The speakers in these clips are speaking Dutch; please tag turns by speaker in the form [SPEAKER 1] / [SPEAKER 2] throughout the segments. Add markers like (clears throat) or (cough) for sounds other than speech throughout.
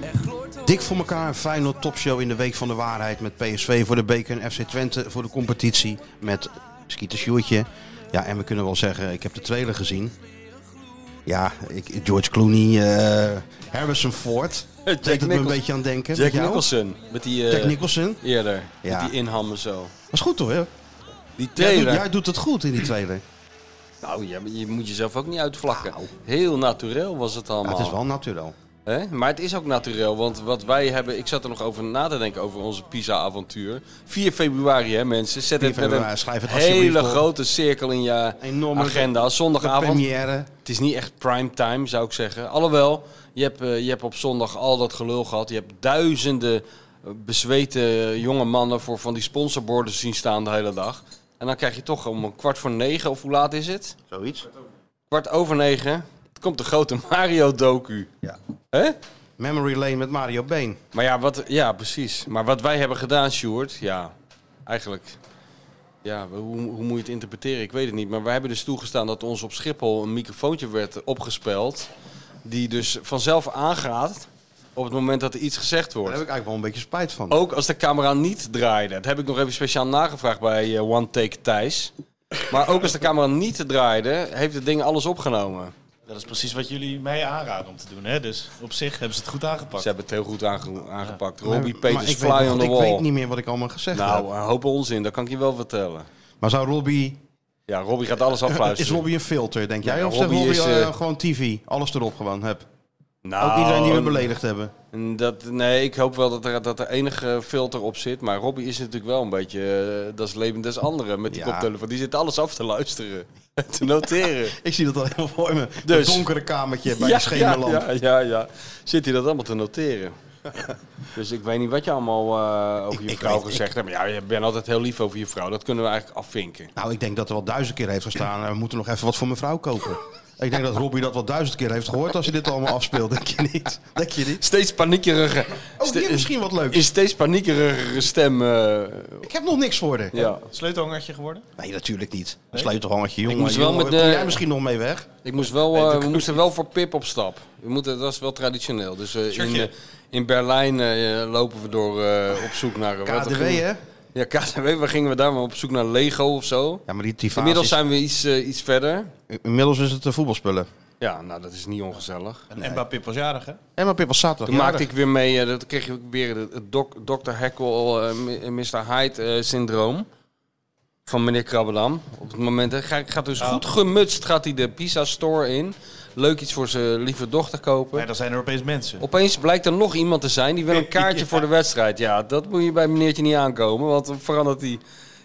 [SPEAKER 1] er gloort een-
[SPEAKER 2] Dik voor elkaar een Feyenoord topshow in de Week van de Waarheid met PSV voor de beker en FC Twente voor de competitie met Schieten Sjoertje. Ja, en we kunnen wel zeggen, ik heb de trailer gezien. Ja, ik, George Clooney, eh, Harrison Ford.
[SPEAKER 3] Jack
[SPEAKER 2] Deed het me een
[SPEAKER 3] Nichol-
[SPEAKER 2] beetje aan denken.
[SPEAKER 3] Jack
[SPEAKER 2] met jou?
[SPEAKER 3] Nicholson. Met die, eh,
[SPEAKER 2] Jack Nicholson.
[SPEAKER 3] Eerder.
[SPEAKER 2] Ja.
[SPEAKER 3] Met die inhammen zo.
[SPEAKER 2] Was goed hoor. hè?
[SPEAKER 3] Die
[SPEAKER 2] Jij doet,
[SPEAKER 3] trailer.
[SPEAKER 2] jij doet het goed in die trailer.
[SPEAKER 3] Nou, ja, maar je moet jezelf ook niet uitvlakken. Heel natuurlijk was
[SPEAKER 2] Nou.
[SPEAKER 3] het
[SPEAKER 2] Ja,
[SPEAKER 3] allemaal.
[SPEAKER 2] het is wel natuurlijk.
[SPEAKER 3] Hè? Maar het is ook natuurlijk, want wat wij hebben... Ik zat er nog over na te denken over onze Pisa-avontuur. 4 februari, hè mensen. Zet
[SPEAKER 2] 4
[SPEAKER 3] het met
[SPEAKER 2] februari,
[SPEAKER 3] een
[SPEAKER 2] schrijf het alsjeblieft
[SPEAKER 3] hele
[SPEAKER 2] op.
[SPEAKER 3] grote cirkel in je
[SPEAKER 2] Enorme-
[SPEAKER 3] agenda.
[SPEAKER 2] De
[SPEAKER 3] Zondagavond.
[SPEAKER 2] première.
[SPEAKER 3] Het is niet echt prime time, zou ik zeggen. Alhoewel, je hebt, eh, je hebt op zondag al dat gelul gehad. Je hebt duizenden eh, bezweten eh, jonge mannen voor van die sponsorborden zien staan de hele dag. En dan krijg je toch om een kwart voor negen, of hoe laat is het?
[SPEAKER 2] Zoiets.
[SPEAKER 3] Kwart over negen. Komt de grote (laughs) Mario-docu.
[SPEAKER 4] Ja.
[SPEAKER 3] Hè?
[SPEAKER 2] Memory Lane met Mario Been.
[SPEAKER 3] Maar ja, wat, ja, precies. Maar wat wij hebben gedaan, Sjoerd, ja, eigenlijk. Ja, hoe, hoe moet je het interpreteren? Ik weet het niet. Maar wij hebben dus toegestaan dat ons op Schiphol een microfoontje werd opgespeld. Die dus vanzelf aangaat op het moment dat er iets gezegd
[SPEAKER 2] Daar heb
[SPEAKER 3] wordt.
[SPEAKER 2] ik eigenlijk wel een beetje spijt van.
[SPEAKER 3] Ook als de camera niet draaide. Dat heb ik nog even speciaal nagevraagd bij eh, One Take Thijs. Maar ook als de camera niet draaide, heeft het ding alles opgenomen.
[SPEAKER 5] Dat is precies wat jullie mij aanraden om te doen. Hè? Dus op zich hebben ze het goed aangepakt.
[SPEAKER 3] Ze hebben het heel goed aange- aangepakt.
[SPEAKER 2] Maar-
[SPEAKER 3] Robbie
[SPEAKER 2] maar
[SPEAKER 3] Peters,
[SPEAKER 2] ik
[SPEAKER 3] fly
[SPEAKER 2] weet, nog-
[SPEAKER 3] on the
[SPEAKER 2] Ik weet niet
[SPEAKER 3] wall.
[SPEAKER 2] meer wat ik allemaal gezegd
[SPEAKER 3] Nou,
[SPEAKER 2] heb.
[SPEAKER 3] een hoop onzin, dat kan ik je wel vertellen.
[SPEAKER 2] Maar zou Robbie
[SPEAKER 3] Ja, Robbie gaat alles
[SPEAKER 2] Is
[SPEAKER 3] afluisteren.
[SPEAKER 2] Robbie een filter, denk jij?
[SPEAKER 3] Ja,
[SPEAKER 2] of zegt
[SPEAKER 3] Robbie
[SPEAKER 2] Robbie
[SPEAKER 3] is,
[SPEAKER 2] eh,
[SPEAKER 3] eh,
[SPEAKER 2] gewoon TV? Alles erop gewoon, heb.
[SPEAKER 3] nou,
[SPEAKER 2] ook iedereen die we beledigd hebben.
[SPEAKER 3] Dat, nee, ik hoop wel dat er, dat er enige filter op zit. Maar Robbie is natuurlijk wel een beetje... eh, dat is leven des anderen met die
[SPEAKER 2] Ja.
[SPEAKER 3] koptelefoon. Die zit alles af te luisteren. (laughs) en te noteren.
[SPEAKER 2] Ik zie dat al helemaal voor me.
[SPEAKER 3] Dus-
[SPEAKER 2] Een donkere kamertje bij
[SPEAKER 3] (laughs) ja,
[SPEAKER 2] de schemerlamp.
[SPEAKER 3] Ja, ja, ja. Zit hij dat allemaal te noteren. (laughs) dus ik weet niet wat je allemaal eh, over
[SPEAKER 2] Ik-
[SPEAKER 3] je
[SPEAKER 2] ik
[SPEAKER 3] vrouw
[SPEAKER 2] weet-
[SPEAKER 3] gezegd hebt. Maar ja, je bent altijd heel lief over je vrouw. Dat kunnen we eigenlijk afvinken.
[SPEAKER 2] Nou, ik denk dat er wel duizend keer heeft gestaan. eh, We moeten nog even wat voor mijn vrouw kopen. ik denk dat Robbie dat wel duizend keer heeft gehoord als hij dit allemaal afspeelt. Denk je niet? Denk je niet?
[SPEAKER 3] Steeds paniekerige...
[SPEAKER 2] Ook hier misschien wat leuk.
[SPEAKER 3] Is steeds paniekerige stem... eh,
[SPEAKER 2] Ik heb nog niks voor haar.
[SPEAKER 3] ja.
[SPEAKER 5] Sleutelhangertje geworden?
[SPEAKER 2] Nee, natuurlijk niet. Een sleutelhangertje, jongen.
[SPEAKER 3] moest wel
[SPEAKER 2] jongen,
[SPEAKER 3] met eh, de-
[SPEAKER 2] Kom jij misschien nog mee weg?
[SPEAKER 3] Ik moest wel, eh, we moesten wel voor Pip op stap. We moeten, dat is wel traditioneel. Dus eh, in,
[SPEAKER 5] Shirtje.
[SPEAKER 3] eh, in Berlijn eh, lopen we door eh, op zoek naar... wat
[SPEAKER 2] KDW,
[SPEAKER 3] gingen-
[SPEAKER 2] hè?
[SPEAKER 3] Ja, KDW. Waar gingen we daar maar op zoek naar Lego of zo?
[SPEAKER 2] Ja, maar die, die vaas
[SPEAKER 3] Inmiddels
[SPEAKER 2] is-
[SPEAKER 3] zijn we iets, eh, iets verder.
[SPEAKER 2] Inmiddels is het de voetbalspullen.
[SPEAKER 3] Ja, nou, dat is niet ongezellig.
[SPEAKER 5] En Mbappé Pip was jarig, hè?
[SPEAKER 2] En maar Pip was zaterdag.
[SPEAKER 3] Toen maakte ik weer mee, eh, dat kreeg ik weer het het doc, Dr. Heckel, eh, mi- Mr. Hyde eh, syndroom. Van meneer Krabbedam. Op het moment hè, ga- gaat dus goed gemutst gaat hij de Pisa Store in. Leuk iets voor zijn lieve dochter kopen.
[SPEAKER 5] Ja, dan zijn er opeens mensen.
[SPEAKER 3] Opeens blijkt er nog iemand te zijn die wil een kaartje
[SPEAKER 5] (laughs) Ja.
[SPEAKER 3] voor de wedstrijd. Ja, dat moet je bij meneertje niet aankomen, want dan verandert hij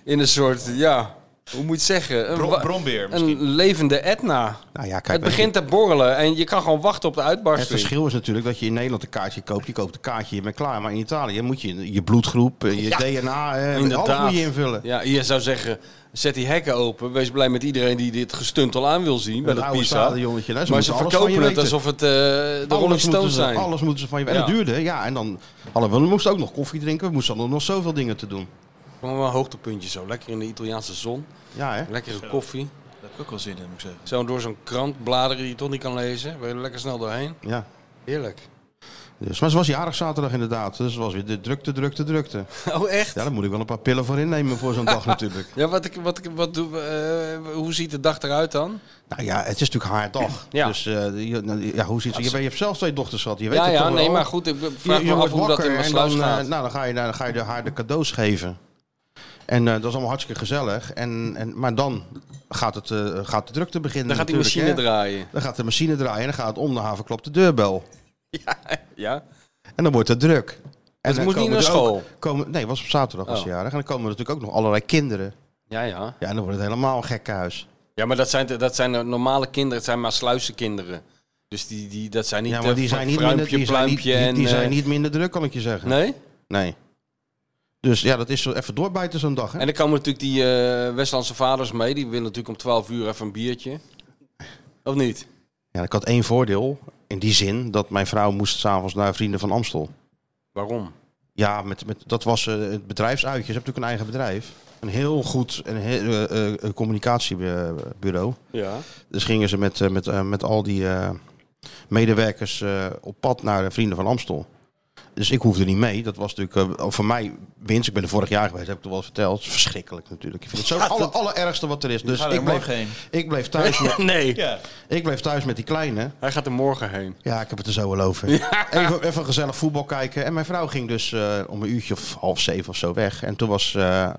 [SPEAKER 3] in een soort, ja, hoe moet je het zeggen? Een,
[SPEAKER 5] Bron-
[SPEAKER 3] wa-
[SPEAKER 5] bronbeer misschien.
[SPEAKER 3] een levende Etna.
[SPEAKER 2] Nou ja, kijk,
[SPEAKER 3] het
[SPEAKER 2] weet je-
[SPEAKER 3] begint te borrelen en je kan gewoon wachten op de
[SPEAKER 2] Het
[SPEAKER 3] uitbarsting.
[SPEAKER 2] verschil is natuurlijk dat je in Nederland een kaartje koopt. Je koopt een kaartje, je bent klaar. Maar in Italië moet je je bloedgroep, eh, je DNA, eh, alles moet je invullen.
[SPEAKER 3] Ja, je zou zeggen, zet die hekken open. Wees blij met iedereen die dit gestuntel aan wil zien bij
[SPEAKER 2] Het
[SPEAKER 3] dat
[SPEAKER 2] oude
[SPEAKER 3] Pisa.
[SPEAKER 2] stadionnetje, hè, ze
[SPEAKER 3] maar
[SPEAKER 2] moeten
[SPEAKER 3] ze
[SPEAKER 2] alles
[SPEAKER 3] verkopen
[SPEAKER 2] van je
[SPEAKER 3] het
[SPEAKER 2] weten.
[SPEAKER 3] alsof het eh, de Rolling
[SPEAKER 2] Alles moeten
[SPEAKER 3] Stones
[SPEAKER 2] ze,
[SPEAKER 3] zijn.
[SPEAKER 2] alles moeten ze van je En
[SPEAKER 3] Ja.
[SPEAKER 2] dat duurde, ja. En dan hadden we, we moesten ook nog koffie drinken. We moesten dan nog zoveel dingen te doen.
[SPEAKER 3] Gewoon wel een hoogtepuntje zo. Lekker in de Italiaanse zon.
[SPEAKER 2] Ja, hè?
[SPEAKER 3] Lekkere koffie.
[SPEAKER 5] Daar heb ik ook wel zin in, moet ik zeggen.
[SPEAKER 3] Zo door zo'n krant bladeren die je toch niet kan lezen. Ben je er lekker snel doorheen.
[SPEAKER 2] Ja.
[SPEAKER 3] Heerlijk.
[SPEAKER 2] Dus, maar ze was jarig zaterdag inderdaad. Dus het was weer de drukte, drukte, drukte.
[SPEAKER 3] (laughs) Oh, echt?
[SPEAKER 2] Ja, daar moet ik wel een paar pillen voor innemen voor zo'n
[SPEAKER 3] (laughs)
[SPEAKER 2] dag natuurlijk.
[SPEAKER 3] Ja, wat, ik, wat, ik, wat doe, eh, hoe ziet de dag eruit dan?
[SPEAKER 2] Nou ja, het is natuurlijk haar dag.
[SPEAKER 3] Ja.
[SPEAKER 2] Dus eh, je, nou, ja, hoe ziet ze? Je, weet- je hebt zelf twee dochters gehad. Je weet
[SPEAKER 3] ja,
[SPEAKER 2] het
[SPEAKER 3] ja,
[SPEAKER 2] toch
[SPEAKER 3] nee,
[SPEAKER 2] wel.
[SPEAKER 3] maar goed. Ik
[SPEAKER 2] Je,
[SPEAKER 3] vraag
[SPEAKER 2] je
[SPEAKER 3] me af
[SPEAKER 2] wordt
[SPEAKER 3] hoe dat
[SPEAKER 2] wakker
[SPEAKER 3] in mijn
[SPEAKER 2] en
[SPEAKER 3] sluis
[SPEAKER 2] dan, eh,
[SPEAKER 3] gaat.
[SPEAKER 2] nou, dan, ga je, dan ga je haar de cadeaus geven. En eh, dat is allemaal hartstikke gezellig. En, en, maar dan gaat, het, eh, gaat de drukte beginnen.
[SPEAKER 3] Dan gaat die
[SPEAKER 2] natuurlijk,
[SPEAKER 3] machine
[SPEAKER 2] hè.
[SPEAKER 3] draaien.
[SPEAKER 2] Dan gaat de machine draaien en dan gaat om de havenklap de deurbel.
[SPEAKER 3] Ja?
[SPEAKER 2] En dan wordt het druk. En
[SPEAKER 3] Dus het
[SPEAKER 2] dan
[SPEAKER 3] moest niet
[SPEAKER 2] komen
[SPEAKER 3] naar
[SPEAKER 2] er ook-
[SPEAKER 3] school.
[SPEAKER 2] komen, nee, was op zaterdag was
[SPEAKER 3] Oh.
[SPEAKER 2] ze jarig. En dan komen er natuurlijk ook nog allerlei kinderen.
[SPEAKER 3] Ja, ja.
[SPEAKER 2] Ja, en dan wordt het helemaal een gekkenhuis.
[SPEAKER 3] Ja, maar dat zijn, dat zijn normale kinderen. Het zijn maar sluizenkinderen. Dus die, die, dat zijn niet...
[SPEAKER 2] ja, maar
[SPEAKER 3] eh,
[SPEAKER 2] die zijn niet,
[SPEAKER 3] fruimpje,
[SPEAKER 2] minder, die zijn niet,
[SPEAKER 3] pluimpje
[SPEAKER 2] die, die
[SPEAKER 3] en,
[SPEAKER 2] zijn
[SPEAKER 3] eh,
[SPEAKER 2] niet minder druk, kan ik je zeggen.
[SPEAKER 3] Nee?
[SPEAKER 2] Nee. Dus ja, dat is zo even doorbijten zo'n dag. Hè?
[SPEAKER 3] En dan komen natuurlijk die eh, Westlandse vaders mee. Die willen natuurlijk om 12 uur even een biertje. Of niet?
[SPEAKER 2] Ja, ik had één voordeel. In die zin dat mijn vrouw moest s'avonds naar Vrienden van Amstel.
[SPEAKER 3] Waarom?
[SPEAKER 2] Ja, met, met, dat was eh, het bedrijfsuitje. Ze hebben natuurlijk een eigen bedrijf. Een heel goed en heel, eh, eh, communicatiebureau.
[SPEAKER 3] Ja.
[SPEAKER 2] Dus gingen ze met, eh, met, eh, met al die eh, medewerkers eh, op pad naar de Vrienden van Amstel. Dus ik hoefde niet mee. Dat was natuurlijk eh, voor mij winst. Ik ben er vorig jaar geweest, heb ik toch wel eens verteld. Het is verschrikkelijk natuurlijk. Ik vind het zo het aller, allerergste wat er is. Dus
[SPEAKER 5] Ga
[SPEAKER 2] ik
[SPEAKER 5] er
[SPEAKER 2] bleef,
[SPEAKER 5] morgen heen.
[SPEAKER 2] ik, bleef thuis met,
[SPEAKER 3] nee.
[SPEAKER 5] Ja.
[SPEAKER 2] ik bleef thuis met die kleine.
[SPEAKER 3] Hij gaat er morgen heen.
[SPEAKER 2] Ja, ik heb het er zo wel over. Even, even gezellig voetbal kijken. En mijn vrouw ging dus eh, om een uurtje of half zeven of zo weg. En toen was eh,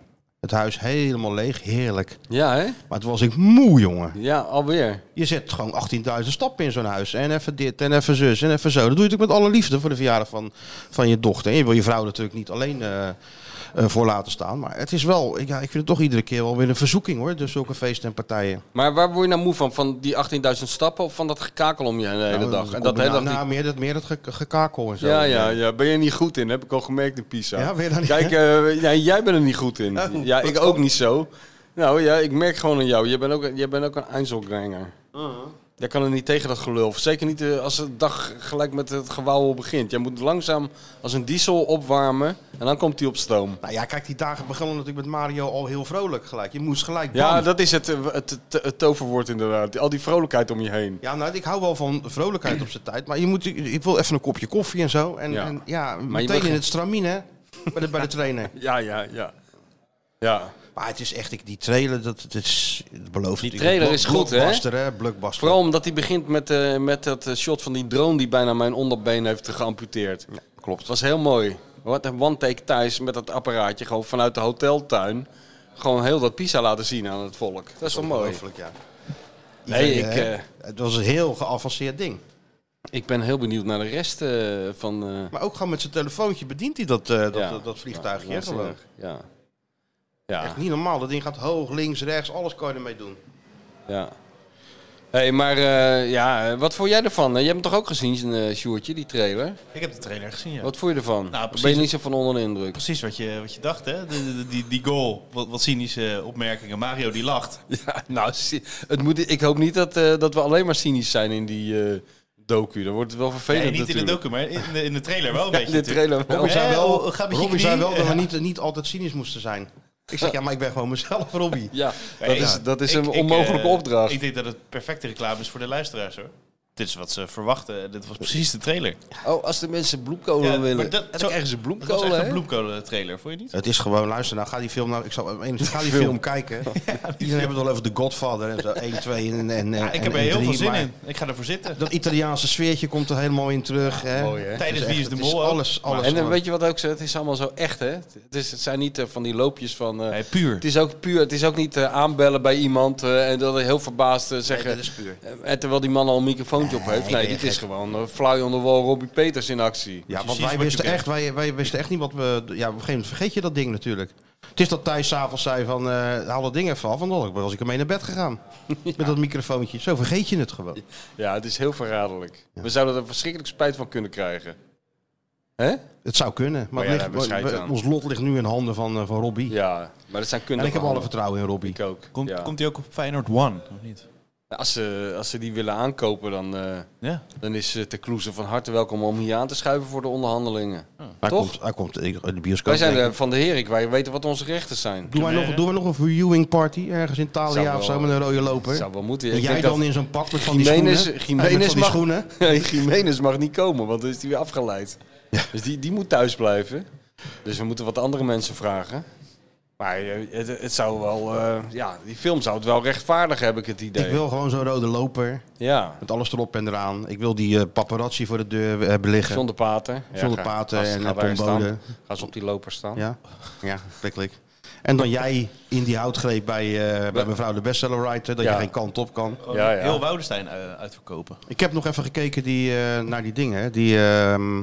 [SPEAKER 2] het huis helemaal leeg. Heerlijk.
[SPEAKER 3] Ja, hè?
[SPEAKER 2] Maar toen was ik moe, jongen.
[SPEAKER 3] Ja, alweer.
[SPEAKER 2] Je zet gewoon 18.000 stappen in zo'n huis. En even dit, en even zus, en even zo. Dat doe je natuurlijk met alle liefde voor de verjaardag van, van je dochter. En je wil je vrouw natuurlijk niet alleen eh, eh, voor laten staan. Maar het is wel, ik- ja, ik vind het toch iedere keer wel weer een verzoeking hoor. Dus zulke feesten en partijen.
[SPEAKER 3] Maar waar word je nou moe van? Van die 18.000 stappen of van dat gekakel om je de hele
[SPEAKER 2] Nou,
[SPEAKER 3] dag? En dat hele dag
[SPEAKER 2] Nou,
[SPEAKER 3] die-
[SPEAKER 2] meer, dat, meer dat ge- gekakel en zo.
[SPEAKER 3] Ja, ja, ja. Ben je niet goed in? Heb ik al gemerkt in Pisa.
[SPEAKER 2] Ja, ben je daar niet-
[SPEAKER 3] Kijk, eh, ja, jij bent er niet goed in.
[SPEAKER 2] Oh.
[SPEAKER 3] ja, ik ook niet zo. Nou ja, ik merk gewoon aan jou. Jij bent ook, jij bent ook een Einzelganger.
[SPEAKER 2] Uh-huh.
[SPEAKER 3] Jij kan er niet tegen dat gelul. Zeker niet eh, als de dag gelijk met het gewauwel begint. Jij moet langzaam als een diesel opwarmen en dan komt hij op stoom.
[SPEAKER 2] Nou ja, kijk, die dagen begonnen natuurlijk met Mario al heel vrolijk gelijk. Je moest gelijk
[SPEAKER 3] Ja,
[SPEAKER 2] bam.
[SPEAKER 3] dat is het, eh, het, het, het toverwoord inderdaad. Al die vrolijkheid om je heen.
[SPEAKER 2] Ja, nou, ik hou wel van vrolijkheid op zijn tijd. Maar je moet, ik wil even een kopje koffie en zo. En
[SPEAKER 3] Ja.
[SPEAKER 2] ja, en, ja meteen
[SPEAKER 3] mag-
[SPEAKER 2] in het stramine hè, bij de, bij de
[SPEAKER 3] (laughs)
[SPEAKER 2] trainer.
[SPEAKER 3] Ja, ja, ja. Ja.
[SPEAKER 2] Maar het is echt, ik- die trailer, dat, dat is, het belooft
[SPEAKER 3] Die
[SPEAKER 2] natuurlijk.
[SPEAKER 3] trailer is
[SPEAKER 2] Blo-
[SPEAKER 3] goed, hè?
[SPEAKER 2] Blockbuster, hè? Blockbuster.
[SPEAKER 3] Vooral omdat hij begint met, eh, met dat eh, shot van die drone die bijna mijn onderbeen heeft geamputeerd.
[SPEAKER 2] klopt.
[SPEAKER 3] Het was heel mooi. Wat een one take thuis met dat apparaatje gewoon vanuit de hoteltuin. Gewoon heel dat Pisa laten zien aan het volk. Dat is wel mooi.
[SPEAKER 2] Ongelooflijk, ja.
[SPEAKER 3] Nee,
[SPEAKER 2] Iedereen,
[SPEAKER 3] ik,
[SPEAKER 2] hè,
[SPEAKER 3] eh,
[SPEAKER 2] het was een heel geavanceerd ding.
[SPEAKER 3] Ik ben heel benieuwd naar de rest eh, van... eh,
[SPEAKER 2] Maar ook gewoon met zijn telefoontje bedient hij dat, eh, dat,
[SPEAKER 3] ja.
[SPEAKER 2] dat, dat vliegtuigje. hè,
[SPEAKER 3] Ja,
[SPEAKER 2] gewoon.
[SPEAKER 3] waanzinnig. Ja. Ja.
[SPEAKER 2] Echt niet normaal. Dat ding gaat hoog, links, rechts. Alles kan je ermee doen.
[SPEAKER 3] ja. hey, maar eh, ja, eh, wat vond jij ervan? Je hebt hem toch ook gezien, eh Sjoertje, die trailer?
[SPEAKER 5] Ik heb de trailer gezien, ja.
[SPEAKER 3] Wat vond je ervan?
[SPEAKER 5] Nou, precies.
[SPEAKER 3] ben je niet zo van onder de indruk?
[SPEAKER 5] Precies wat je, wat je dacht, hè? De, de- die, die goal. Wat, wat cynische opmerkingen. Mario die
[SPEAKER 3] (laughs)
[SPEAKER 5] lacht.
[SPEAKER 3] Ja, nou, cy- het moet, ik hoop niet dat, eh, dat we alleen maar cynisch zijn in die eh docu. Dan wordt het wel vervelend
[SPEAKER 5] Nee, niet in de
[SPEAKER 3] natuurlijk.
[SPEAKER 5] docu, maar in de, in de trailer wel een
[SPEAKER 3] Ja,
[SPEAKER 5] beetje.
[SPEAKER 3] in de
[SPEAKER 5] natuurlijk.
[SPEAKER 3] trailer wel.
[SPEAKER 2] Robin zei
[SPEAKER 5] Hey,
[SPEAKER 2] wel,
[SPEAKER 5] oh, ga met je
[SPEAKER 2] Robby zei
[SPEAKER 5] knie.
[SPEAKER 2] wel dat we
[SPEAKER 5] Ja.
[SPEAKER 2] niet, niet altijd cynisch moesten zijn. Ik zeg, ja, maar ik ben gewoon mezelf, Robby.
[SPEAKER 3] Ja,
[SPEAKER 5] Nee,
[SPEAKER 3] dat
[SPEAKER 5] ja.
[SPEAKER 3] is, dat is
[SPEAKER 5] Ik-
[SPEAKER 3] een
[SPEAKER 5] ik,
[SPEAKER 3] onmogelijke
[SPEAKER 5] eh,
[SPEAKER 3] opdracht.
[SPEAKER 5] Ik denk dat het perfecte reclame is voor de luisteraars, hoor. Dit is wat ze verwachten. Dit was precies de trailer.
[SPEAKER 3] oh, als de mensen bloemkolen
[SPEAKER 5] Ja,
[SPEAKER 3] willen,
[SPEAKER 5] maar
[SPEAKER 3] dat,
[SPEAKER 5] dat-
[SPEAKER 3] dan
[SPEAKER 5] zo-
[SPEAKER 3] krijgen ze
[SPEAKER 5] Dat was echt
[SPEAKER 3] bloemkolen,
[SPEAKER 5] een
[SPEAKER 3] hè?
[SPEAKER 5] bloemkolen-trailer, vond je niet?
[SPEAKER 2] Het is gewoon, luister nou, ga die film nou, ik zal, ik ga die film
[SPEAKER 5] (laughs)
[SPEAKER 2] kijken. Iedereen hebben het al over The Godfather en zo, 1, 2 en, en,
[SPEAKER 5] Ja, ik
[SPEAKER 2] en-
[SPEAKER 5] heb er
[SPEAKER 2] en
[SPEAKER 5] heel
[SPEAKER 2] drie,
[SPEAKER 5] veel zin
[SPEAKER 2] maar
[SPEAKER 5] in. Ik ga ervoor zitten.
[SPEAKER 2] Dat Italiaanse sfeertje komt er helemaal in terug. hè.
[SPEAKER 3] Mooi, hè?
[SPEAKER 5] Tijdens
[SPEAKER 2] Het
[SPEAKER 5] Wie is
[SPEAKER 2] echt-
[SPEAKER 5] de
[SPEAKER 2] het is
[SPEAKER 5] Mol ook.
[SPEAKER 2] alles, alles.
[SPEAKER 3] En dan
[SPEAKER 2] gewoon.
[SPEAKER 3] weet je wat ook zo, het is allemaal zo echt, hè? Het, is, het zijn niet eh, van die loopjes van... eh,
[SPEAKER 5] Nee, puur.
[SPEAKER 3] het is ook puur, het is ook niet eh, aanbellen bij iemand eh, en dan heel verbaasd eh, zeggen...
[SPEAKER 2] dit is puur.
[SPEAKER 3] eh, en terwijl die man al een microfoontje op heeft. Nee,
[SPEAKER 2] ben je
[SPEAKER 3] dit is
[SPEAKER 2] gek.
[SPEAKER 3] gewoon eh, fly on the wall Robbie Peters in actie.
[SPEAKER 2] Ja, want
[SPEAKER 5] Precies
[SPEAKER 2] wij
[SPEAKER 5] wat je
[SPEAKER 2] wisten,
[SPEAKER 5] bent.
[SPEAKER 2] echt, wij, wij wisten echt niet wat we... Ja, op een gegeven moment vergeet je dat ding natuurlijk. Het is dat Thijs s'avonds zei van, eh, haal dat ding even af. Want dan was ik ermee naar bed
[SPEAKER 5] (laughs)
[SPEAKER 2] gegaan. Met dat microfoontje. Zo vergeet je het gewoon.
[SPEAKER 3] Ja, het is heel verraderlijk. We zouden er verschrikkelijk spijt van kunnen krijgen. Hè?
[SPEAKER 2] Het zou kunnen. Maar,
[SPEAKER 3] Oh ja,
[SPEAKER 2] het
[SPEAKER 3] daar hebben we
[SPEAKER 2] ligt-
[SPEAKER 3] scheid
[SPEAKER 2] we-
[SPEAKER 3] aan.
[SPEAKER 2] ons lot ligt nu in handen van, eh, van Robbie.
[SPEAKER 3] Ja, maar dat zijn
[SPEAKER 2] en
[SPEAKER 3] kundigen.
[SPEAKER 2] ik heb alle vertrouwen in Robbie.
[SPEAKER 3] Ik ook.
[SPEAKER 5] Komt,
[SPEAKER 3] ja.
[SPEAKER 5] komt hij ook op Feyenoord One, of niet?
[SPEAKER 3] Als, ze, als ze die willen aankopen, dan, eh,
[SPEAKER 5] Ja.
[SPEAKER 3] dan is eh Ter Kloeze van harte welkom om hier aan te schuiven voor de onderhandelingen.
[SPEAKER 5] Ah.
[SPEAKER 2] Hij
[SPEAKER 3] Toch?
[SPEAKER 2] komt, hij komt in de bioscoop.
[SPEAKER 3] Wij zijn
[SPEAKER 2] denk ik.
[SPEAKER 3] eh, van de Herik, wij weten wat onze rechten zijn.
[SPEAKER 2] Doen wij, nog, doen wij nog een viewing party ergens in
[SPEAKER 3] Zou
[SPEAKER 2] Thalia
[SPEAKER 3] wel-
[SPEAKER 2] of zo met een rode loper?
[SPEAKER 3] Zou wel moeten.
[SPEAKER 2] en
[SPEAKER 3] Ik
[SPEAKER 2] jij
[SPEAKER 3] denk
[SPEAKER 2] dan
[SPEAKER 3] dat
[SPEAKER 2] in zo'n pak met van die
[SPEAKER 3] Jimenez-
[SPEAKER 2] schoenen?
[SPEAKER 3] Jimenez
[SPEAKER 2] En met van die
[SPEAKER 3] mag- (laughs)
[SPEAKER 2] schoenen?
[SPEAKER 3] Jimenez mag niet komen, want dan is hij weer afgeleid. Dus die, die moet thuis blijven. Dus we moeten wat andere mensen vragen. Maar eh, het, het zou wel, eh, ja, die film zou het wel rechtvaardigen, heb ik het idee.
[SPEAKER 2] Ik wil gewoon zo'n rode loper
[SPEAKER 3] Ja,
[SPEAKER 2] met alles erop en eraan. Ik wil die eh, paparazzi voor de deur eh, hebben liggen.
[SPEAKER 3] zonder paten. Ja,
[SPEAKER 2] Zonder
[SPEAKER 3] ga-
[SPEAKER 2] paten
[SPEAKER 3] gast,
[SPEAKER 2] en,
[SPEAKER 3] ga
[SPEAKER 2] eh,
[SPEAKER 3] daar eens
[SPEAKER 2] pombonen.
[SPEAKER 3] staan. Ga eens op die loper staan.
[SPEAKER 2] Ja, ja, klik klik. En dan jij in die houtgreep bij, eh, bij mevrouw de bestsellerwriter, dat
[SPEAKER 3] Ja.
[SPEAKER 2] je geen kant op kan.
[SPEAKER 3] Ja, ja.
[SPEAKER 5] Heel Woudenstein eh, uitverkopen.
[SPEAKER 2] Ik heb nog even gekeken die, eh, naar die dingen, hè. die, ehm,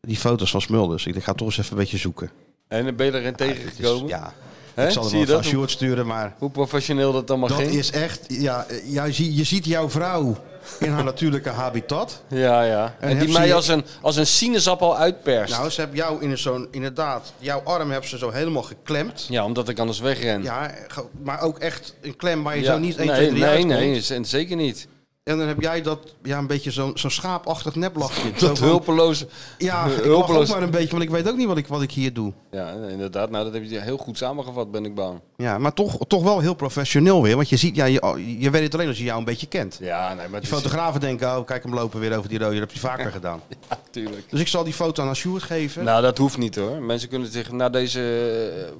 [SPEAKER 2] die foto's van Smulders. Ik ga toch eens even een beetje zoeken.
[SPEAKER 3] En ben je erin
[SPEAKER 2] Het is-
[SPEAKER 3] tegengekomen?
[SPEAKER 2] ja,
[SPEAKER 3] Hè?
[SPEAKER 2] ik zal
[SPEAKER 3] Zie
[SPEAKER 2] hem
[SPEAKER 3] je
[SPEAKER 2] wel aan
[SPEAKER 3] dat? Hoe,
[SPEAKER 2] Sjoerd sturen, maar
[SPEAKER 3] hoe professioneel dat allemaal
[SPEAKER 2] dat
[SPEAKER 3] ging?
[SPEAKER 2] is echt... Ja, eh, ja, zie- je ziet jouw vrouw in haar natuurlijke habitat.
[SPEAKER 3] Ja, ja.
[SPEAKER 2] En
[SPEAKER 3] En, die
[SPEAKER 2] heb ze
[SPEAKER 3] mij
[SPEAKER 2] je-
[SPEAKER 3] als een, als een sinaasappel uitperst.
[SPEAKER 2] Nou, ze hebben jou in zo'n... Inderdaad, jouw arm hebben ze zo helemaal geklemd.
[SPEAKER 3] ja, omdat ik anders wegren.
[SPEAKER 2] Ja, ge- maar ook echt een klem waar je
[SPEAKER 3] Ja.
[SPEAKER 2] zo niet 1,
[SPEAKER 3] nee,
[SPEAKER 2] 2, 3
[SPEAKER 3] Nee,
[SPEAKER 2] uitkomt.
[SPEAKER 3] nee, z- en zeker
[SPEAKER 2] (laughs)
[SPEAKER 3] niet.
[SPEAKER 2] En dan heb jij dat, ja, een beetje zo'n zo'n schaapachtig neplachje. Zo
[SPEAKER 3] Dat
[SPEAKER 2] van,
[SPEAKER 3] hulpeloze... (laughs)
[SPEAKER 2] Ja, ik lach ook
[SPEAKER 3] hulpeloos-
[SPEAKER 2] maar een beetje, want ik weet ook niet wat ik, wat ik hier doe.
[SPEAKER 3] Ja, inderdaad. Nou, dat heb je heel goed samengevat, ben ik bang.
[SPEAKER 2] Ja, maar toch, toch wel heel professioneel weer. Want je ziet, ja, je, je weet het alleen als je jou een beetje kent.
[SPEAKER 3] Ja, nee, maar
[SPEAKER 2] Die
[SPEAKER 3] het
[SPEAKER 2] fotografen denken, oh, kijk hem lopen weer over die rode. Dat heb je vaker gedaan.
[SPEAKER 3] is... (laughs) Ja, tuurlijk.
[SPEAKER 2] Dus ik zal die foto aan Sjoerd geven.
[SPEAKER 3] Nou, dat hoeft niet hoor. Mensen kunnen zich na deze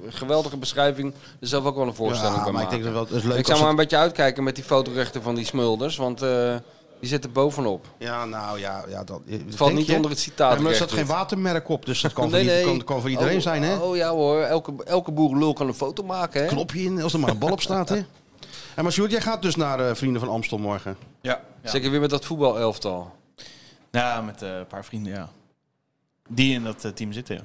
[SPEAKER 3] eh, geweldige beschrijving er zelf ook wel een voorstelling
[SPEAKER 2] Ja,
[SPEAKER 3] bij
[SPEAKER 2] maar ik
[SPEAKER 3] maken.
[SPEAKER 2] denk dat wel, het is leuk
[SPEAKER 3] Ik zou
[SPEAKER 2] als
[SPEAKER 3] maar
[SPEAKER 2] het-
[SPEAKER 3] een beetje uitkijken met die fotorechten van die smulders, want eh, die zitten bovenop.
[SPEAKER 2] Ja, nou ja, ja dat
[SPEAKER 3] Het
[SPEAKER 2] denk
[SPEAKER 3] valt niet
[SPEAKER 2] je?
[SPEAKER 3] onder het
[SPEAKER 2] Ja,
[SPEAKER 3] citaat.
[SPEAKER 2] maar er staat geen watermerk op, dus dat
[SPEAKER 3] (laughs)
[SPEAKER 2] kan, voor, ieder- kan, kan voor iedereen
[SPEAKER 3] Oh,
[SPEAKER 2] zijn, hè?
[SPEAKER 3] Oh ja hoor, elke, elke boerenlul kan een foto maken, hè?
[SPEAKER 2] Knopje in, als er maar een bal op staat, hè? En maar Sjoerd, jij gaat dus naar eh, Vrienden van Amstel morgen.
[SPEAKER 5] Ja. ja.
[SPEAKER 3] Zeker weer met dat voetbalelftal.
[SPEAKER 5] Ja, met eh, een paar vrienden, ja. Die in dat eh, team zitten, ja.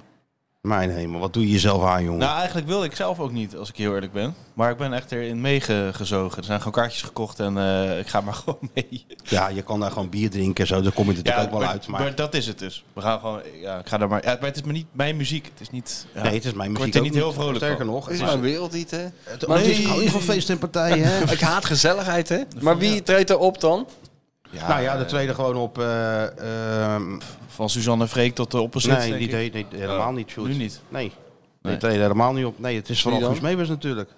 [SPEAKER 2] Mijn hemel, wat doe je jezelf aan, jongen?
[SPEAKER 5] Nou, eigenlijk wilde ik zelf ook niet, als ik heel eerlijk ben. Maar ik ben echt erin meegezogen. Er zijn gewoon kaartjes gekocht en eh, ik ga maar (laughs) gewoon mee.
[SPEAKER 2] Ja, je kan daar gewoon bier drinken en zo, daar kom je natuurlijk ook wel
[SPEAKER 5] maar,
[SPEAKER 2] uit. Maar,
[SPEAKER 5] maar dat is het dus. We gaan gewoon, ja, ik ga daar maar... Ja, maar het is maar niet mijn muziek. Het is niet... Ja.
[SPEAKER 2] nee, het is mijn
[SPEAKER 5] word
[SPEAKER 2] muziek
[SPEAKER 5] er
[SPEAKER 2] ook
[SPEAKER 5] niet heel vrolijk
[SPEAKER 2] Sterker
[SPEAKER 5] van.
[SPEAKER 2] nog,
[SPEAKER 3] Het
[SPEAKER 2] het
[SPEAKER 3] is mijn wereld niet, hè?
[SPEAKER 2] is,
[SPEAKER 3] maar
[SPEAKER 2] maar het is
[SPEAKER 3] die-
[SPEAKER 2] gewoon van feest en partijen,
[SPEAKER 3] (laughs)
[SPEAKER 2] hè?
[SPEAKER 3] Ik haat gezelligheid, hè? Maar wie treedt er op dan?
[SPEAKER 2] nou ja, de tweede gewoon op... eh, ehm,
[SPEAKER 5] Van Suzanne Freek tot eh, de opposite.
[SPEAKER 2] nee,
[SPEAKER 5] denk
[SPEAKER 2] niet,
[SPEAKER 5] ik.
[SPEAKER 2] nee, nee,
[SPEAKER 3] Oh,
[SPEAKER 2] helemaal niet, Sjoerd.
[SPEAKER 5] Nu niet.
[SPEAKER 2] Nee. Nee, de tweede helemaal niet op. Nee, het is van
[SPEAKER 3] Wie dan?
[SPEAKER 2] Guus Meebers natuurlijk.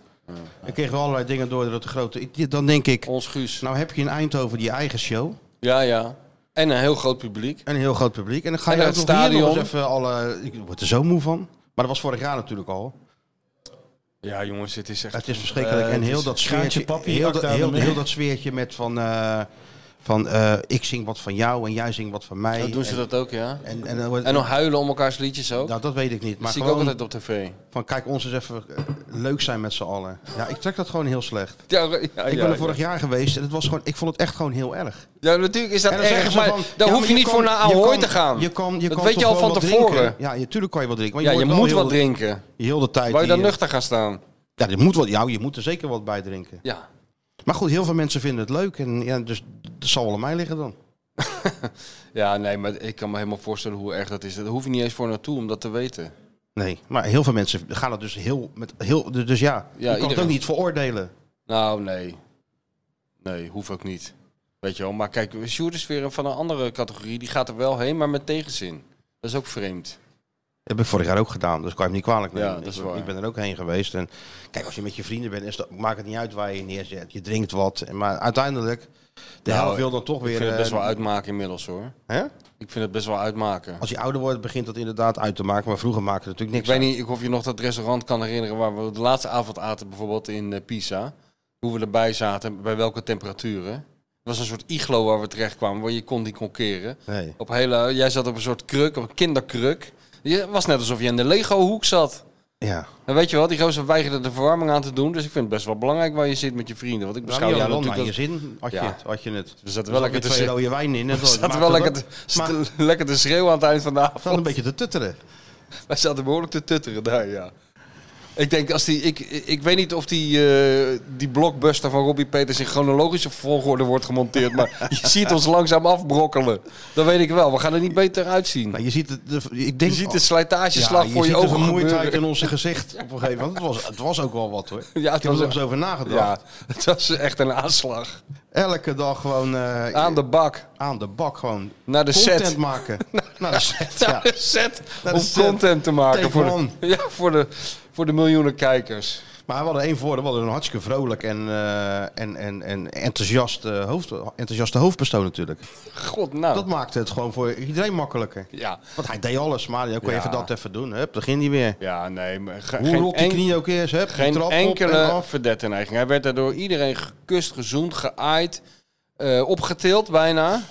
[SPEAKER 2] Ik kreeg wel allerlei dingen door dat de grote... ik- Dan denk ik,
[SPEAKER 3] Ons Guus.
[SPEAKER 2] nou heb je in Eindhoven die eigen show...
[SPEAKER 3] Ja, ja. En een heel groot publiek.
[SPEAKER 2] En een heel groot publiek. En dan ga
[SPEAKER 3] En
[SPEAKER 2] je ook
[SPEAKER 3] het
[SPEAKER 2] nog hier nog
[SPEAKER 3] stadion.
[SPEAKER 2] eens even alle... Ik word er zo moe van. Maar dat was vorig jaar natuurlijk al.
[SPEAKER 3] Ja, jongens, het is echt...
[SPEAKER 2] Het is verschrikkelijk.
[SPEAKER 5] Eh,
[SPEAKER 2] en
[SPEAKER 5] het
[SPEAKER 2] heel
[SPEAKER 5] is
[SPEAKER 2] dat
[SPEAKER 5] kraantje
[SPEAKER 2] sfeertje...
[SPEAKER 5] papi,
[SPEAKER 2] heel,
[SPEAKER 5] hakt
[SPEAKER 2] dat,
[SPEAKER 5] daar
[SPEAKER 2] heel,
[SPEAKER 5] mee.
[SPEAKER 2] heel dat sfeertje met van... eh, van eh, ik zing wat van jou en jij zingt wat van mij.
[SPEAKER 3] Ja, doen ze dat ook, ja?
[SPEAKER 2] En, en, en, dan wordt-
[SPEAKER 3] En dan huilen om elkaars liedjes ook.
[SPEAKER 2] nou, dat weet ik niet.
[SPEAKER 3] dat
[SPEAKER 2] Maar
[SPEAKER 3] zie ik ook
[SPEAKER 2] gewoon
[SPEAKER 3] altijd op tv.
[SPEAKER 2] van kijk ons eens even eh, leuk zijn met z'n allen. Ja, ik trek dat gewoon heel slecht.
[SPEAKER 3] Ja, ja,
[SPEAKER 2] Ik
[SPEAKER 3] ja,
[SPEAKER 2] ben
[SPEAKER 3] ja.
[SPEAKER 2] er vorig jaar geweest en het was gewoon, ik vond het echt gewoon heel erg.
[SPEAKER 3] Ja, natuurlijk is dat
[SPEAKER 2] En dan zeggen
[SPEAKER 3] erg,
[SPEAKER 2] ze
[SPEAKER 3] maar
[SPEAKER 2] van,
[SPEAKER 3] daar
[SPEAKER 2] ja,
[SPEAKER 3] hoef
[SPEAKER 2] maar
[SPEAKER 3] je niet
[SPEAKER 2] kan-
[SPEAKER 3] voor naar
[SPEAKER 2] je
[SPEAKER 3] Ahoy
[SPEAKER 2] kan-
[SPEAKER 3] te gaan.
[SPEAKER 2] Je kan, je
[SPEAKER 3] dat
[SPEAKER 2] kan
[SPEAKER 3] weet je
[SPEAKER 2] toch
[SPEAKER 3] al van
[SPEAKER 2] wel wat
[SPEAKER 3] tevoren.
[SPEAKER 2] drinken? Ja, natuurlijk kan je wat drinken. Maar
[SPEAKER 3] Ja, je
[SPEAKER 2] wordt wel
[SPEAKER 3] moet
[SPEAKER 2] heel
[SPEAKER 3] wat
[SPEAKER 2] de-
[SPEAKER 3] drinken.
[SPEAKER 2] Heel de tijd.
[SPEAKER 3] Wou je
[SPEAKER 2] die,
[SPEAKER 3] dan
[SPEAKER 2] eh,
[SPEAKER 3] nuchter gaan staan?
[SPEAKER 2] Ja, dit moet wel, ja, je moet er zeker wat bij drinken.
[SPEAKER 3] Ja.
[SPEAKER 2] Maar goed, heel veel mensen vinden het leuk. En ja, dus dat zal wel aan mij liggen dan.
[SPEAKER 3] Ja, nee, maar ik kan me helemaal voorstellen hoe erg dat is. Daar hoef je niet eens voor naartoe om dat te weten.
[SPEAKER 2] Nee, maar heel veel mensen gaan het dus heel... Met, heel dus ja, je kan het
[SPEAKER 3] iedereen.
[SPEAKER 2] ook niet veroordelen.
[SPEAKER 3] Nou, nee. Nee, hoeft ook niet. Weet je wel, maar kijk, Sjoerd is weer van een andere categorie. Die gaat er wel heen, maar met tegenzin. Dat is ook vreemd.
[SPEAKER 2] Dat heb ik vorig jaar ook gedaan, dus kan je hem niet kwalijk nemen.
[SPEAKER 3] Ja, dat is
[SPEAKER 2] ik,
[SPEAKER 3] waar.
[SPEAKER 2] ik ben er ook heen geweest. En kijk, als je met je vrienden bent, is dat, maakt het niet uit waar je je neerzet. Je drinkt wat. En, maar uiteindelijk, de
[SPEAKER 3] Nou,
[SPEAKER 2] helft wil dan toch weer...
[SPEAKER 3] Ik vind het best
[SPEAKER 2] eh,
[SPEAKER 3] wel uitmaken inmiddels hoor.
[SPEAKER 2] hè?
[SPEAKER 3] Ik vind het best wel uitmaken.
[SPEAKER 2] Als je ouder wordt, begint dat inderdaad uit te maken. Maar vroeger maakte het natuurlijk
[SPEAKER 3] Ik
[SPEAKER 2] niks
[SPEAKER 3] weet niet ik of je nog dat restaurant kan herinneren waar we de laatste avond aten, bijvoorbeeld in eh, Pisa. Hoe we erbij zaten, bij welke temperaturen. Het was een soort iglo waar we terecht kwamen, waar je kon die kon keren.
[SPEAKER 2] uit. Nee.
[SPEAKER 3] Op hele, jij zat op een soort kruk, op een kinderkruk. Het was net alsof je in de Lego-hoek zat.
[SPEAKER 2] Ja.
[SPEAKER 3] En weet je wel, die gozer weigerde de verwarming aan te doen. Dus ik vind het best wel belangrijk waar je zit met je vrienden. Want ik
[SPEAKER 2] Nou,
[SPEAKER 3] beschouw
[SPEAKER 2] ja,
[SPEAKER 3] jou
[SPEAKER 2] dan
[SPEAKER 3] natuurlijk
[SPEAKER 2] naar je
[SPEAKER 3] als...
[SPEAKER 2] zin had je,
[SPEAKER 3] Ja.
[SPEAKER 2] het, had je het.
[SPEAKER 3] We zaten
[SPEAKER 2] Er zat
[SPEAKER 3] wel lekker
[SPEAKER 2] weer
[SPEAKER 3] te,
[SPEAKER 2] twee
[SPEAKER 3] schreeuwen.
[SPEAKER 2] rode wijn in.
[SPEAKER 3] (laughs) we zaten wel lekker, te,
[SPEAKER 2] Maar we
[SPEAKER 3] st- lekker te schreeuwen aan het eind van de avond.
[SPEAKER 2] zaten een
[SPEAKER 3] (laughs)
[SPEAKER 2] beetje te tutteren.
[SPEAKER 3] Wij zaten behoorlijk te tutteren daar, ja. Ik denk, als die, ik, ik weet niet of die, eh, die blockbuster van Robbie Peters in chronologische volgorde wordt gemonteerd.
[SPEAKER 2] (laughs)
[SPEAKER 3] Maar je ziet ons langzaam afbrokkelen. Dat weet ik wel. We gaan er niet beter uitzien.
[SPEAKER 2] Nou, je ziet het, de- ik
[SPEAKER 3] Je
[SPEAKER 2] denk,
[SPEAKER 3] ziet de slijtageslag voor je,
[SPEAKER 2] ziet de
[SPEAKER 3] ogen
[SPEAKER 2] vermoeidheid
[SPEAKER 3] gebeuren.
[SPEAKER 2] in onze gezicht op een gegeven moment. Het was, het was ook wel wat hoor.
[SPEAKER 3] (laughs) Ja, het
[SPEAKER 2] ik heb er
[SPEAKER 3] was
[SPEAKER 2] nog eens over nagedacht.
[SPEAKER 3] Ja, (laughs) het was echt een aanslag.
[SPEAKER 2] Elke dag gewoon eh,
[SPEAKER 3] Aan de bak.
[SPEAKER 2] aan de bak gewoon
[SPEAKER 3] Naar de
[SPEAKER 2] content
[SPEAKER 3] set.
[SPEAKER 2] maken. Naar de set, ja.
[SPEAKER 3] (laughs) Naar de set.
[SPEAKER 2] Naar de
[SPEAKER 3] Om
[SPEAKER 2] set.
[SPEAKER 3] content te maken
[SPEAKER 2] Take
[SPEAKER 3] voor
[SPEAKER 2] one.
[SPEAKER 3] de, (laughs) ja, voor, de, voor de miljoenen kijkers.
[SPEAKER 2] Maar we hadden één voordeel. We hadden een hartstikke vrolijk en, eh, en, en, en enthousiast, eh, hoofd, enthousiaste hoofdpersoon natuurlijk.
[SPEAKER 3] God, nou.
[SPEAKER 2] Dat maakte het gewoon voor iedereen makkelijker.
[SPEAKER 3] ja.
[SPEAKER 2] Want hij deed alles, maar ook
[SPEAKER 3] Ja.
[SPEAKER 2] even dat even doen. Hup, begin niet meer.
[SPEAKER 3] ja, nee. Maar ge-
[SPEAKER 2] Hoe rot die
[SPEAKER 3] enkel-
[SPEAKER 2] knie ook is, hup, die
[SPEAKER 3] Geen
[SPEAKER 2] trap op en
[SPEAKER 3] enkele
[SPEAKER 2] af.
[SPEAKER 3] verdette neiging. Hij werd daardoor iedereen gekust, gezoend, geaaid, eh, opgetild bijna.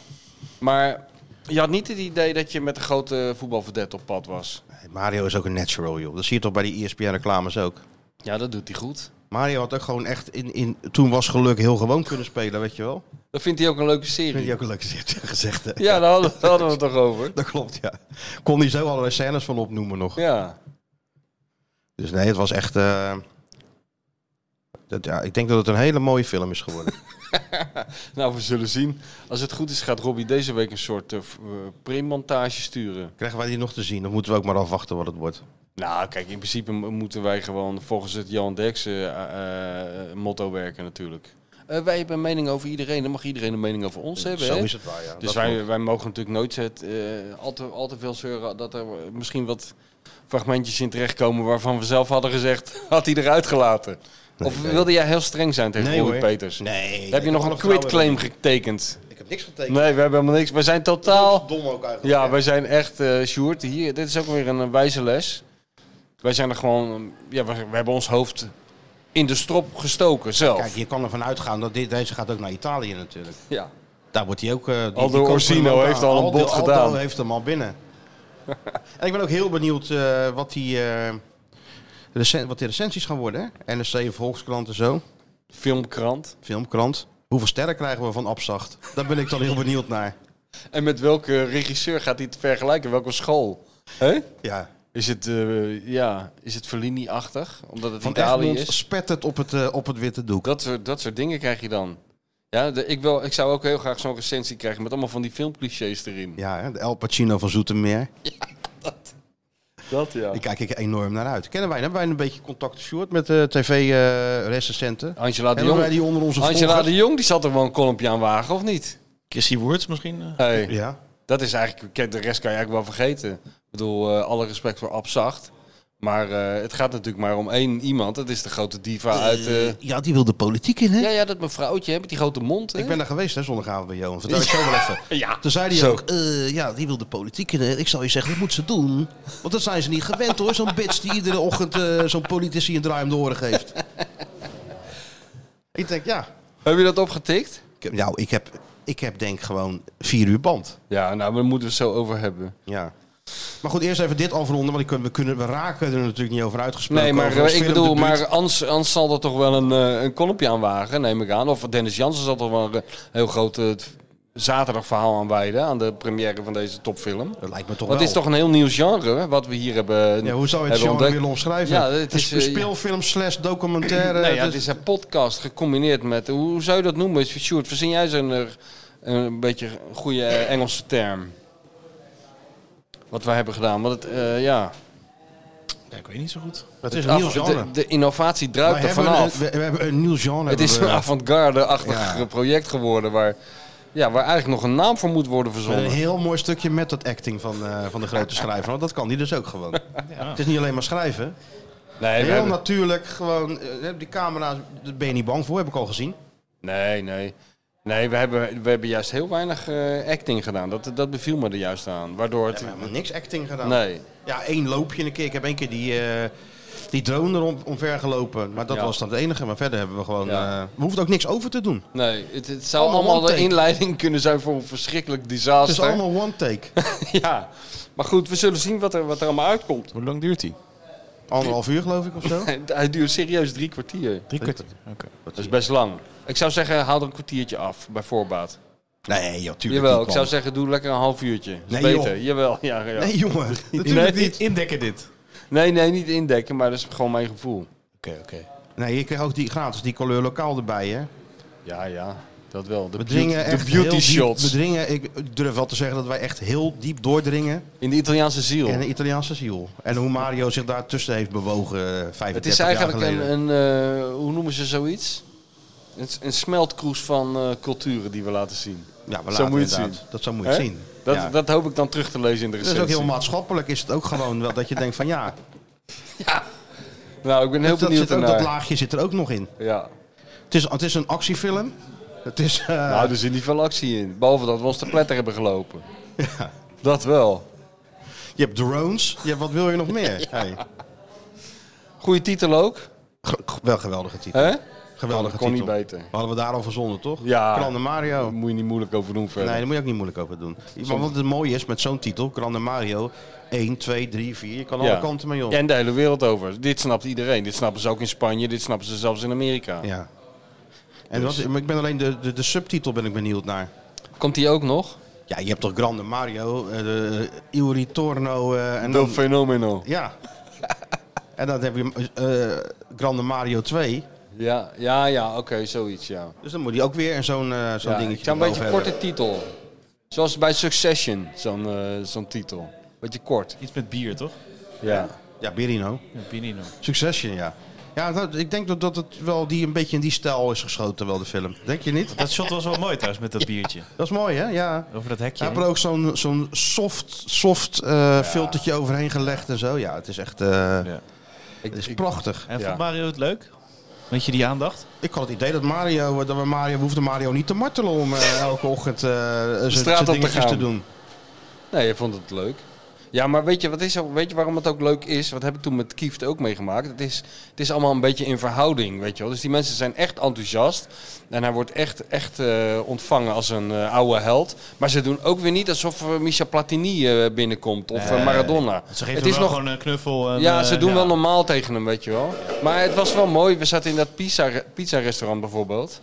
[SPEAKER 3] Maar Je had niet het idee dat je met een grote voetbalverdet op pad was.
[SPEAKER 2] Mario is ook een natural, joh. Dat zie je toch bij die E ESPN-reclames ook.
[SPEAKER 3] Ja, dat doet hij goed.
[SPEAKER 2] Mario had ook gewoon echt in, in... Toen was geluk heel gewoon kunnen spelen, weet je wel.
[SPEAKER 3] Dat vindt hij ook een leuke
[SPEAKER 2] Ik vind
[SPEAKER 3] serie.
[SPEAKER 2] je ook een leuke zin- (laughs) gezegd, hè?
[SPEAKER 3] Ja, daar hadden, daar hadden we het toch over.
[SPEAKER 2] (laughs) Dat klopt, ja. Kon hij zo allerlei scènes van opnoemen nog.
[SPEAKER 3] Ja.
[SPEAKER 2] Dus nee, het was echt... eh, dat, ja, ik denk dat het een hele mooie film is
[SPEAKER 3] (laughs)
[SPEAKER 2] geworden.
[SPEAKER 3] Nou, we zullen zien. Als het goed is, gaat Robbie deze week een soort eh, v- eh, premontage sturen.
[SPEAKER 2] Krijgen wij die nog te zien? Of moeten we ook maar afwachten wat het wordt?
[SPEAKER 3] Nou, kijk, in principe mo- moeten wij gewoon volgens het Jan Derksen eh, eh, motto werken natuurlijk. Eh, wij hebben een mening over iedereen. Dan mag iedereen een mening over ons hebben.
[SPEAKER 2] Eh, zo
[SPEAKER 3] hè?
[SPEAKER 2] is het waar, ja.
[SPEAKER 3] Dus
[SPEAKER 2] Dat
[SPEAKER 3] wij,
[SPEAKER 2] klopt.
[SPEAKER 3] wij mogen natuurlijk nooit het, eh, al, te, al te veel zeuren dat er eh, misschien wat fragmentjes in terechtkomen waarvan we zelf hadden gezegd, (laughs) had hij eruit gelaten. Of wilde jij heel streng zijn tegen
[SPEAKER 2] Nee,
[SPEAKER 3] Roy
[SPEAKER 2] hoor.
[SPEAKER 3] Peters?
[SPEAKER 2] Nee.
[SPEAKER 3] Heb je nog een quitclaim getekend?
[SPEAKER 2] Ik heb niks getekend.
[SPEAKER 3] Nee, we hebben helemaal niks. We zijn totaal...
[SPEAKER 2] Dom ook eigenlijk.
[SPEAKER 3] Ja, wij zijn echt, eh Sjoerd, hier, dit is ook weer een eh, wijze les. Wij zijn er gewoon, eh, ja, we, we hebben ons hoofd in de strop gestoken zelf.
[SPEAKER 2] Kijk, je kan ervan uitgaan dat dit, deze gaat ook naar Italië natuurlijk.
[SPEAKER 3] ja.
[SPEAKER 2] Daar wordt hij ook... eh, die- die
[SPEAKER 3] Aldo
[SPEAKER 2] kopen hem
[SPEAKER 3] Orsino
[SPEAKER 2] ook aan.
[SPEAKER 3] heeft al een
[SPEAKER 2] Aldo-
[SPEAKER 3] bod gedaan.
[SPEAKER 2] Aldo heeft hem al
[SPEAKER 3] (laughs)
[SPEAKER 2] binnen. en ik ben ook heel benieuwd eh, wat, die, eh, recen- wat die recensies gaan worden. hè. NRC, Volkskrant en zo.
[SPEAKER 3] Filmkrant.
[SPEAKER 2] Filmkrant. Hoeveel sterren krijgen we van Abzacht? Daar ben ik dan heel benieuwd naar.
[SPEAKER 3] En met welke regisseur gaat hij het vergelijken? Welke school? Hè?
[SPEAKER 2] Ja.
[SPEAKER 3] Is het, eh, ja, is het Fellini-achtig? Omdat het
[SPEAKER 2] Van
[SPEAKER 3] Italië
[SPEAKER 2] Egmond
[SPEAKER 3] is?
[SPEAKER 2] spet het op het, eh, op het witte doek.
[SPEAKER 3] Dat soort, dat soort dingen krijg je dan. Ja, de- ik, wil, ik zou ook heel graag zo'n recensie krijgen met allemaal van die filmclichés erin.
[SPEAKER 2] Ja, hè, de El Pacino van
[SPEAKER 3] (laughs)
[SPEAKER 2] Zoetermeer.
[SPEAKER 3] Dat ja.
[SPEAKER 2] Daar kijk ik enorm naar uit. Kennen wij, hebben wij een beetje contact, Sjoerd, met eh, de tv-recensenten?
[SPEAKER 3] Angela de
[SPEAKER 2] hebben wij
[SPEAKER 3] Jong.
[SPEAKER 2] die onder onze
[SPEAKER 3] Angela
[SPEAKER 2] volgers?
[SPEAKER 3] de Jong die zat er wel een kolompje aan wagen, of niet?
[SPEAKER 5] Kissy Words misschien? eh?
[SPEAKER 3] Hey,
[SPEAKER 2] Ja.
[SPEAKER 3] Dat is eigenlijk, kijk, de rest kan je eigenlijk wel vergeten. Ik bedoel, eh, alle respect voor Abzacht. Maar eh, het gaat natuurlijk maar om één iemand. Dat is de grote diva uit... eh,
[SPEAKER 2] Ja, die wil de politiek in, hè?
[SPEAKER 3] ja, ja, dat mevrouwtje hè, met die grote mond. Hè?
[SPEAKER 2] Ik ben daar geweest, hè, zondagavond bij Johan. Vertel ik zo wel even.
[SPEAKER 3] (laughs) Ja,
[SPEAKER 2] Toen zei hij
[SPEAKER 3] Zo.
[SPEAKER 2] ook, eh, ja, die wil de politiek in. hè. Ik zou je zeggen, dat moet ze doen. Want dat zijn ze niet gewend, hoor. Zo'n bitch die iedere ochtend eh, zo'n politici een draai om de oren geeft. ik denk, ja.
[SPEAKER 3] Heb je dat opgetikt?
[SPEAKER 2] Ik heb- nou, ik heb, ik heb denk gewoon vier uur band.
[SPEAKER 3] Ja, nou, daar moeten we het zo over hebben.
[SPEAKER 2] Ja. Maar goed, eerst even dit afronden, want ik, we, kunnen, we raken er natuurlijk niet over uitgesproken.
[SPEAKER 3] Nee, maar
[SPEAKER 2] Over ons
[SPEAKER 3] eh, ik bedoel,
[SPEAKER 2] filmdebuut.
[SPEAKER 3] maar Ans, Ans zal er toch wel een, eh, een kolompje aan wagen, neem ik aan. Of Dennis Jansen zal toch wel een eh, heel groot eh, t- zaterdagverhaal aan wijden aan de première van deze topfilm.
[SPEAKER 2] Dat lijkt me toch
[SPEAKER 3] Want het
[SPEAKER 2] wel.
[SPEAKER 3] is toch een heel nieuw genre hè, wat we hier hebben
[SPEAKER 2] Ja, hoe zou je het
[SPEAKER 3] hebben
[SPEAKER 2] genre
[SPEAKER 3] ontdekt.
[SPEAKER 2] willen omschrijven?
[SPEAKER 3] Ja, het is,
[SPEAKER 2] een
[SPEAKER 3] eh,
[SPEAKER 2] speelfilm slash documentaire.
[SPEAKER 3] Nee, Nou ja,
[SPEAKER 2] dus-
[SPEAKER 3] het is een podcast gecombineerd met, hoe zou je dat noemen? Sjoerd, verzin jij zo'n eh, een beetje goede eh, Engelse term? Wat wij hebben gedaan, want het, eh, ja...
[SPEAKER 5] Ja, ik weet niet zo goed.
[SPEAKER 2] het is een nieuw
[SPEAKER 3] Af-
[SPEAKER 2] genre.
[SPEAKER 3] De, de innovatie druipt
[SPEAKER 2] Wij
[SPEAKER 3] er
[SPEAKER 2] hebben
[SPEAKER 3] vanaf.
[SPEAKER 2] een- we, we hebben een nieuw genre.
[SPEAKER 3] Het is een
[SPEAKER 2] hebben we.
[SPEAKER 3] avant-garde-achtig
[SPEAKER 2] Ja.
[SPEAKER 3] project geworden waar, ja, waar eigenlijk nog een naam voor moet worden
[SPEAKER 2] Een
[SPEAKER 3] verzonnen.
[SPEAKER 2] heel mooi stukje met dat acting van, eh, van de grote schrijver. Want dat kan die dus ook gewoon. Het is niet alleen maar schrijven.
[SPEAKER 3] Nee, we
[SPEAKER 2] heel
[SPEAKER 3] hebben-
[SPEAKER 2] natuurlijk, gewoon eh, die camera, daar ben je niet bang voor, heb ik al gezien.
[SPEAKER 3] nee, nee. Nee, we hebben, we hebben juist heel weinig eh, acting gedaan. Dat, dat beviel me er juist aan. Waardoor het...
[SPEAKER 2] We hebben niks acting gedaan.
[SPEAKER 3] nee.
[SPEAKER 2] Ja, één loopje een keer. Ik heb één keer die, eh, die drone erom omver gelopen. Maar dat
[SPEAKER 3] Ja.
[SPEAKER 2] was dan het enige. Maar verder hebben we gewoon...
[SPEAKER 3] Ja.
[SPEAKER 2] eh, we hoeven ook niks over te doen.
[SPEAKER 3] Nee, het, het zou
[SPEAKER 2] Allemaal
[SPEAKER 3] allemaal
[SPEAKER 2] one
[SPEAKER 3] de
[SPEAKER 2] take.
[SPEAKER 3] inleiding kunnen zijn voor een verschrikkelijk
[SPEAKER 2] Het is
[SPEAKER 3] disaster.
[SPEAKER 2] allemaal one take.
[SPEAKER 3] (laughs) Ja, maar goed, we zullen zien wat er, wat er allemaal uitkomt.
[SPEAKER 5] Hoe lang duurt die?
[SPEAKER 2] Anderhalf uur geloof ik of zo.
[SPEAKER 3] Hij duurt serieus drie kwartier.
[SPEAKER 5] Drie kwartier. Oké.
[SPEAKER 3] Dat is best lang. Ik zou zeggen, haal er een kwartiertje af, bij voorbaat.
[SPEAKER 2] Nee, joh, tuurlijk
[SPEAKER 3] Jawel,
[SPEAKER 2] niet,
[SPEAKER 3] ik
[SPEAKER 2] man.
[SPEAKER 3] zou zeggen, doe lekker een half uurtje. Dat is
[SPEAKER 2] Nee,
[SPEAKER 3] beter.
[SPEAKER 2] joh.
[SPEAKER 3] Jawel, ja, ja.
[SPEAKER 2] (laughs) Nee, jongen.
[SPEAKER 3] Nee,
[SPEAKER 2] Natuurlijk niet.
[SPEAKER 5] Indekken dit.
[SPEAKER 3] nee, nee, niet indekken, maar dat is gewoon mijn gevoel.
[SPEAKER 5] Oké, oké.
[SPEAKER 2] Nee, je kreeg ook die gratis, die couleur lokaal erbij, hè.
[SPEAKER 3] Ja, ja, dat wel.
[SPEAKER 2] We
[SPEAKER 3] De, beauty-
[SPEAKER 2] dringen
[SPEAKER 3] de
[SPEAKER 2] echt heel
[SPEAKER 3] beauty
[SPEAKER 2] diep-
[SPEAKER 3] shots.
[SPEAKER 2] we dringen, ik ik durf wel te zeggen dat wij echt heel diep doordringen
[SPEAKER 3] In de Italiaanse ziel.
[SPEAKER 2] in de Italiaanse ziel. En hoe Mario zich daartussen heeft bewogen eh, 35
[SPEAKER 3] Het is
[SPEAKER 2] jaar
[SPEAKER 3] eigenlijk
[SPEAKER 2] geleden.
[SPEAKER 3] een, een eh, hoe noemen ze zoiets? Een, s- een smeltkroes van eh, culturen die we laten zien.
[SPEAKER 2] ja, we
[SPEAKER 3] zo
[SPEAKER 2] laten
[SPEAKER 3] moet je het
[SPEAKER 2] inderdaad-
[SPEAKER 3] zien.
[SPEAKER 2] Dat zo moet je het
[SPEAKER 3] Hè?
[SPEAKER 2] zien.
[SPEAKER 3] Dat,
[SPEAKER 2] ja.
[SPEAKER 3] dat hoop ik dan terug te lezen in de
[SPEAKER 2] dat is
[SPEAKER 3] recensie.
[SPEAKER 2] ook heel maatschappelijk, is het ook gewoon wel dat je denkt van ja,
[SPEAKER 3] Nou, ik ben heel
[SPEAKER 2] dat, dat
[SPEAKER 3] benieuwd
[SPEAKER 2] zit ook, dat
[SPEAKER 3] naar.
[SPEAKER 2] laagje zit er ook nog in.
[SPEAKER 3] Ja.
[SPEAKER 2] Het is, het is een actiefilm. Het is, eh,
[SPEAKER 3] Nou, er zit niet veel actie in. Behalve dat we ons te pletter hebben gelopen. Dat wel.
[SPEAKER 2] Je hebt drones, je hebt, wat wil je
[SPEAKER 3] (laughs)
[SPEAKER 2] nog meer? Hey.
[SPEAKER 3] Goede titel ook.
[SPEAKER 2] Ge- ge- Wel geweldige titel.
[SPEAKER 3] Hè?
[SPEAKER 2] Geweldige
[SPEAKER 3] kon
[SPEAKER 2] titel.
[SPEAKER 3] niet beter.
[SPEAKER 2] Hadden we daar al verzonnen, toch?
[SPEAKER 3] Ja.
[SPEAKER 2] Grande Mario.
[SPEAKER 3] Daar moet je niet moeilijk over doen verder.
[SPEAKER 2] Nee, daar moet je ook niet moeilijk over doen. Maar wat het mooie is met zo'n titel, Grande Mario, 1, 2, 3, 4, je kan alle
[SPEAKER 3] Ja.
[SPEAKER 2] kanten mee op.
[SPEAKER 3] En de hele wereld over. Dit snapt iedereen. Dit snappen ze ook in Spanje. Dit snappen ze zelfs in Amerika.
[SPEAKER 2] Ja. En
[SPEAKER 3] Dus-
[SPEAKER 2] wat, maar ik ben alleen de, de, de subtitel ben ik benieuwd naar.
[SPEAKER 3] Komt die ook nog?
[SPEAKER 2] Ja, je hebt toch Grande Mario, eh, de Il Ritorno eh, en
[SPEAKER 3] Del
[SPEAKER 2] dan,
[SPEAKER 3] Fenomeno. (laughs)
[SPEAKER 2] ja. en dan heb je eh, Grande Mario 2.
[SPEAKER 3] Ja, ja, ja oké, zoiets, ja.
[SPEAKER 2] Dus dan moet hij ook weer zo'n eh, zo'n
[SPEAKER 3] ja
[SPEAKER 2] dingetje.
[SPEAKER 3] ik zou een beetje
[SPEAKER 2] erover
[SPEAKER 3] een korte titel. Zoals bij Succession, zo'n eh, zo'n titel. Beetje kort.
[SPEAKER 5] Iets met bier, toch?
[SPEAKER 3] Ja.
[SPEAKER 2] hebben. Ja, Birino.
[SPEAKER 5] Ja, Pinino.
[SPEAKER 2] Succession, ja. Ja, dat, ik denk dat, dat het wel die, een beetje in die stijl is geschoten, wel de film. Denk je niet?
[SPEAKER 5] Dat shot was wel mooi trouwens met dat biertje.
[SPEAKER 2] Dat is mooi, hè? Ja.
[SPEAKER 5] Over dat hekje.
[SPEAKER 2] Hij heeft
[SPEAKER 5] heen.
[SPEAKER 2] er ook zo'n zo'n soft, soft eh, filtertje overheen gelegd en zo. Ja, het is echt eh,
[SPEAKER 3] Ik,
[SPEAKER 2] het is
[SPEAKER 3] ik-
[SPEAKER 2] prachtig.
[SPEAKER 5] En
[SPEAKER 3] Ja.
[SPEAKER 5] vond Mario het leuk? Weet je die aandacht?
[SPEAKER 2] Ik had het idee dat Mario, eh, dat we Mario, we hoefden Mario niet te martelen om eh, elke ochtend eh zijn-
[SPEAKER 3] straat
[SPEAKER 2] zijn
[SPEAKER 3] op te
[SPEAKER 2] dingetjes
[SPEAKER 3] gaan.
[SPEAKER 2] te doen.
[SPEAKER 3] nee, je vond het leuk. Ja, maar weet je, wat is, er- weet je waarom het ook leuk is? Wat heb ik toen met Kieft ook meegemaakt? Het is, het is allemaal een beetje in verhouding, weet je wel. Dus die mensen zijn echt enthousiast. En hij wordt echt, echt eh, ontvangen als een eh, oude held. Maar ze doen ook weer niet alsof eh, Michel Platini eh, binnenkomt of eh, Maradona.
[SPEAKER 5] Ze geven
[SPEAKER 3] het is
[SPEAKER 5] wel
[SPEAKER 3] nog
[SPEAKER 5] gewoon een knuffel. En,
[SPEAKER 3] Ja,
[SPEAKER 5] eh,
[SPEAKER 3] ze doen
[SPEAKER 5] ja.
[SPEAKER 3] wel normaal tegen hem, weet je wel. Maar het was wel mooi. We zaten in dat pizza, pizza restaurant bijvoorbeeld.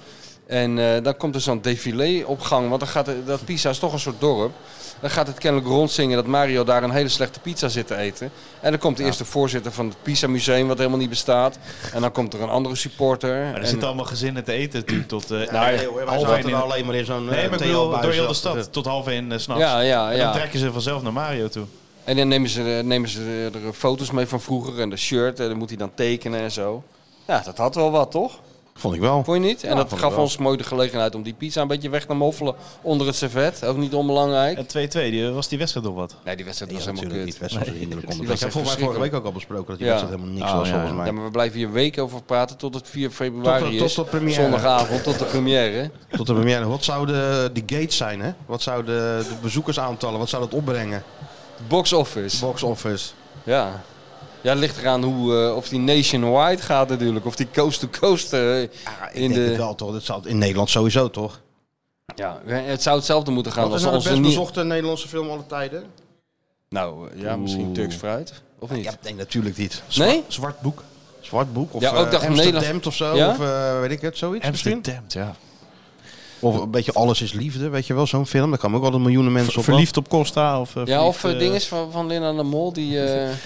[SPEAKER 3] En eh, dan komt er zo'n défilé op gang. Want dan gaat er- dat pizza is toch een soort dorp. Dan gaat het kennelijk rondzingen dat Mario daar een hele slechte pizza zit te eten. En dan komt de eerste voorzitter van het Pizza Museum, wat helemaal niet bestaat. En dan komt er een andere supporter.
[SPEAKER 5] Maar
[SPEAKER 3] en,
[SPEAKER 5] er zitten allemaal gezinnen te eten natuurlijk tot... eh,
[SPEAKER 3] Nou, ja,
[SPEAKER 2] Nee, hoor, wij
[SPEAKER 5] half
[SPEAKER 2] zaten
[SPEAKER 5] één in-
[SPEAKER 2] nou alleen maar in zo'n eh,
[SPEAKER 5] Nee,
[SPEAKER 2] Theo
[SPEAKER 5] maar ik bedoel, door
[SPEAKER 2] Buijs
[SPEAKER 5] heel de
[SPEAKER 2] achter
[SPEAKER 5] stad. Tot half één eh, s'nachts.
[SPEAKER 3] ja, ja,
[SPEAKER 5] En
[SPEAKER 3] ja.
[SPEAKER 5] dan trekken ze vanzelf naar Mario toe.
[SPEAKER 3] En dan nemen ze, nemen ze er foto's mee van vroeger en de shirt. En dan moet hij dan tekenen en zo. Ja, dat had wel wat, toch?
[SPEAKER 2] Vond ik wel.
[SPEAKER 3] Vond je niet? En dat
[SPEAKER 2] vond ik
[SPEAKER 3] gaf
[SPEAKER 2] wel.
[SPEAKER 3] ons mooi de gelegenheid om die pizza een beetje weg te moffelen onder het servet. Ook niet onbelangrijk.
[SPEAKER 5] En 2-2, die, was die wedstrijd nog wat?
[SPEAKER 3] Nee, die wedstrijd
[SPEAKER 2] Die
[SPEAKER 3] was
[SPEAKER 2] is
[SPEAKER 3] helemaal
[SPEAKER 2] natuurlijk
[SPEAKER 3] kut.
[SPEAKER 2] niet best wel vriendelijk onder.
[SPEAKER 3] was
[SPEAKER 2] Dat hebben
[SPEAKER 3] echt
[SPEAKER 2] volgens mij vorige week ook al besproken dat die
[SPEAKER 3] Ja.
[SPEAKER 2] wedstrijd helemaal niks
[SPEAKER 5] Oh,
[SPEAKER 2] was
[SPEAKER 5] ja,
[SPEAKER 2] volgens
[SPEAKER 5] ja.
[SPEAKER 2] mij.
[SPEAKER 3] Ja, maar we blijven hier weken over praten tot het 4 februari
[SPEAKER 2] Tot de-
[SPEAKER 3] is.
[SPEAKER 2] tot de première.
[SPEAKER 3] Zondagavond tot de première.
[SPEAKER 2] Tot de première. Wat zouden die gates zijn, hè? Wat zouden de bezoekersaantallen, wat zou dat opbrengen?
[SPEAKER 3] Box office.
[SPEAKER 2] Box office.
[SPEAKER 3] Ja. Ja, het ligt eraan hoe, eh, of die nationwide gaat natuurlijk. Of die coast to coast. eh,
[SPEAKER 2] Ja, ik
[SPEAKER 3] In
[SPEAKER 2] denk
[SPEAKER 3] de-
[SPEAKER 2] het wel, toch? Dat zou in Nederland sowieso, toch?
[SPEAKER 3] ja, het zou hetzelfde moeten gaan
[SPEAKER 2] Wat is
[SPEAKER 3] als
[SPEAKER 2] nou de
[SPEAKER 3] onze
[SPEAKER 2] best
[SPEAKER 3] nie-
[SPEAKER 2] bezochte Nederlandse film alle tijden?
[SPEAKER 3] Nou, eh, ja, misschien Turks fruit. Of niet?
[SPEAKER 2] Ja, nee, natuurlijk niet.
[SPEAKER 3] nee?
[SPEAKER 2] Zwart boek. Zwart boek of
[SPEAKER 3] Ja, ook
[SPEAKER 2] eh,
[SPEAKER 3] dacht
[SPEAKER 2] Amsterdam
[SPEAKER 3] Nederland-
[SPEAKER 2] of zo,
[SPEAKER 3] Ja?
[SPEAKER 2] of eh, weet ik het, zoiets misschien.
[SPEAKER 5] Amsterdam, ja.
[SPEAKER 2] Of een beetje Alles is Liefde, weet je wel, zo'n film. Daar kan ook altijd miljoenen mensen op
[SPEAKER 5] Verliefd op Costa of... eh,
[SPEAKER 3] Ja, of
[SPEAKER 5] verliefd,
[SPEAKER 3] eh,
[SPEAKER 5] eh,
[SPEAKER 3] dinges van, van Linda de Mol. Die, (laughs) eh,
[SPEAKER 2] af.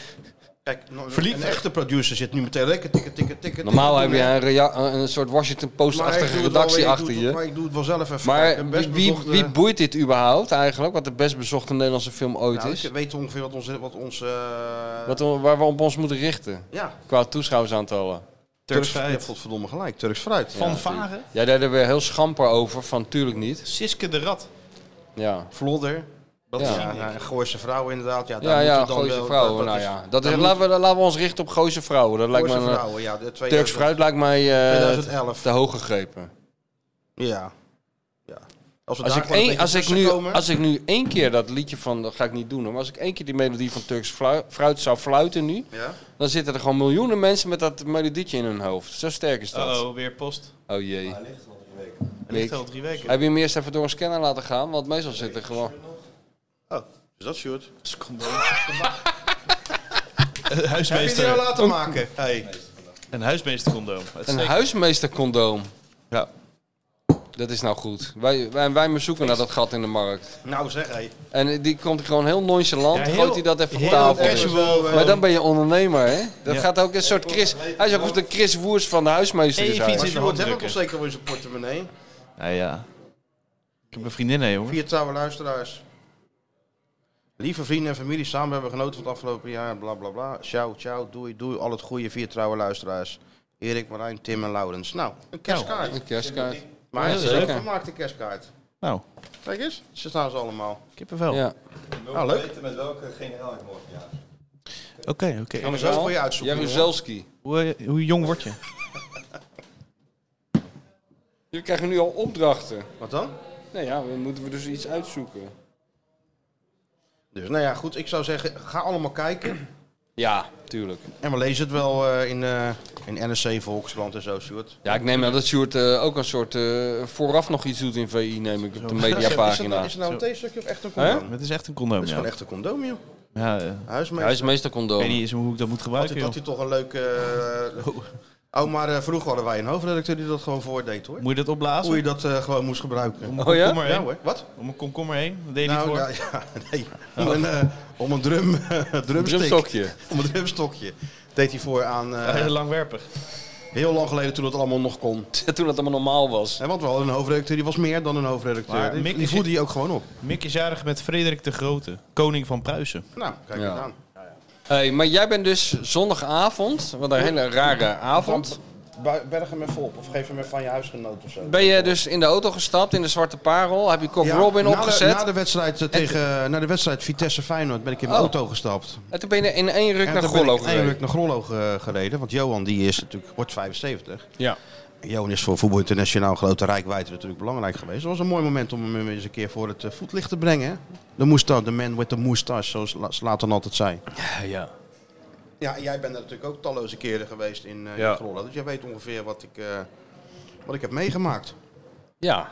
[SPEAKER 2] Kijk, nou,
[SPEAKER 5] Verliefd.
[SPEAKER 2] Een echte producer zit nu meteen lekker tikken, tikken, tikken.
[SPEAKER 3] normaal heb
[SPEAKER 2] tikken,
[SPEAKER 3] je
[SPEAKER 2] tikken.
[SPEAKER 3] een, rea- een een soort Washington
[SPEAKER 2] Maar ik doe
[SPEAKER 3] Post-achtige
[SPEAKER 2] het wel
[SPEAKER 3] redactie
[SPEAKER 2] weer, ik doe
[SPEAKER 3] achter
[SPEAKER 2] het-
[SPEAKER 3] je.
[SPEAKER 2] Maar ik doe het wel zelf even. Kijk, een
[SPEAKER 3] Maar
[SPEAKER 2] best
[SPEAKER 3] wie, wie,
[SPEAKER 2] bezochte-
[SPEAKER 3] wie boeit dit überhaupt eigenlijk? Wat de best bezochte Nederlandse film ooit
[SPEAKER 2] Nou,
[SPEAKER 3] is?
[SPEAKER 2] ik weet ongeveer wat onze... Wat onze eh,
[SPEAKER 3] Wat, we- waar we op ons moeten richten.
[SPEAKER 2] ja,
[SPEAKER 3] Qua toeschouwersaantallen.
[SPEAKER 2] Turks fruit. Je hebt godverdomme gelijk, Turks fruit.
[SPEAKER 5] Van Varen.
[SPEAKER 3] Jij deed er weer heel schamper over, van tuurlijk niet.
[SPEAKER 5] Siske de Rat.
[SPEAKER 2] Nou,
[SPEAKER 3] Ja,
[SPEAKER 2] Vlodder. Dat
[SPEAKER 3] Ja.
[SPEAKER 2] ja, ja, ja, Gooise vrouwen inderdaad. Ja, daar
[SPEAKER 3] ja, ja
[SPEAKER 2] moeten dan
[SPEAKER 3] Gooise
[SPEAKER 2] wel-
[SPEAKER 3] Vrouwen.
[SPEAKER 2] dat- dat
[SPEAKER 3] nou
[SPEAKER 2] is-
[SPEAKER 3] ja. Dat is,
[SPEAKER 2] daar
[SPEAKER 3] laten, we, laten we ons richten op Gooise Vrouwen. Dat lijkt me
[SPEAKER 2] Gooise
[SPEAKER 3] een- eh,
[SPEAKER 2] vrouwen, ja. de
[SPEAKER 3] Turks
[SPEAKER 2] 2000
[SPEAKER 3] Fruit lijkt mij eh,
[SPEAKER 2] 2011.
[SPEAKER 3] te hoog gegrepen.
[SPEAKER 2] Ja. ja. Als, we
[SPEAKER 3] Als
[SPEAKER 2] daar
[SPEAKER 3] ik,
[SPEAKER 2] gewoon een
[SPEAKER 3] één,
[SPEAKER 2] beetje
[SPEAKER 3] als, ik
[SPEAKER 2] tussen
[SPEAKER 3] nu,
[SPEAKER 2] komen-
[SPEAKER 3] als ik nu één keer dat liedje van, dat ga ik niet doen hoor, maar als ik één keer die melodie van Turks Flu- Fruit zou fluiten nu,
[SPEAKER 2] Ja?
[SPEAKER 3] dan zitten er gewoon miljoenen mensen met dat melodietje in hun hoofd. Zo sterk is dat.
[SPEAKER 5] Oh, weer post.
[SPEAKER 3] Oh jee.
[SPEAKER 5] Hij ligt al drie weken.
[SPEAKER 3] Heb je hem eerst even door een scanner laten gaan? Want meestal zit er gewoon...
[SPEAKER 2] Oh, is dat short?
[SPEAKER 5] (laughs)
[SPEAKER 2] Heb
[SPEAKER 5] Een
[SPEAKER 2] je die nou
[SPEAKER 5] huismeester.
[SPEAKER 2] laten maken? Hey.
[SPEAKER 5] Een huismeestercondoom. Het
[SPEAKER 3] Een
[SPEAKER 5] steekt.
[SPEAKER 3] huismeestercondoom.
[SPEAKER 5] Ja.
[SPEAKER 3] Dat is nou goed. Wij, wij, wij maar zoeken naar dat gat in de markt.
[SPEAKER 2] Nou zeg, hey.
[SPEAKER 3] En die komt er gewoon heel nonchalant.
[SPEAKER 5] Ja,
[SPEAKER 3] Dan
[SPEAKER 5] heel-
[SPEAKER 3] gooit hij dat even op
[SPEAKER 5] heel
[SPEAKER 3] tafel.
[SPEAKER 2] casual, eh,
[SPEAKER 3] maar dan ben je ondernemer, hè? Dat
[SPEAKER 5] Ja.
[SPEAKER 3] gaat ook een soort Chris... Hij is ook de Chris Woers van de huismeester. Is
[SPEAKER 5] Even
[SPEAKER 3] hij.
[SPEAKER 5] iets
[SPEAKER 2] Maar
[SPEAKER 5] in de
[SPEAKER 2] Sjoerd
[SPEAKER 5] hand
[SPEAKER 2] heeft ook
[SPEAKER 5] drukken.
[SPEAKER 2] al zeker wel in zijn portemonnee.
[SPEAKER 5] Nou ja. Ik heb een vriendin, hè, jongen.
[SPEAKER 2] Vier trouwe luisteraars. Lieve vrienden en familie, samen hebben we genoten van het afgelopen jaar. Bla bla bla. Ciao, ciao, doei, doei. Al het goede, vier trouwe luisteraars. Erik, Marijn, Tim en Laurens. Nou, een kerstkaart.
[SPEAKER 3] Een kerstkaart.
[SPEAKER 2] maar
[SPEAKER 3] ja,
[SPEAKER 2] een
[SPEAKER 3] zeker.
[SPEAKER 2] leuk gemaakte kerstkaart.
[SPEAKER 5] Nou,
[SPEAKER 2] Kijk eens, ze staan ze allemaal.
[SPEAKER 5] kippenvel.
[SPEAKER 3] Ja. Ah,
[SPEAKER 2] Nou, leuk.
[SPEAKER 4] met welke generaal ik morgen ja.
[SPEAKER 5] Oké, oké.
[SPEAKER 2] Kan ik zo voor je uitzoeken. jongen.
[SPEAKER 3] Jaruzelski.
[SPEAKER 5] Hoe, eh, hoe jong word je? (laughs)
[SPEAKER 3] Jullie krijgen nu al opdrachten.
[SPEAKER 2] Wat dan?
[SPEAKER 3] Nou ja, dan moeten we dus iets uitzoeken.
[SPEAKER 2] Dus nou ja, goed. Ik zou zeggen, ga allemaal kijken.
[SPEAKER 3] Ja, tuurlijk.
[SPEAKER 2] En we lezen het wel eh, in, eh in NSC, Volkskrant en zo, Sjoerd.
[SPEAKER 3] Ja, ik neem aan dat Sjoerd eh, ook een soort eh, vooraf nog iets doet in VI, neem ik op de
[SPEAKER 2] (laughs)
[SPEAKER 3] mediapagina.
[SPEAKER 2] Is het nou een theestukje of echt een
[SPEAKER 3] Hè?
[SPEAKER 2] condoom?
[SPEAKER 5] Het is echt een condoom,
[SPEAKER 2] Het is
[SPEAKER 5] ja.
[SPEAKER 2] gewoon echt een condoom, joh.
[SPEAKER 5] Ja, eh,
[SPEAKER 3] Hij is
[SPEAKER 2] Huismeester.
[SPEAKER 3] meestal
[SPEAKER 5] ik weet
[SPEAKER 3] condoom.
[SPEAKER 5] niet eens hoe ik dat moet
[SPEAKER 2] Had
[SPEAKER 5] gebruiken,
[SPEAKER 2] hij, had
[SPEAKER 5] joh.
[SPEAKER 2] hij toch een leuke... eh, oh, maar eh, vroeger hadden wij een hoofdredacteur die dat gewoon voordeed, hoor.
[SPEAKER 5] Moet je dat opblazen?
[SPEAKER 2] Hoe je dat eh, gewoon moest gebruiken.
[SPEAKER 5] Om een
[SPEAKER 3] Oh, ja?
[SPEAKER 5] komkommer
[SPEAKER 2] Ja
[SPEAKER 5] heen?
[SPEAKER 2] hoor, wat?
[SPEAKER 5] Om een komkommer heen? Dat deed hij
[SPEAKER 2] Nou,
[SPEAKER 5] voor.
[SPEAKER 2] ja, (laughs) ja, nee. Om een, eh, om een drum, (laughs) drumstick.
[SPEAKER 3] Drumstokje.
[SPEAKER 2] Om een drumstokje. Deed hij voor aan eh,
[SPEAKER 5] Heel langwerpig.
[SPEAKER 2] heel lang geleden toen het allemaal nog kon.
[SPEAKER 3] (laughs) Toen dat allemaal normaal was.
[SPEAKER 2] En want we hadden een hoofdredacteur, die was meer dan een hoofdredacteur.
[SPEAKER 5] Maar
[SPEAKER 2] die
[SPEAKER 5] Mick
[SPEAKER 2] die
[SPEAKER 5] is-
[SPEAKER 2] voelde hij ook gewoon op.
[SPEAKER 5] Mick is jarig met Frederik de Grote, koning van Pruisen.
[SPEAKER 2] Nou, kijk
[SPEAKER 3] Ja.
[SPEAKER 2] het aan.
[SPEAKER 3] Hey, maar jij bent dus zondagavond, wat een hele rare avond.
[SPEAKER 2] Bu- Berg hem even op of geef hem even van je huisgenoot of zo.
[SPEAKER 3] Ben je dus in de auto gestapt, in de Zwarte Parel, heb je Cock
[SPEAKER 2] Ja,
[SPEAKER 3] Robin
[SPEAKER 2] na de-
[SPEAKER 3] opgezet.
[SPEAKER 2] Na de, wedstrijd, eh, tegen, na de wedstrijd Vitesse Feyenoord ben ik in mijn
[SPEAKER 3] Oh.
[SPEAKER 2] auto gestapt.
[SPEAKER 3] En toen ben je in één ruk
[SPEAKER 2] En
[SPEAKER 3] naar
[SPEAKER 2] toen
[SPEAKER 3] Gollo
[SPEAKER 2] ben ik
[SPEAKER 3] gereden.
[SPEAKER 2] eindelijk naar Grollo ge- gereden. Want Johan die is natuurlijk, wordt 75.
[SPEAKER 3] Ja.
[SPEAKER 2] En Johan is voor Voetbal Internationaal een grote rijkwijde natuurlijk belangrijk geweest. Het was een mooi moment om hem eens een keer voor het eh, voetlicht te brengen. hè. De moustache, de man with the moustache, zoals La- Zlatan altijd zei.
[SPEAKER 3] ja.
[SPEAKER 2] Ja, en jij bent er natuurlijk ook talloze keren geweest in, eh
[SPEAKER 3] Ja.
[SPEAKER 2] in Grollo. Dus jij weet ongeveer wat ik, eh, wat ik heb meegemaakt.
[SPEAKER 3] Ja.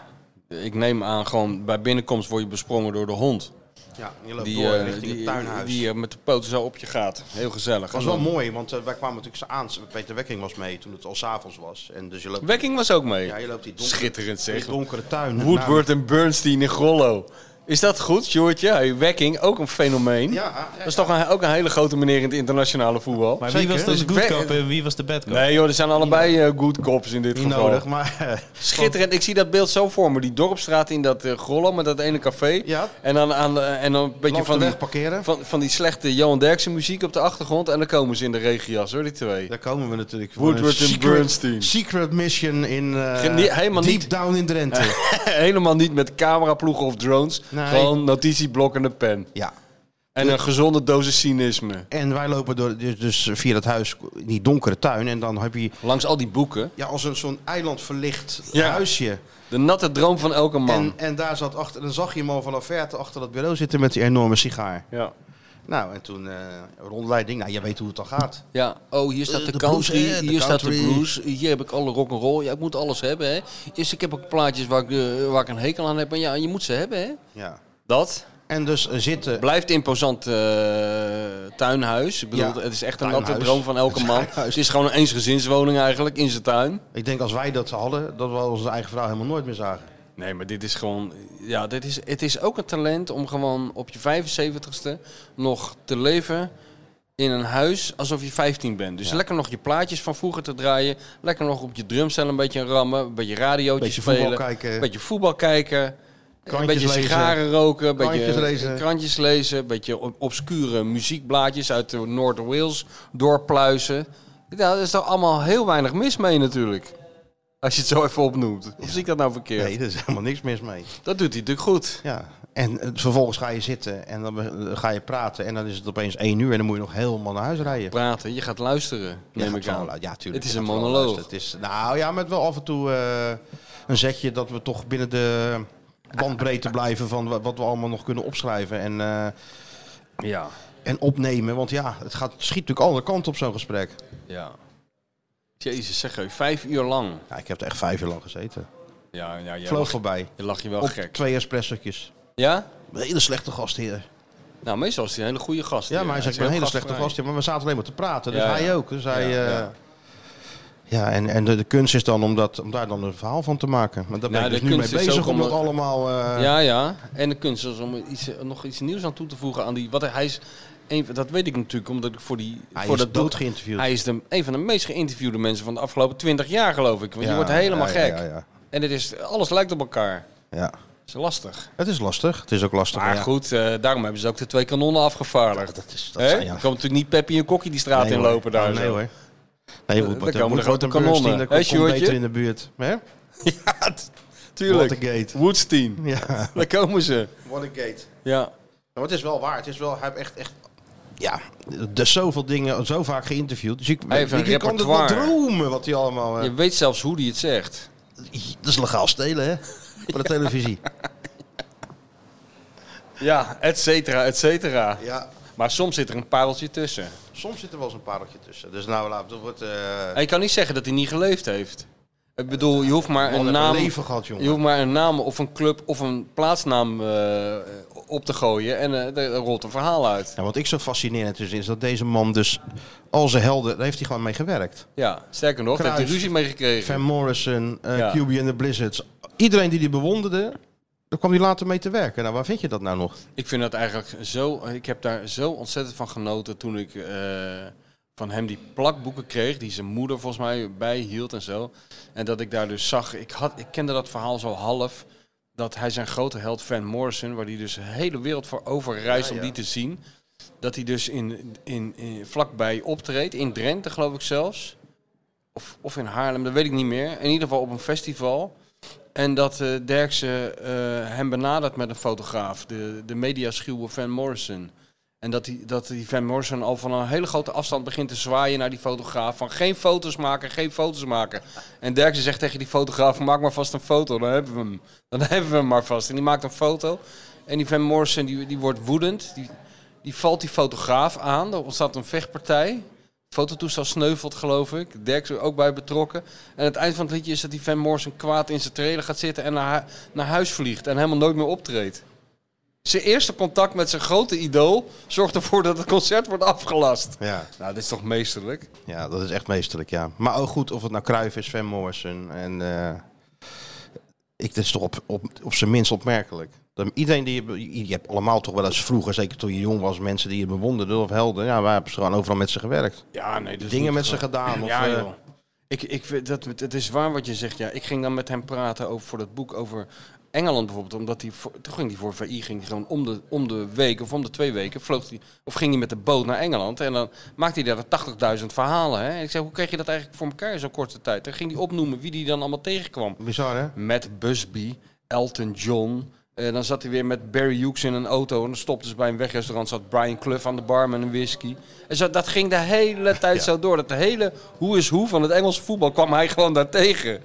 [SPEAKER 3] Ik neem aan, gewoon bij binnenkomst word je besprongen door de hond.
[SPEAKER 2] Ja, en je loopt
[SPEAKER 3] Die,
[SPEAKER 2] door
[SPEAKER 3] eh,
[SPEAKER 2] richting
[SPEAKER 3] die,
[SPEAKER 2] het tuinhuis.
[SPEAKER 3] die eh, met de poten zo op je gaat. Heel gezellig.
[SPEAKER 2] Het was
[SPEAKER 3] En
[SPEAKER 2] wel
[SPEAKER 3] dan-
[SPEAKER 2] mooi, want eh, wij kwamen natuurlijk aan. Peter Wekking was mee toen het al s'avonds was. En dus je loopt,
[SPEAKER 3] Wekking was ook mee.
[SPEAKER 2] ja, je loopt die donkere,
[SPEAKER 3] Schitterend
[SPEAKER 2] die
[SPEAKER 3] zeg.
[SPEAKER 2] donkere tuin.
[SPEAKER 3] Woodward en Bernstein in Grollo. Is dat goed, Sjoerdje? Hey, Wekking, ook een fenomeen.
[SPEAKER 2] Ja, ja,
[SPEAKER 3] Dat is toch een, ook een hele grote meneer in het internationale voetbal.
[SPEAKER 5] Maar
[SPEAKER 2] Zeker,
[SPEAKER 5] wie was dan
[SPEAKER 3] dus
[SPEAKER 5] de good
[SPEAKER 3] we-
[SPEAKER 5] cop en wie was de bad cop?
[SPEAKER 3] Nee joh, er zijn allebei eh, good cops in dit
[SPEAKER 2] Niet
[SPEAKER 3] geval.
[SPEAKER 2] nodig,
[SPEAKER 3] (laughs)
[SPEAKER 2] maar eh,
[SPEAKER 3] Schitterend. Ik zie dat beeld zo voor me. Die dorpstraat in dat eh, Grollo met dat ene café.
[SPEAKER 2] Ja.
[SPEAKER 3] En dan, aan, de- en dan een beetje
[SPEAKER 2] langs
[SPEAKER 3] van
[SPEAKER 2] de
[SPEAKER 3] die,
[SPEAKER 2] weg parkeren.
[SPEAKER 3] van, van die slechte Johan Derksen muziek op de achtergrond. En dan komen ze in de regenjas hoor, die twee.
[SPEAKER 2] Daar komen we natuurlijk. voor
[SPEAKER 3] Woodward
[SPEAKER 2] een
[SPEAKER 3] en Bernstein.
[SPEAKER 2] Secret mission in eh,
[SPEAKER 3] Geen- niet- helemaal
[SPEAKER 2] deep
[SPEAKER 3] niet.
[SPEAKER 2] down in
[SPEAKER 3] (laughs)
[SPEAKER 2] Drenthe.
[SPEAKER 3] (laughs) Helemaal niet met cameraploegen of drones.
[SPEAKER 2] Nee.
[SPEAKER 3] Gewoon notitieblokken en een pen.
[SPEAKER 2] ja.
[SPEAKER 3] En een gezonde dosis cynisme.
[SPEAKER 2] En wij lopen door, dus, dus via dat huis, in die donkere tuin. En dan heb je
[SPEAKER 3] Langs al die boeken.
[SPEAKER 2] ja, als een zo'n eiland verlicht
[SPEAKER 3] Ja.
[SPEAKER 2] huisje.
[SPEAKER 3] De natte droom van elke man.
[SPEAKER 2] En, en daar zat achter, dan zag je hem al vanaf verte achter dat bureau zitten met die enorme sigaar.
[SPEAKER 3] Ja.
[SPEAKER 2] Nou, en toen eh, rondleiding. Nou, je weet hoe het dan gaat.
[SPEAKER 3] Ja, oh, hier staat
[SPEAKER 2] Eh,
[SPEAKER 3] de,
[SPEAKER 2] de blues,
[SPEAKER 3] country,
[SPEAKER 2] hè, de
[SPEAKER 3] hier staat de
[SPEAKER 2] country.
[SPEAKER 3] blues, hier heb ik alle rock'n'roll. Ja, ik moet alles hebben, hè. Eerst, ik heb ook plaatjes waar ik, eh, waar ik een hekel aan heb, maar ja, je moet ze hebben, hè.
[SPEAKER 2] Ja.
[SPEAKER 3] Dat
[SPEAKER 2] En dus eh, zitten.
[SPEAKER 3] blijft imposant eh, tuinhuis. Ik bedoel,
[SPEAKER 2] Ja,
[SPEAKER 3] het is echt een
[SPEAKER 2] tuinhuis.
[SPEAKER 3] natte droom van elke
[SPEAKER 2] Het
[SPEAKER 3] man.
[SPEAKER 2] tuinhuis.
[SPEAKER 3] Het is gewoon een eensgezinswoning eigenlijk, in zijn tuin.
[SPEAKER 2] Ik denk als wij dat hadden, dat we onze eigen vrouw helemaal nooit meer zagen.
[SPEAKER 3] Nee, maar dit is gewoon... Ja, dit is, het is ook een talent om gewoon op je 75ste nog te leven in een huis alsof je 15 bent. Dus lekker nog je plaatjes van vroeger te draaien. Lekker nog op je drumstel een beetje rammen. Een beetje radiootje
[SPEAKER 2] Beetje
[SPEAKER 3] spelen.
[SPEAKER 2] voetbal kijken.
[SPEAKER 3] Een beetje voetbal kijken. Een
[SPEAKER 2] Krantjes
[SPEAKER 3] beetje
[SPEAKER 2] lezen.
[SPEAKER 3] sigaren roken. Een beetje
[SPEAKER 2] Krantjes lezen.
[SPEAKER 3] krantjes lezen. Een beetje ob- obscure muziekblaadjes uit de Noord-Wales doorpluizen. Ja, er is toch allemaal heel weinig mis mee natuurlijk. Als je het zo even opnoemt. Of zie ik dat nou verkeerd?
[SPEAKER 2] Nee, er is helemaal niks mis mee.
[SPEAKER 3] Dat doet hij natuurlijk goed.
[SPEAKER 2] Ja, en eh, vervolgens ga je zitten en dan be- ga je praten en dan is het opeens één uur en dan moet je nog helemaal naar huis rijden.
[SPEAKER 3] Praten, je gaat luisteren,
[SPEAKER 2] Je
[SPEAKER 3] neem
[SPEAKER 2] gaat
[SPEAKER 3] ik
[SPEAKER 2] wel
[SPEAKER 3] aan.
[SPEAKER 2] lu- Ja, tuurlijk.
[SPEAKER 3] Het is
[SPEAKER 2] je
[SPEAKER 3] een
[SPEAKER 2] gaat wel
[SPEAKER 3] monoloog.
[SPEAKER 2] luisteren. Het is, nou ja, met wel af en toe eh, een zetje dat we toch binnen de bandbreedte blijven van wa- wat we allemaal nog kunnen opschrijven en, eh,
[SPEAKER 3] Ja,
[SPEAKER 2] en opnemen. Want ja, het gaat, het schiet natuurlijk alle kanten op zo'n gesprek.
[SPEAKER 3] ja. Jezus, zeg je, vijf uur lang.
[SPEAKER 2] Ja, ik heb er echt vijf uur lang gezeten.
[SPEAKER 3] Ja, ja, jij
[SPEAKER 2] Vloog
[SPEAKER 3] lag,
[SPEAKER 2] voorbij.
[SPEAKER 3] je lag je wel
[SPEAKER 2] Op
[SPEAKER 3] gek.
[SPEAKER 2] twee espressotjes.
[SPEAKER 3] Ja?
[SPEAKER 2] Een hele slechte gastheer.
[SPEAKER 3] Nou, meestal is hij een hele goede gast.
[SPEAKER 2] Ja, maar hij zei, ik ben een hele slechte
[SPEAKER 3] gastvrij.
[SPEAKER 2] gast. Ja, maar we zaten alleen maar te praten. Dus
[SPEAKER 3] Ja,
[SPEAKER 2] hij
[SPEAKER 3] ja.
[SPEAKER 2] ook. Dus hij,
[SPEAKER 3] Ja,
[SPEAKER 2] ja,
[SPEAKER 3] ja.
[SPEAKER 2] ja en, en de, de kunst is dan om, dat, om daar dan een verhaal van te maken. Maar daar ben
[SPEAKER 3] Nou,
[SPEAKER 2] ik dus
[SPEAKER 3] de
[SPEAKER 2] nu mee
[SPEAKER 3] kunst is
[SPEAKER 2] bezig
[SPEAKER 3] ook
[SPEAKER 2] om
[SPEAKER 3] om-
[SPEAKER 2] dat allemaal... eh,
[SPEAKER 3] Ja, ja. En de kunst is om iets, eh, nog iets nieuws aan toe te voegen aan die... Wat hij- hij is een, dat weet ik natuurlijk, omdat ik voor die...
[SPEAKER 2] Hij
[SPEAKER 3] voor
[SPEAKER 2] is
[SPEAKER 3] dat
[SPEAKER 2] dood
[SPEAKER 3] boek-
[SPEAKER 2] geïnterviewd.
[SPEAKER 3] Hij is de, een van de meest geïnterviewde mensen van de afgelopen twintig jaar, geloof ik. Want
[SPEAKER 2] Ja,
[SPEAKER 3] je wordt helemaal
[SPEAKER 2] ja, ja,
[SPEAKER 3] gek.
[SPEAKER 2] Ja, ja,
[SPEAKER 3] En het is, alles lijkt op elkaar.
[SPEAKER 2] ja.
[SPEAKER 3] Dat is lastig.
[SPEAKER 2] Het is lastig. Het is ook lastig.
[SPEAKER 3] Maar
[SPEAKER 2] ja.
[SPEAKER 3] goed, eh, daarom hebben ze ook de twee kanonnen afgevaardigd.
[SPEAKER 2] Dat is... Dat
[SPEAKER 3] Hè?
[SPEAKER 2] zijn,
[SPEAKER 3] Er
[SPEAKER 2] ja.
[SPEAKER 3] komt natuurlijk niet Peppi en Kokkie die straat
[SPEAKER 2] Nee,
[SPEAKER 3] in
[SPEAKER 2] hoor.
[SPEAKER 3] lopen daar.
[SPEAKER 2] Nee
[SPEAKER 3] zo. Eh,
[SPEAKER 2] hoor. Nee, Woodward-
[SPEAKER 3] Dan komen de
[SPEAKER 2] Woodward
[SPEAKER 3] grote
[SPEAKER 2] en
[SPEAKER 3] kanonnen.
[SPEAKER 2] Bernstein, dat
[SPEAKER 3] Hè,
[SPEAKER 2] komt
[SPEAKER 3] Sjoerdje?
[SPEAKER 2] beter in de buurt. Hè?
[SPEAKER 3] (laughs) ja, t- tuurlijk.
[SPEAKER 2] Watergate.
[SPEAKER 3] Woodstein.
[SPEAKER 2] Ja.
[SPEAKER 3] Daar komen ze.
[SPEAKER 2] Watergate.
[SPEAKER 3] Ja.
[SPEAKER 2] Maar het is wel waar. Het is wel... Hij heeft echt... echt ja, er zoveel dingen, zo vaak geïnterviewd. Dus ik,
[SPEAKER 3] Hij heeft een
[SPEAKER 2] ik, ik kan het wel
[SPEAKER 3] repertoire.
[SPEAKER 2] dromen wat hij allemaal... eh,
[SPEAKER 3] Je weet zelfs hoe die het zegt.
[SPEAKER 2] Dat is legaal stelen, hè? Voor de televisie.
[SPEAKER 3] (laughs) Ja, et cetera, et cetera.
[SPEAKER 2] Ja.
[SPEAKER 3] Maar soms zit er een pareltje tussen.
[SPEAKER 2] Soms zit er wel eens een pareltje tussen. Dus nou, laat, dat wordt... eh,
[SPEAKER 3] En je kan niet zeggen dat hij niet geleefd heeft. Ik bedoel, je hoeft
[SPEAKER 2] man
[SPEAKER 3] maar
[SPEAKER 2] heeft
[SPEAKER 3] een
[SPEAKER 2] een
[SPEAKER 3] naam,
[SPEAKER 2] leven gehad, jongen.
[SPEAKER 3] je hoeft maar een naam of een club of een plaatsnaam eh, op te gooien en eh, er rolt een verhaal uit.
[SPEAKER 2] Ja, wat ik zo fascinerend is, is dat deze man dus al zijn helden, daar heeft hij gewoon mee gewerkt.
[SPEAKER 3] Ja, sterker nog, daar heeft hij
[SPEAKER 2] Kruis.
[SPEAKER 3] ruzie mee gekregen.
[SPEAKER 2] Van Morrison, eh
[SPEAKER 3] Ja.
[SPEAKER 2] QB en de Blizzards. Iedereen die die bewonderde, daar kwam hij later mee te werken. Nou, waar vind je dat nou nog?
[SPEAKER 3] Ik vind dat eigenlijk zo. Ik heb daar zo ontzettend van genoten toen ik eh, van hem die plakboeken kreeg, die zijn moeder volgens mij bijhield en zo. En dat ik daar dus zag. Ik, had, ik kende dat verhaal zo half. Dat hij zijn grote held Van Morrison, waar hij dus de hele wereld voor over reist om die te zien. Dat hij dus in, in, in, vlakbij optreedt, in Drenthe geloof ik zelfs. Of, of in Haarlem, dat weet ik niet meer. In ieder geval op een festival. En dat eh Derksen eh, hem benadert met een fotograaf, de, de mediaschuwe Van Morrison. En dat die, dat die Van Morrison al van een hele grote afstand begint te zwaaien naar die fotograaf. Van geen foto's maken, geen foto's maken. En Derksen zegt tegen die fotograaf, maak maar vast een foto, dan hebben we hem. Dan (laughs) hebben we hem maar vast. En die maakt een foto. En die Van Morrison die, die wordt woedend. Die, die valt die fotograaf aan. Er ontstaat een vechtpartij. Fototoestel sneuvelt, geloof ik. Dirk is er ook bij betrokken. En aan het eind van het liedje is dat die Van Morrison kwaad in zijn trailer gaat zitten en naar, hu- naar huis vliegt en helemaal nooit meer optreedt. Zijn eerste contact met zijn grote idool zorgt ervoor dat het concert wordt afgelast.
[SPEAKER 2] Ja.
[SPEAKER 3] Nou, dit is toch meesterlijk?
[SPEAKER 2] ja, dat is echt meesterlijk, ja. Maar ook goed, of het nou Cruijff is, Van Morrison en... eh, ik, dat is toch op, op, op zijn minst opmerkelijk. Dat iedereen die je, be- je hebt allemaal toch wel eens vroeger, zeker toen je jong was, mensen die je bewonderden of helden. Ja, wij hebben gewoon overal met ze gewerkt.
[SPEAKER 3] Ja, nee. Dus
[SPEAKER 2] Dingen met ze gedaan. Of,
[SPEAKER 3] ja,
[SPEAKER 2] eh,
[SPEAKER 3] joh. Ik, ik, vind dat, het is waar wat je zegt. Ja, ik ging dan met hem praten over, voor dat boek over Engeland bijvoorbeeld. Omdat hij voor, toen ging hij voor VI ging hij gewoon om de, om de week of om de twee weken. Vloog hij, of ging hij met de boot naar Engeland. En dan maakte hij daar 80.000 verhalen. Hè? En ik zei, hoe kreeg je dat eigenlijk voor elkaar in zo'n korte tijd? Dan ging hij opnoemen wie die dan allemaal tegenkwam.
[SPEAKER 2] Bizar, hè?
[SPEAKER 3] Met Busby, Elton John. Eh, dan zat hij weer met Barry Hughes in een auto. En dan stopte ze bij een wegrestaurant. Zat Brian Clough aan de bar met een whisky. En zo, dat ging de
[SPEAKER 2] (laughs)
[SPEAKER 3] hele tijd zo door. Dat de hele hoe is hoe van het Engelse voetbal kwam hij gewoon daartegen.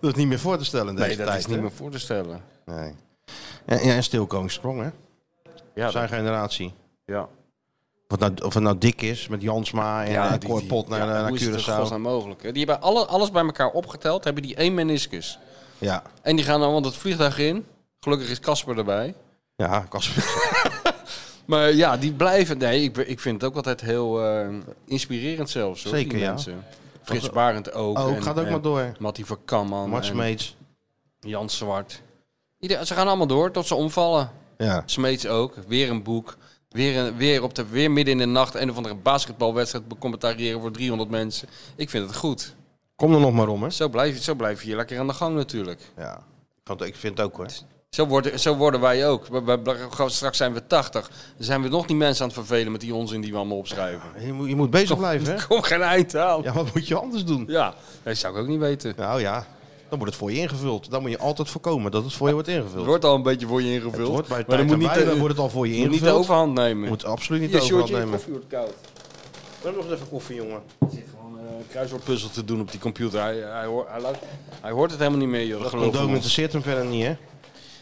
[SPEAKER 2] Dat is niet meer voor te stellen in deze
[SPEAKER 3] Nee, dat
[SPEAKER 2] tijd.
[SPEAKER 3] is niet
[SPEAKER 2] hè?
[SPEAKER 3] meer voor te stellen.
[SPEAKER 2] Nee. En, ja, en stilkomen sprong, hè?
[SPEAKER 3] Ja,
[SPEAKER 2] Zijn generatie.
[SPEAKER 3] ja.
[SPEAKER 2] Of het, nou, of het nou dik is met Jansma en, en Korpot naar, eh,
[SPEAKER 3] ja,
[SPEAKER 2] naar
[SPEAKER 3] hoe is het
[SPEAKER 2] Curaçao.
[SPEAKER 3] godsnaam mogelijk? hè? Die hebben alle, alles bij elkaar opgeteld. Hebben die één meniscus.
[SPEAKER 2] ja,
[SPEAKER 3] En die gaan dan want het vliegtuig in. Gelukkig is Casper erbij.
[SPEAKER 2] ja Casper.
[SPEAKER 3] Maar ja, die blijven. Nee, ik, ik vind het ook altijd heel eh, inspirerend zelfs. Hoor,
[SPEAKER 2] Zeker,
[SPEAKER 3] die
[SPEAKER 2] ja.
[SPEAKER 3] mensen. Frits Barend ook.
[SPEAKER 2] Oh,
[SPEAKER 3] en-
[SPEAKER 2] gaat ook
[SPEAKER 3] en
[SPEAKER 2] maar door.
[SPEAKER 3] Matty van Kamman. en
[SPEAKER 2] Matchmates.
[SPEAKER 3] Jan Zwart. Ieder, ze gaan allemaal door tot ze omvallen.
[SPEAKER 2] Ja.
[SPEAKER 3] Smeets ook. Weer een boek. Weer, een, weer, op de, weer midden in de nacht een of andere basketbalwedstrijd becommentariëren voor 300 mensen. Ik vind het goed.
[SPEAKER 2] Kom er nog maar om, hè?
[SPEAKER 3] Zo blijf, je- zo blijf je hier lekker aan de gang natuurlijk.
[SPEAKER 2] Ja. Want ik vind het ook, hoor.
[SPEAKER 3] Zo worden, zo worden wij ook. We- we- we- straks zijn we 80. Dan zijn we nog die mensen aan het vervelen met die onzin die we allemaal opschrijven.
[SPEAKER 2] Je moet, je moet bezig blijven,
[SPEAKER 3] (laughs)
[SPEAKER 2] hè?
[SPEAKER 3] Er komt geen eind aan. Ja.
[SPEAKER 2] Ja, wat moet je anders doen?
[SPEAKER 3] dat zou ik ook niet weten.
[SPEAKER 2] Nou ja, dan wordt het voor je ingevuld. Dan moet je altijd voorkomen dat het voor je wordt
[SPEAKER 3] Het
[SPEAKER 2] ingevuld.
[SPEAKER 3] wordt al een beetje voor je ingevuld.
[SPEAKER 2] Het wordt bij het
[SPEAKER 3] maar dan
[SPEAKER 2] tijd
[SPEAKER 3] moet
[SPEAKER 2] erbij,
[SPEAKER 3] niet,
[SPEAKER 2] dan
[SPEAKER 3] eh,
[SPEAKER 2] wordt het al voor je
[SPEAKER 3] moet niet
[SPEAKER 2] ingevuld.
[SPEAKER 3] de overhand nemen.
[SPEAKER 2] Je moet absoluut niet
[SPEAKER 3] Hier,
[SPEAKER 2] de overhand
[SPEAKER 3] Sjoerdje, je
[SPEAKER 2] nemen.
[SPEAKER 3] koffie wordt koud.
[SPEAKER 2] We nog even koffie, jongen.
[SPEAKER 3] Ik zit gewoon eh, een kruiswoordpuzzel te doen op die computer. Hij, hij, hoort, hij, luistert- hij hoort het helemaal niet meer, joh. Dat geloof
[SPEAKER 2] Condoom
[SPEAKER 3] ik niet.
[SPEAKER 2] interesseert hem verder niet, hè?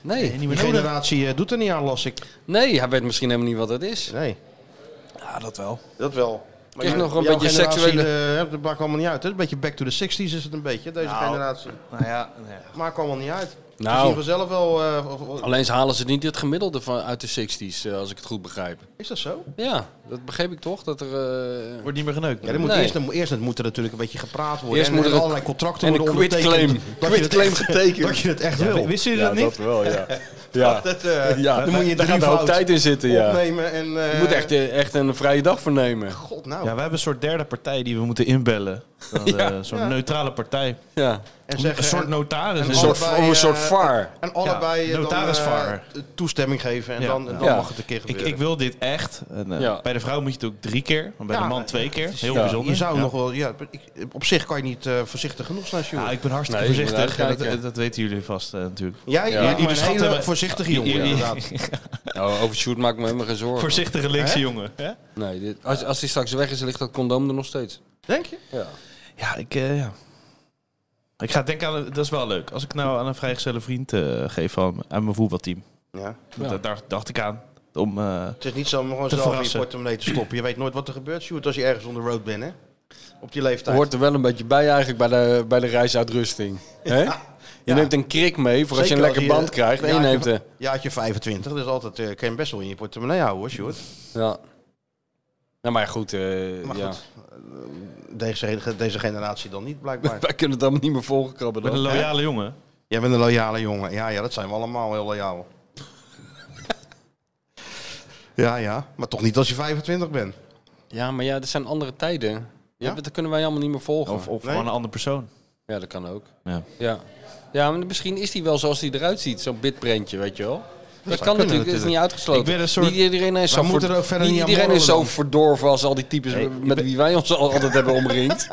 [SPEAKER 3] Nee,
[SPEAKER 2] Die generatie eh, doet er niet aan, las ik.
[SPEAKER 3] nee, hij weet misschien helemaal niet wat het is.
[SPEAKER 2] Nee.
[SPEAKER 5] Ja, dat wel.
[SPEAKER 2] Dat wel.
[SPEAKER 3] Krijg nog een beetje seksuele-
[SPEAKER 2] Dat maakt allemaal niet uit. eh, Hè? Een beetje back to the 60s is het een beetje, deze
[SPEAKER 5] Nou.
[SPEAKER 2] generatie.
[SPEAKER 5] Nou ja, nou ja.
[SPEAKER 2] Maakt allemaal niet uit.
[SPEAKER 3] Nou.
[SPEAKER 2] Nou. Ze zien vanzelf wel... eh, of- of-
[SPEAKER 3] Alleen ze halen ze niet het gemiddelde van, uit de 60s, eh, als ik het goed begrijp.
[SPEAKER 2] is dat zo?
[SPEAKER 3] Ja, dat begreep ik toch? Dat er. eh,
[SPEAKER 5] Wordt niet meer geneukt.
[SPEAKER 2] Ja, dan moet
[SPEAKER 3] Nee.
[SPEAKER 2] eerst, dan- eerst moet er natuurlijk een beetje gepraat worden.
[SPEAKER 3] Eerst
[SPEAKER 2] en
[SPEAKER 3] moet
[SPEAKER 2] en
[SPEAKER 3] er een-
[SPEAKER 2] allerlei contracten
[SPEAKER 3] en een
[SPEAKER 2] worden
[SPEAKER 3] quitclaim.
[SPEAKER 2] ondertekend.
[SPEAKER 3] (laughs)
[SPEAKER 2] Dat je het
[SPEAKER 3] Quitclaim
[SPEAKER 2] echt-
[SPEAKER 3] getekend.
[SPEAKER 2] Dat je het echt
[SPEAKER 5] Ja,
[SPEAKER 2] wil.
[SPEAKER 5] wisten jullie dat niet?
[SPEAKER 2] (laughs)
[SPEAKER 3] wel, ja. ja.
[SPEAKER 2] Dat, eh,
[SPEAKER 3] Ja,
[SPEAKER 2] dan moet je
[SPEAKER 3] daar gaat een hoop
[SPEAKER 2] drievoud
[SPEAKER 3] tijd in zitten, ja.
[SPEAKER 2] opnemen. En, eh,
[SPEAKER 3] Je moet echt, eh, echt een vrije dag voor nemen.
[SPEAKER 2] God, nou.
[SPEAKER 5] Ja, we hebben een soort derde partij die we moeten inbellen. Dan,
[SPEAKER 3] Ja.
[SPEAKER 5] eh, Zo'n
[SPEAKER 2] Ja.
[SPEAKER 5] neutrale partij.
[SPEAKER 3] Ja.
[SPEAKER 2] en
[SPEAKER 5] Een
[SPEAKER 2] zeggen,
[SPEAKER 5] soort
[SPEAKER 2] en-
[SPEAKER 5] notaris.
[SPEAKER 2] en
[SPEAKER 3] Een
[SPEAKER 5] is
[SPEAKER 3] soort,
[SPEAKER 5] het.
[SPEAKER 2] Allebei,
[SPEAKER 3] of een soort
[SPEAKER 2] eh,
[SPEAKER 3] vaar.
[SPEAKER 2] En allebei eh, dan,
[SPEAKER 5] notarisvaar.
[SPEAKER 2] eh, toestemming geven. En
[SPEAKER 5] Ja.
[SPEAKER 2] dan, dan
[SPEAKER 3] Ja.
[SPEAKER 2] mag het een keer
[SPEAKER 5] Ik,
[SPEAKER 2] gebeuren.
[SPEAKER 5] ik wil dit echt. En, eh,
[SPEAKER 3] Ja.
[SPEAKER 5] Bij de vrouw moet je het ook drie keer, maar bij
[SPEAKER 2] Ja,
[SPEAKER 5] de man
[SPEAKER 2] maar-
[SPEAKER 5] twee keer. Heel
[SPEAKER 3] ja.
[SPEAKER 5] bijzonder.
[SPEAKER 2] je zou
[SPEAKER 5] Ja.
[SPEAKER 2] nog wel... Ja, ik- op zich kan je niet eh, voorzichtig genoeg zijn, Sjoerd.
[SPEAKER 5] Ja, Nou, ik ben hartstikke
[SPEAKER 3] Nee, je moet
[SPEAKER 5] voorzichtig. en
[SPEAKER 3] uitkijken.
[SPEAKER 5] Dat, dat weten jullie vast eh, natuurlijk.
[SPEAKER 2] Jij,
[SPEAKER 3] Ja.
[SPEAKER 2] ja,
[SPEAKER 3] Maar
[SPEAKER 2] je bent
[SPEAKER 5] schat
[SPEAKER 2] een
[SPEAKER 5] hebben-
[SPEAKER 2] hele voorzichtige jongen,
[SPEAKER 5] Jullie-
[SPEAKER 3] (laughs)
[SPEAKER 2] inderdaad.
[SPEAKER 3] (laughs) Nou, over shoot maak ik me helemaal geen zorgen.
[SPEAKER 5] Voorzichtige linkse jongen. hè?
[SPEAKER 3] Nee, dit, als, als die straks weg is, ligt dat condoom er nog steeds.
[SPEAKER 2] Denk je?
[SPEAKER 3] Ja.
[SPEAKER 5] Ja, ik, eh, ja. ik ga denken aan... Dat is wel leuk. Als ik nou aan een vrijgezelle vriend eh, geef van, aan mijn voetbalteam.
[SPEAKER 2] Ja.
[SPEAKER 5] Dat, daar dacht ik aan. Om, eh,
[SPEAKER 2] Het is niet zo om gewoon
[SPEAKER 5] Te
[SPEAKER 2] zelf in je
[SPEAKER 5] verrassen.
[SPEAKER 2] portemonnee te stoppen. Je weet nooit wat er gebeurt, Sjoerd, als je ergens on the road bent, hè? Op die leeftijd.
[SPEAKER 3] Hoort er wel een beetje bij eigenlijk bij de, bij de reisuitrusting. Hè? Je
[SPEAKER 2] (laughs) ja.
[SPEAKER 3] neemt een krik mee voor als je
[SPEAKER 2] Zeker
[SPEAKER 3] een lekker
[SPEAKER 2] je-
[SPEAKER 3] band krijgt. En je
[SPEAKER 2] jaartje-
[SPEAKER 3] neemt er.
[SPEAKER 2] Jaartje 25, dus altijd eh, kan je best wel in je portemonnee houden, hoor, Sjoerd.
[SPEAKER 3] Ja. Nou, maar goed. eh,
[SPEAKER 2] Maar
[SPEAKER 3] ja.
[SPEAKER 2] goed, deze, deze generatie dan niet,
[SPEAKER 3] (laughs)
[SPEAKER 2] blijkbaar.
[SPEAKER 3] Wij kunnen het allemaal niet meer volgekrabben
[SPEAKER 5] met een
[SPEAKER 3] dan.
[SPEAKER 5] loyale jongen.
[SPEAKER 2] Jij bent een loyale jongen. Ja, ja, dat zijn we allemaal heel loyaal. (laughs) ja, ja. Maar toch niet als je 25 bent.
[SPEAKER 3] Ja, maar ja, dat zijn andere tijden. Ja? Oh, Dat kunnen wij allemaal niet meer volgen.
[SPEAKER 5] Of, of
[SPEAKER 2] Nee.
[SPEAKER 5] gewoon een ander persoon.
[SPEAKER 3] Ja, dat kan ook.
[SPEAKER 5] Ja.
[SPEAKER 3] Ja. ja, maar misschien is hij wel zoals hij eruit ziet, zo'n bitprintje, weet je wel. Dat,
[SPEAKER 2] zou kunnen
[SPEAKER 3] kan natuurlijk, dat is niet uitgesloten.
[SPEAKER 5] Ik ben een soort-
[SPEAKER 3] Niet iedereen is zo,
[SPEAKER 2] moeten er ook verder
[SPEAKER 3] niet
[SPEAKER 2] niet aan
[SPEAKER 3] iedereen is zo
[SPEAKER 2] morrelen dan.
[SPEAKER 3] verdorven als al die types met wie wij ons al- altijd hebben
[SPEAKER 2] (laughs)
[SPEAKER 3] omringd.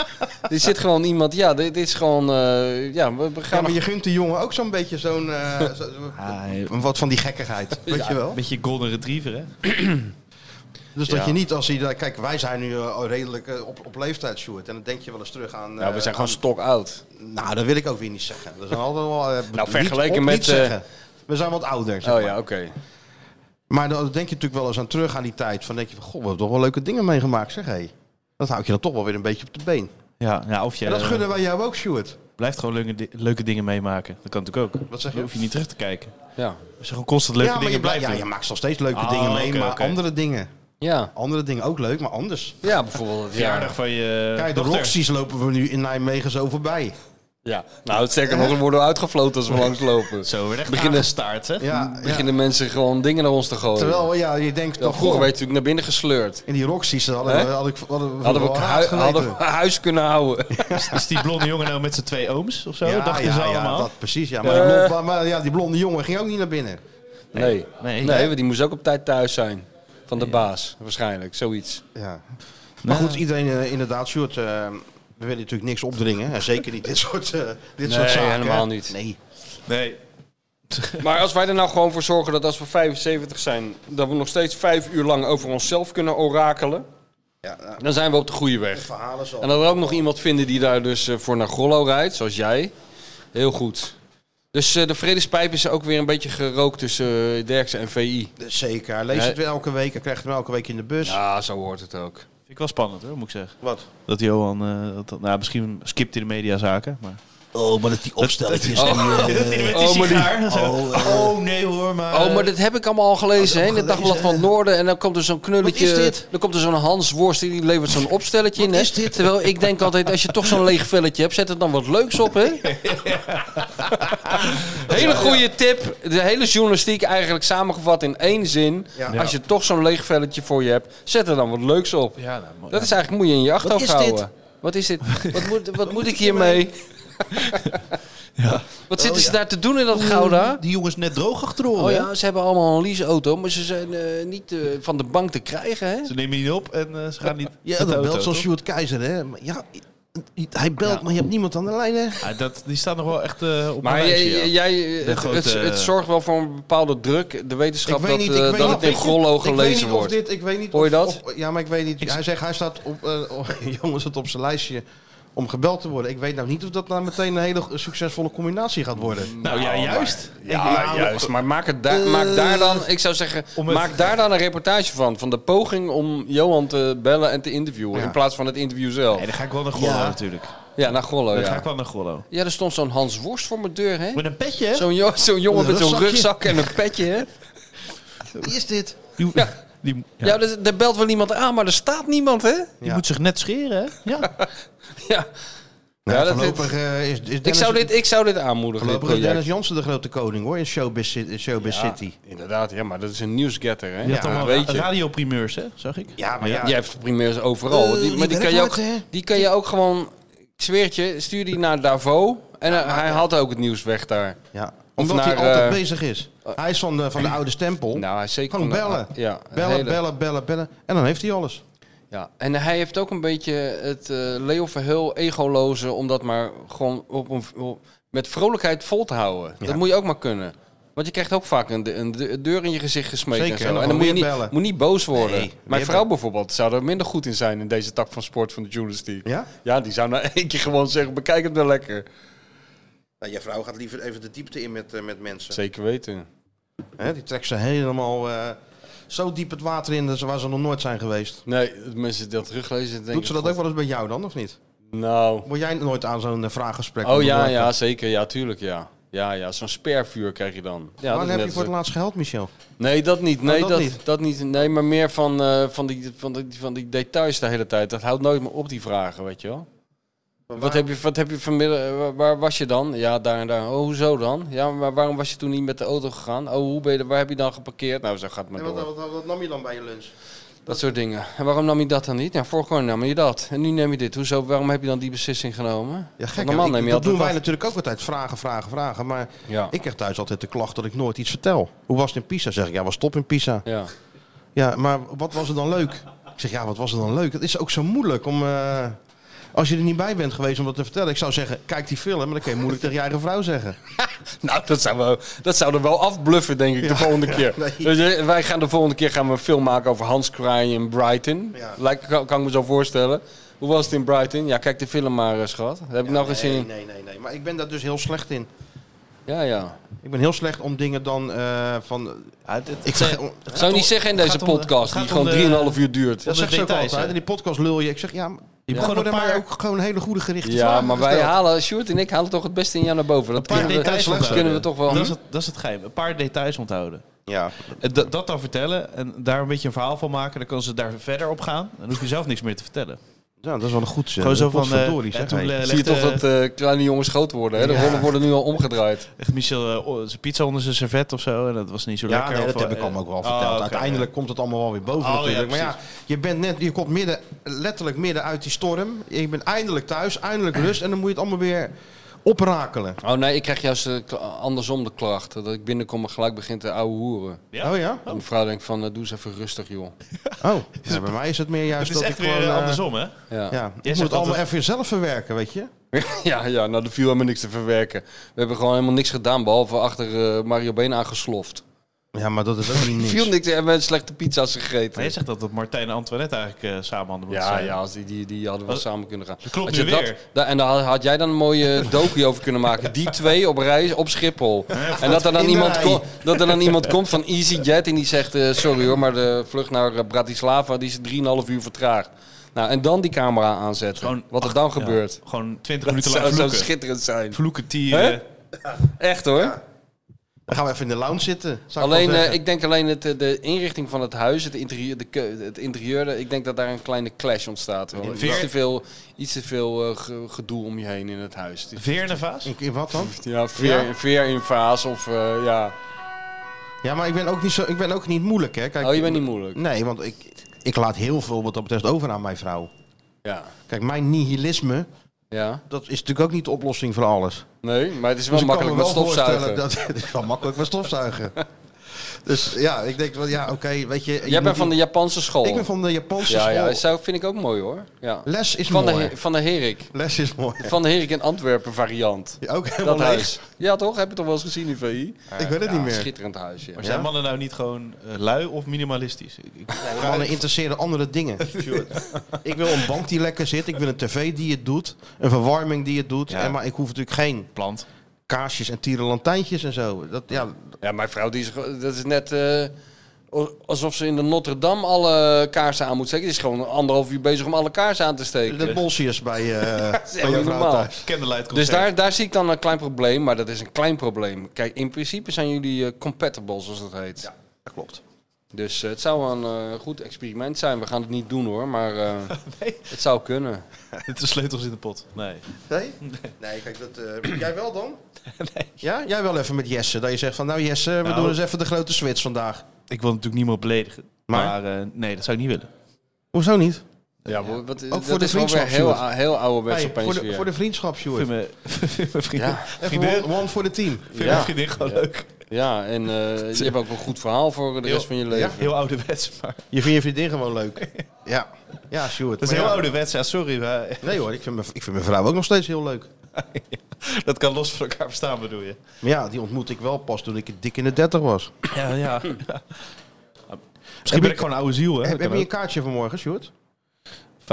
[SPEAKER 3] er zit gewoon iemand, ja, dit is gewoon, eh, ja, we, we
[SPEAKER 2] Ja,
[SPEAKER 3] gaan...
[SPEAKER 2] maar je gunt de jongen ook zo'n beetje zo'n...
[SPEAKER 3] (laughs)
[SPEAKER 2] eh, zo- wat van die gekkigheid, weet je wel?
[SPEAKER 5] Een beetje golden retriever, hè?
[SPEAKER 2] Dus
[SPEAKER 3] Ja.
[SPEAKER 2] dat je niet als hij... daar- Kijk, wij zijn nu eh, redelijk eh, op, op leeftijd, Sjoerd. En dan denk je wel eens terug aan...
[SPEAKER 3] nou, we
[SPEAKER 2] eh,
[SPEAKER 3] zijn gewoon
[SPEAKER 2] aan-
[SPEAKER 3] stok oud.
[SPEAKER 2] Nou, dat wil ik ook weer niet zeggen. Dat is altijd wel... eh,
[SPEAKER 3] Nou,
[SPEAKER 2] niet
[SPEAKER 3] vergeleken met,
[SPEAKER 2] niet
[SPEAKER 3] eh,
[SPEAKER 2] zeggen. We zijn wat ouder, zeg
[SPEAKER 3] Oh
[SPEAKER 2] maar.
[SPEAKER 3] ja, oké.
[SPEAKER 2] Maar dan denk je natuurlijk wel eens aan terug aan die tijd. Van denk je van, goh, we hebben toch wel leuke dingen meegemaakt, zeg hé. Dat houdt je dan toch wel weer een beetje op de been.
[SPEAKER 5] Ja, ja of je
[SPEAKER 2] En dat
[SPEAKER 5] eh,
[SPEAKER 2] gunnen wij jou ook, Stuart.
[SPEAKER 5] blijft gewoon leuke, di- leuke dingen meemaken. Dat kan natuurlijk ook.
[SPEAKER 2] Wat zeg je?
[SPEAKER 5] Dan hoef je niet terug te kijken.
[SPEAKER 3] Ja.
[SPEAKER 5] Als je gewoon constant leuke
[SPEAKER 2] ja, maar
[SPEAKER 5] dingen
[SPEAKER 2] je, blijft,
[SPEAKER 5] blijft
[SPEAKER 2] ja, je
[SPEAKER 5] doen.
[SPEAKER 2] maakt nog steeds leuke
[SPEAKER 5] Ah,
[SPEAKER 2] dingen mee,
[SPEAKER 5] oké,
[SPEAKER 2] maar
[SPEAKER 5] oké.
[SPEAKER 2] andere dingen.
[SPEAKER 3] ja,
[SPEAKER 2] Andere dingen ook leuk, maar anders.
[SPEAKER 3] ja, bijvoorbeeld. Ja.
[SPEAKER 5] Verjaardag van je
[SPEAKER 2] Kijk, de
[SPEAKER 5] dochter.
[SPEAKER 2] Roxy's lopen we nu in Nijmegen zo voorbij.
[SPEAKER 3] ja, nou, sterker nog, dan worden we uitgefloten als we langslopen.
[SPEAKER 5] Zo, weer echt
[SPEAKER 3] Beginnen-
[SPEAKER 5] beginnen
[SPEAKER 3] (laughs)
[SPEAKER 5] staart, hè?
[SPEAKER 2] Ja, ja.
[SPEAKER 3] Beginnen mensen gewoon dingen naar ons te gooien.
[SPEAKER 2] Terwijl, ja, je denkt
[SPEAKER 3] Ja,
[SPEAKER 2] toch,
[SPEAKER 3] vroeger
[SPEAKER 2] goh,
[SPEAKER 3] werd je natuurlijk naar binnen gesleurd.
[SPEAKER 2] in die Roxy's hadden
[SPEAKER 3] Hè?
[SPEAKER 2] we, had ik, hadden we,
[SPEAKER 3] Hadden we,
[SPEAKER 2] wel
[SPEAKER 3] hui-
[SPEAKER 2] raad geweten.
[SPEAKER 3] hadden we (laughs) huis kunnen (laughs) houden.
[SPEAKER 5] Is, is die blonde jongen nou met zijn twee ooms of zo?
[SPEAKER 2] ja,
[SPEAKER 5] dachten
[SPEAKER 2] ja,
[SPEAKER 5] ze
[SPEAKER 2] ja,
[SPEAKER 5] allemaal. Eh.
[SPEAKER 2] dat, precies, ja. Maar, die blonde, maar, maar ja, die blonde jongen ging ook niet naar binnen.
[SPEAKER 3] Nee.
[SPEAKER 5] Nee.
[SPEAKER 3] Nee, want die moest ook op tijd thuis zijn. Van de baas, waarschijnlijk. Zoiets.
[SPEAKER 2] Ja. Maar goed, iedereen eh, inderdaad, Sjoerd, eh, we willen natuurlijk niks opdringen. En zeker niet dit soort, eh, dit soort zaken. hè.
[SPEAKER 3] helemaal niet.
[SPEAKER 2] Nee.
[SPEAKER 5] Nee.
[SPEAKER 3] Maar als wij er nou gewoon voor zorgen dat als we 75 zijn... dat we nog steeds vijf uur lang over onszelf kunnen orakelen...
[SPEAKER 2] Ja, nou,
[SPEAKER 3] dan zijn we op de goede weg.
[SPEAKER 2] verhalen zo.
[SPEAKER 3] En dat we ook nog iemand vinden die daar dus eh, voor naar Grollo rijdt, zoals jij. Heel goed. Dus eh, de vredespijp is ook weer een beetje gerookt tussen eh, Derksen en VI.
[SPEAKER 2] dus Zeker, hij leest
[SPEAKER 3] Nee.
[SPEAKER 2] het weer elke week. Hij krijgt hem elke week in de bus.
[SPEAKER 3] Ja, zo hoort het ook.
[SPEAKER 5] Vind ik wel spannend, hoor, moet ik zeggen.
[SPEAKER 2] Wat?
[SPEAKER 5] Dat Johan, eh, dat, dat- nou, misschien skipt hij de mediazaken, maar...
[SPEAKER 2] Oh, maar dat die opsteltjes.
[SPEAKER 3] Oh,
[SPEAKER 5] oh,
[SPEAKER 3] maar die-
[SPEAKER 5] nee hoor, maar...
[SPEAKER 3] Oh, maar dat heb ik allemaal al gelezen hè, in het Dagblad van het Noorden. En dan komt er zo'n knulletje.
[SPEAKER 2] Wat is dit?
[SPEAKER 3] Dan komt er zo'n Hans Worst die die levert zo'n opstelletje in. Hè? Terwijl ik denk altijd, als je toch zo'n leeg velletje hebt, zet er dan wat leuks op. Hè? Hele goede tip. De hele journalistiek eigenlijk samengevat in één zin.
[SPEAKER 2] Ja.
[SPEAKER 3] Als je toch zo'n leeg velletje voor je hebt, zet er dan wat leuks op. Dat is eigenlijk, moet je in je achterhoofd
[SPEAKER 2] is dit?
[SPEAKER 3] houden. Wat is dit? Wat moet, wat moet ik hiermee? (laughs) Wat zitten ze daar te doen in dat Gouda?
[SPEAKER 5] Die jongens net droog achterover.
[SPEAKER 3] Oh
[SPEAKER 5] hè?
[SPEAKER 3] ja, ze hebben allemaal een leaseauto, maar ze zijn eh, niet eh, van de bank te krijgen, hè?
[SPEAKER 5] Ze nemen je niet op en eh, ze gaan niet... met
[SPEAKER 2] Ja,
[SPEAKER 5] de
[SPEAKER 2] dat
[SPEAKER 5] auto,
[SPEAKER 2] belt zoals
[SPEAKER 5] toch?
[SPEAKER 2] Sjoerd Keizer, hè. Maar Ja, hij belt, maar je hebt niemand aan de lijn, hè.
[SPEAKER 5] Ah, dat, die staan nog wel echt eh, op
[SPEAKER 3] Maar
[SPEAKER 5] mijn
[SPEAKER 3] jij,
[SPEAKER 5] lijstje, ja.
[SPEAKER 3] jij- het,
[SPEAKER 5] grote-
[SPEAKER 3] het, het zorgt wel voor een bepaalde druk, de wetenschap, dat, eh,
[SPEAKER 2] ik weet
[SPEAKER 3] dat
[SPEAKER 2] niet.
[SPEAKER 3] het in Grollo
[SPEAKER 2] Ik weet niet
[SPEAKER 3] gelezen
[SPEAKER 2] of
[SPEAKER 3] wordt.
[SPEAKER 2] dit- ik weet niet
[SPEAKER 3] Hoor je
[SPEAKER 2] of-
[SPEAKER 3] dat?
[SPEAKER 2] of- ja, maar ik weet niet. Hij zegt, hij staat op, eh, (laughs) op- jongens, het op zijn lijstje om gebeld te worden. Ik weet nou niet of dat nou meteen een hele succesvolle combinatie gaat worden.
[SPEAKER 5] Nou ja, juist.
[SPEAKER 3] Ja, Ah, juist. Maar Eh, maak, het daar- maak daar dan, ik zou zeggen,
[SPEAKER 5] Om het-
[SPEAKER 3] maak daar dan een reportage van. Van de poging om Johan te bellen en te interviewen.
[SPEAKER 2] Ja.
[SPEAKER 3] In plaats van het interview zelf.
[SPEAKER 5] Nee, dan ga ik wel naar Gollo
[SPEAKER 2] Ja.
[SPEAKER 5] natuurlijk.
[SPEAKER 3] Ja, naar Grollo,
[SPEAKER 5] Dan ga ik
[SPEAKER 3] ja.
[SPEAKER 5] wel naar Gollo.
[SPEAKER 3] Ja, er stond zo'n Hans Worst voor mijn deur, hè?
[SPEAKER 5] Met een petje, hè?
[SPEAKER 3] Zo'n jo- zo'n jongen
[SPEAKER 2] Met
[SPEAKER 3] met
[SPEAKER 2] een
[SPEAKER 3] zo'n rugzak
[SPEAKER 2] rugzakje.
[SPEAKER 3] en een petje,
[SPEAKER 5] (laughs)
[SPEAKER 3] hè?
[SPEAKER 2] Wie is dit?
[SPEAKER 5] Die,
[SPEAKER 3] Ja.
[SPEAKER 5] die, ja.
[SPEAKER 3] Ja, er, er belt wel iemand aan, maar er staat niemand, hè?
[SPEAKER 5] die
[SPEAKER 2] Ja.
[SPEAKER 5] moet zich net scheren, hè? Ja.
[SPEAKER 3] (laughs) Ja.
[SPEAKER 2] Nou,
[SPEAKER 3] Ja, dat
[SPEAKER 2] voorlopig eh, is, is Dennis,
[SPEAKER 3] Ik zou, dit, ik zou dit aanmoedigen.
[SPEAKER 2] voorlopig
[SPEAKER 3] dit
[SPEAKER 2] is
[SPEAKER 3] project.
[SPEAKER 2] Dennis Jansen de grote koning hoor in Showbiz, Ci- in Showbiz City.
[SPEAKER 3] Inderdaad, ja, maar dat is een nieuwsgetter, hè?
[SPEAKER 5] Je had allemaal
[SPEAKER 3] weet je.
[SPEAKER 5] radioprimeurs, hè? Zag ik.
[SPEAKER 2] Ja, maar ja.
[SPEAKER 3] Jij hebt primeurs overal.
[SPEAKER 2] Eh,
[SPEAKER 3] die, maar die
[SPEAKER 2] die
[SPEAKER 3] kan, je ook,
[SPEAKER 2] werkwoord, hè?
[SPEAKER 3] die kan je ook gewoon... Ik zweer het je, stuur die naar Davos. En hij- hij haalt ook het nieuws weg daar.
[SPEAKER 2] ja.
[SPEAKER 3] Of
[SPEAKER 2] Omdat hij
[SPEAKER 3] naar,
[SPEAKER 2] altijd
[SPEAKER 3] eh,
[SPEAKER 2] bezig is. Hij is van de, van de oude stempel.
[SPEAKER 3] Nou, hij is zeker...
[SPEAKER 2] Gewoon
[SPEAKER 3] van de-
[SPEAKER 2] bellen.
[SPEAKER 3] Ja, een
[SPEAKER 2] bellen,
[SPEAKER 3] hele-
[SPEAKER 2] bellen, bellen, bellen. En dan heeft hij alles.
[SPEAKER 3] Ja. En hij heeft ook een beetje het eh Leo Verheul egoloze... om dat maar gewoon op een, op- met vrolijkheid vol te houden.
[SPEAKER 2] Ja.
[SPEAKER 3] Dat moet je ook maar kunnen. Want je krijgt ook vaak een, de- een de- deur in je gezicht gesmeten.
[SPEAKER 2] Zeker,
[SPEAKER 3] en,
[SPEAKER 2] en
[SPEAKER 3] zo.
[SPEAKER 2] dan
[SPEAKER 3] en dan moet je
[SPEAKER 2] weer
[SPEAKER 3] niet,
[SPEAKER 2] bellen.
[SPEAKER 3] moet niet boos worden.
[SPEAKER 2] Nee,
[SPEAKER 3] Mijn
[SPEAKER 2] weer
[SPEAKER 3] vrouw bijvoorbeeld zou er minder goed in zijn... in deze tak van sport van de journalistiek.
[SPEAKER 2] Ja?
[SPEAKER 3] Ja, die zou nou (laughs) één keer gewoon zeggen, bekijk het wel lekker.
[SPEAKER 2] Nou, je vrouw gaat liever even de diepte in met, eh, met mensen.
[SPEAKER 3] Zeker weten.
[SPEAKER 2] Hè, die trekt ze helemaal eh, Zo diep het water in dat ze, waar ze nog nooit zijn geweest.
[SPEAKER 3] Nee, dat mensen dat teruglezen. denken,
[SPEAKER 2] Doet ze dat
[SPEAKER 3] "God,
[SPEAKER 2] ook wel eens met jou dan, of niet?
[SPEAKER 3] Nou.
[SPEAKER 2] Word jij nooit aan zo'n eh, vraaggesprek?
[SPEAKER 3] Oh ja,
[SPEAKER 2] onderworpen?
[SPEAKER 3] ja, zeker. Ja, tuurlijk, ja. Ja, ja, zo'n spervuur krijg je dan. Ja, dat
[SPEAKER 2] Wanneer
[SPEAKER 3] is
[SPEAKER 2] heb
[SPEAKER 3] net eh,
[SPEAKER 2] je voor
[SPEAKER 3] als-
[SPEAKER 2] het laatst geheld, Michel?
[SPEAKER 3] Nee, dat niet. Nee,
[SPEAKER 2] Oh, dat
[SPEAKER 3] dat,
[SPEAKER 2] niet.
[SPEAKER 3] niet. dat niet. Nee, maar meer van, eh, van, die, van, die, van die details de hele tijd. Dat houdt nooit meer op, die vragen, weet je wel. Wat heb je, wat heb je vanmiddag, eh, waar, waar was je dan? Ja, daar en daar. Oh, hoezo dan? Ja, maar waarom was je toen niet met de auto gegaan? Oh, hoe ben je, waar heb je dan geparkeerd? Nou, zo gaat het maar door.
[SPEAKER 2] nam je dan bij je lunch?
[SPEAKER 3] Dat soort dingen. En waarom nam je dat dan niet? Nou, vorige keer nam je dat. En nu neem je dit. Hoezo, waarom heb je dan die beslissing genomen?
[SPEAKER 2] Ja, gek.
[SPEAKER 3] Normaal
[SPEAKER 2] hè? Ik-
[SPEAKER 3] neem je
[SPEAKER 2] dat doen
[SPEAKER 3] altijd
[SPEAKER 2] wij
[SPEAKER 3] af.
[SPEAKER 2] natuurlijk ook altijd. Vragen, vragen, vragen. Maar
[SPEAKER 3] Ja.
[SPEAKER 2] ik krijg thuis altijd de klacht dat ik nooit iets vertel. Hoe was het in Pisa? Zeg ik, ja, was top in Pisa.
[SPEAKER 3] Ja.
[SPEAKER 2] Ja, maar wat was er dan leuk? Ik zeg, ja, wat was er dan leuk? Het is ook zo moeilijk om... eh, als je er niet bij bent geweest om dat te vertellen. Ik zou zeggen, kijk die film. Maar dan kun je
[SPEAKER 3] (laughs)
[SPEAKER 2] moeilijk tegen je eigen vrouw zeggen.
[SPEAKER 3] Nou, dat zou, wel, dat zou er wel afbluffen, denk ik, de volgende keer. Dus, eh, wij gaan de volgende keer gaan we een film maken over Hans Kraai in Brighton.
[SPEAKER 2] Ja.
[SPEAKER 3] Lijkt, kan, kan ik me zo voorstellen. Hoe was het in Brighton? Ja, kijk de film maar eens, schat. Dat heb ik nou nog gezien.
[SPEAKER 2] Nee, nee, nee, nee. Maar ik ben daar dus heel slecht in.
[SPEAKER 3] Ja, ja.
[SPEAKER 2] Ik ben heel slecht om dingen dan eh, van... Ik zeg,
[SPEAKER 3] Dat zou je niet zeggen in deze
[SPEAKER 5] gaat om de-
[SPEAKER 3] podcast,
[SPEAKER 5] het
[SPEAKER 3] die
[SPEAKER 5] gaat om de-
[SPEAKER 3] gewoon 3,5 uur duurt.
[SPEAKER 2] dat
[SPEAKER 5] om de
[SPEAKER 2] zegt ze ook
[SPEAKER 5] details,
[SPEAKER 2] altijd.
[SPEAKER 5] hè?
[SPEAKER 2] In die podcast lul je. Ik zeg, ja, maar
[SPEAKER 5] Je
[SPEAKER 2] er
[SPEAKER 5] begon een
[SPEAKER 2] worden mij
[SPEAKER 5] paar
[SPEAKER 2] ook gewoon hele goede gerichte
[SPEAKER 3] Ja,
[SPEAKER 2] vragen
[SPEAKER 3] maar wij
[SPEAKER 2] gesteld.
[SPEAKER 3] halen, Sjoerd en ik halen toch het beste in jou naar boven. Dat,
[SPEAKER 5] Een paar
[SPEAKER 3] kunnen, we,
[SPEAKER 5] details
[SPEAKER 3] dat
[SPEAKER 5] onthouden.
[SPEAKER 3] kunnen we toch wel.
[SPEAKER 5] Dat is, het, dat is het geheim. Een paar details onthouden.
[SPEAKER 2] Ja,
[SPEAKER 5] En Eh, dat- dat dan vertellen en daar een beetje een verhaal van maken. Dan kan ze daar verder op gaan. Dan hoef je zelf niks meer te vertellen.
[SPEAKER 2] Ja, dat is wel een goed zeg.
[SPEAKER 5] Gewoon zo van... eh,
[SPEAKER 2] Potverdorie,
[SPEAKER 5] en
[SPEAKER 2] zeg.
[SPEAKER 5] toen
[SPEAKER 2] hey.
[SPEAKER 5] le-
[SPEAKER 3] Zie je
[SPEAKER 5] legde,
[SPEAKER 3] toch dat eh, kleine jongens groot worden? Hè? De rollen worden nu al omgedraaid.
[SPEAKER 5] legt Michel eh, o- zijn pizza onder zijn servet of zo. En dat was niet zo
[SPEAKER 2] ja,
[SPEAKER 5] lekker.
[SPEAKER 2] nee, dat
[SPEAKER 5] Of,
[SPEAKER 2] heb ik
[SPEAKER 5] eh,
[SPEAKER 2] hem ook wel
[SPEAKER 5] oh,
[SPEAKER 2] verteld.
[SPEAKER 5] oké.
[SPEAKER 2] Uiteindelijk komt het allemaal wel weer boven
[SPEAKER 5] Oh, ja,
[SPEAKER 2] natuurlijk. maar ja,
[SPEAKER 5] precies.
[SPEAKER 2] je bent net, je komt midden, letterlijk midden uit die storm. Je bent eindelijk thuis, eindelijk rust en dan moet je het allemaal weer oprakelen.
[SPEAKER 3] Oh nee, ik krijg juist eh, kla- andersom de klacht. Dat ik binnenkom en gelijk begint te ouwe hoeren.
[SPEAKER 5] Ja.
[SPEAKER 2] Oh ja?
[SPEAKER 3] Dat mijn vrouw denkt van, eh, doe eens even rustig joh.
[SPEAKER 2] Oh, ja, bij mij is het meer juist
[SPEAKER 5] Het is
[SPEAKER 2] dat
[SPEAKER 5] echt
[SPEAKER 2] ik
[SPEAKER 5] weer
[SPEAKER 2] gewoon...
[SPEAKER 5] eh,
[SPEAKER 2] eh,
[SPEAKER 5] andersom, hè?
[SPEAKER 3] Ja.
[SPEAKER 2] Ja, ik moet
[SPEAKER 5] zegt
[SPEAKER 2] het allemaal
[SPEAKER 5] altijd-
[SPEAKER 2] even zelf verwerken, weet je?
[SPEAKER 3] (laughs) Ja, ja, nou, er viel helemaal niks te verwerken. We hebben gewoon helemaal niks gedaan, behalve achter eh, Mario Been aangesloft.
[SPEAKER 2] Ja, maar dat is ook (laughs)
[SPEAKER 3] Er
[SPEAKER 2] niet
[SPEAKER 3] viel
[SPEAKER 2] niks.
[SPEAKER 3] niks, en we hebben slechte pizza's gegeten.
[SPEAKER 5] Maar je zegt dat dat Martijn en Antoinette eigenlijk eh samen handen moeten
[SPEAKER 3] Ja,
[SPEAKER 5] zijn.
[SPEAKER 3] ja, als die, die, die hadden we
[SPEAKER 5] Wat-
[SPEAKER 3] samen kunnen gaan.
[SPEAKER 5] klopt
[SPEAKER 3] Had
[SPEAKER 5] nu
[SPEAKER 3] je dat-
[SPEAKER 5] weer.
[SPEAKER 3] da- en daar had- had jij dan een
[SPEAKER 5] (laughs)
[SPEAKER 3] mooie docu over kunnen maken. Die twee op reis op Schiphol. En dat er dan,
[SPEAKER 2] in de
[SPEAKER 3] iemand,
[SPEAKER 2] rij.
[SPEAKER 3] ko- dat er dan
[SPEAKER 5] (laughs)
[SPEAKER 3] iemand komt van EasyJet en die zegt... eh, sorry hoor, maar de vlucht naar eh, Bratislava die is 3,5 uur vertraagd. Nou, en dan die camera aanzetten.
[SPEAKER 5] Gewoon
[SPEAKER 3] Wat er dan
[SPEAKER 5] Ja.
[SPEAKER 3] gebeurt.
[SPEAKER 5] Gewoon 20
[SPEAKER 3] Dat
[SPEAKER 5] minuten lang
[SPEAKER 3] zou, zou
[SPEAKER 5] vloeken.
[SPEAKER 3] schitterend zijn.
[SPEAKER 5] Vloeken, eh, tieren.
[SPEAKER 3] Hè? Echt hoor.
[SPEAKER 2] Dan gaan we even in de lounge zitten. zou ik wel
[SPEAKER 3] Alleen, eh,
[SPEAKER 2] zeggen.
[SPEAKER 3] ik denk alleen het, eh, de inrichting van het huis, het interieur, de keu- het interieur eh, ik denk dat daar een kleine clash ontstaat. Wel. Iets te veel, iets te veel eh, ge- gedoe om je heen in het huis. Het is-
[SPEAKER 5] Veer in een vaas?
[SPEAKER 2] Ik- ik- Wat dan?
[SPEAKER 3] Ja, veer,
[SPEAKER 2] Ja?
[SPEAKER 3] veer in vaas of eh, ja.
[SPEAKER 2] Ja, maar ik ben ook niet, zo, ik ben ook niet moeilijk, hè? Kijk,
[SPEAKER 3] Oh, je bent niet moeilijk.
[SPEAKER 2] Nee, want ik, ik laat heel veel wat dat betreft over aan mijn vrouw.
[SPEAKER 3] Ja.
[SPEAKER 2] Kijk, mijn nihilisme,
[SPEAKER 3] ja.
[SPEAKER 2] dat is natuurlijk ook niet de oplossing voor alles.
[SPEAKER 3] Nee, maar het is wel
[SPEAKER 2] Dus ik kan me
[SPEAKER 3] makkelijk met
[SPEAKER 2] wel
[SPEAKER 3] stofzuigen.
[SPEAKER 2] voorstellen Dat, (laughs) het is wel makkelijk met stofzuigen. (laughs) dus ja, ik denk wel, ja, oké, weet je... je
[SPEAKER 3] Jij
[SPEAKER 2] moet
[SPEAKER 3] bent van de
[SPEAKER 2] niet-
[SPEAKER 3] Japanse school.
[SPEAKER 2] Ik ben van de Japanse
[SPEAKER 3] ja,
[SPEAKER 2] school.
[SPEAKER 3] ja, zou, vind ik ook mooi hoor. Ja.
[SPEAKER 2] Les is
[SPEAKER 3] Van de,
[SPEAKER 2] mooi.
[SPEAKER 3] He- van de Herik.
[SPEAKER 2] Les is mooi. (laughs)
[SPEAKER 3] Van de Herik in Antwerpen variant.
[SPEAKER 2] Ja, ook helemaal leeg.
[SPEAKER 3] Dat huis. Ja toch? Heb je toch wel eens gezien in VI?
[SPEAKER 2] Ik weet het
[SPEAKER 3] Ja,
[SPEAKER 2] niet meer.
[SPEAKER 3] schitterend huis. Ja.
[SPEAKER 5] Maar zijn mannen nou niet gewoon eh, lui of minimalistisch? Ik- ik-
[SPEAKER 2] Mannen interesseren andere dingen.
[SPEAKER 5] (laughs)
[SPEAKER 2] ik wil een bank die lekker zit. Ik wil een tv die het doet. Een verwarming die het doet.
[SPEAKER 5] Ja.
[SPEAKER 2] En, maar ik hoef natuurlijk geen
[SPEAKER 5] plant.
[SPEAKER 2] kaarsjes en tierenlantijntjes en zo. Dat, ja,
[SPEAKER 3] Ja, mijn vrouw die is, gewoon- dat is net eh, o- alsof ze in de Notre Dame alle kaarsen aan moet steken. Die is gewoon anderhalf uur bezig om alle kaarsen aan te steken.
[SPEAKER 2] de bolsiers bij,
[SPEAKER 5] (laughs)
[SPEAKER 2] eh bij
[SPEAKER 3] niet
[SPEAKER 2] je vrouw
[SPEAKER 3] normaal.
[SPEAKER 2] thuis.
[SPEAKER 5] Candlelight
[SPEAKER 3] dus
[SPEAKER 5] concert.
[SPEAKER 3] daar, daar zie ik dan een klein probleem, maar dat is een klein probleem. Kijk, in principe zijn jullie eh, compatible, zoals dat heet.
[SPEAKER 2] Dat klopt.
[SPEAKER 3] Dus eh, het zou een eh, goed experiment zijn. We gaan het niet doen hoor, maar (laughs) eh, het zou
[SPEAKER 2] (laughs)
[SPEAKER 3] kunnen.
[SPEAKER 5] Het is sleutels in de pot. Nee.
[SPEAKER 2] Nee? Nee, kijk, dat, eh, jij wel
[SPEAKER 5] (laughs)
[SPEAKER 2] dan? Ja, jij wel even met Jesse. Dat je zegt van, nou Jesse, we
[SPEAKER 5] Nou.
[SPEAKER 2] doen eens even de grote switch vandaag.
[SPEAKER 5] Ik wil natuurlijk niemand beledigen.
[SPEAKER 2] Maar?
[SPEAKER 5] Maar, eh, nee, dat zou ik niet willen.
[SPEAKER 2] Hoezo niet?
[SPEAKER 3] Ja, wat, wat-
[SPEAKER 2] voor
[SPEAKER 3] dat
[SPEAKER 2] de
[SPEAKER 3] is wel weer
[SPEAKER 2] vriendschap,
[SPEAKER 3] heel,
[SPEAKER 2] Sjoerd.
[SPEAKER 3] ou- heel oude
[SPEAKER 2] Hey,
[SPEAKER 3] wedstrijd
[SPEAKER 2] voor,
[SPEAKER 3] opeens
[SPEAKER 2] de,
[SPEAKER 3] weer.
[SPEAKER 2] voor de vriendschap,
[SPEAKER 5] Ik
[SPEAKER 2] Sjoerd.
[SPEAKER 5] vind mijn, vind mijn (laughs) vriendin,
[SPEAKER 3] Ja.
[SPEAKER 2] Even
[SPEAKER 5] vriendin,
[SPEAKER 2] one- one voor de team.
[SPEAKER 5] vind
[SPEAKER 3] Ja.
[SPEAKER 5] mijn vriendin gewoon leuk.
[SPEAKER 3] Ja, en eh, je hebt ook een goed verhaal voor de rest van je leven.
[SPEAKER 5] Heel ouderwets, maar...
[SPEAKER 2] Je vindt je vriendin gewoon leuk.
[SPEAKER 5] (laughs)
[SPEAKER 2] Ja, ja Sjoerd.
[SPEAKER 5] Dat is
[SPEAKER 2] Maar
[SPEAKER 5] heel
[SPEAKER 2] ja.
[SPEAKER 5] ouderwets, ja, sorry. Maar, (laughs)
[SPEAKER 2] Nee hoor, ik vind, mijn, ik vind mijn vrouw ook nog steeds heel leuk.
[SPEAKER 5] dat kan los van elkaar bestaan, bedoel je?
[SPEAKER 2] Maar ja, die ontmoette ik wel pas toen ik dik in de 30 was.
[SPEAKER 5] Ja, ja. Misschien ben ik gewoon een oude ziel, hè?
[SPEAKER 2] heb
[SPEAKER 5] Dat
[SPEAKER 2] heb je
[SPEAKER 5] kan
[SPEAKER 2] een
[SPEAKER 5] ook.
[SPEAKER 2] kaartje vanmorgen, Sjoerd?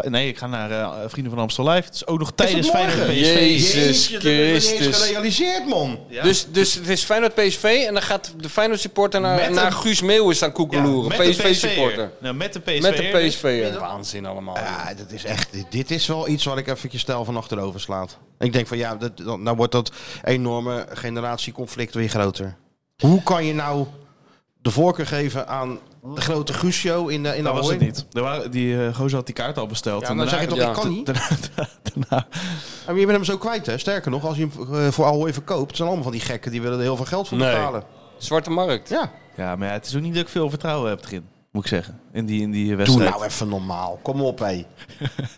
[SPEAKER 5] Nee, ik ga naar eh, Vrienden van Amstel Live. Het is ook nog
[SPEAKER 2] het
[SPEAKER 5] tijdens
[SPEAKER 2] morgen?
[SPEAKER 5] Feyenoord PSV.
[SPEAKER 3] Jezus
[SPEAKER 2] Jezus Christus.
[SPEAKER 3] Christus.
[SPEAKER 2] gerealiseerd, man.
[SPEAKER 3] Dus, dus het is Feyenoord PSV en dan gaat de Feyenoord supporter naar,
[SPEAKER 5] Met
[SPEAKER 3] naar
[SPEAKER 5] een-
[SPEAKER 3] Guus Meeuwen staan
[SPEAKER 5] Ja,
[SPEAKER 3] koekeloeren.
[SPEAKER 5] met de
[SPEAKER 3] PSV
[SPEAKER 5] PSV'er.
[SPEAKER 3] supporter.
[SPEAKER 5] Nou, met de PSV.
[SPEAKER 3] Met de PSV. Waanzin allemaal.
[SPEAKER 2] Ja, dat is echt, dit- dit is wel iets waar ik eventjes stijl van achterover slaat. Ik denk van ja, dat, dan- nou wordt dat enorme generatieconflict weer groter. Hoe kan je nou de voorkeur geven aan de grote Guusio in de in
[SPEAKER 5] Dat Nou, was
[SPEAKER 2] Ahoy?
[SPEAKER 5] het niet. Er waren, die eh, gozer had die kaart al besteld.
[SPEAKER 2] Ja,
[SPEAKER 5] En
[SPEAKER 2] dan
[SPEAKER 5] daarna-
[SPEAKER 2] zeg je toch,
[SPEAKER 3] ja.
[SPEAKER 2] ik kan niet.
[SPEAKER 5] (laughs) daarna- daarna-
[SPEAKER 2] Maar je bent hem zo kwijt, hè? Sterker nog, als je hem eh, voor Ahoy verkoopt, zijn allemaal van die gekken die willen er heel veel geld voor
[SPEAKER 3] Nee.
[SPEAKER 2] betalen.
[SPEAKER 3] Zwarte markt.
[SPEAKER 2] Ja,
[SPEAKER 5] Ja, maar ja, het is ook niet dat ik veel vertrouwen heb erin. Moet ik zeggen. In die, in die
[SPEAKER 2] doe
[SPEAKER 5] wedstrijd.
[SPEAKER 2] nou even normaal. Kom op, (laughs) hé.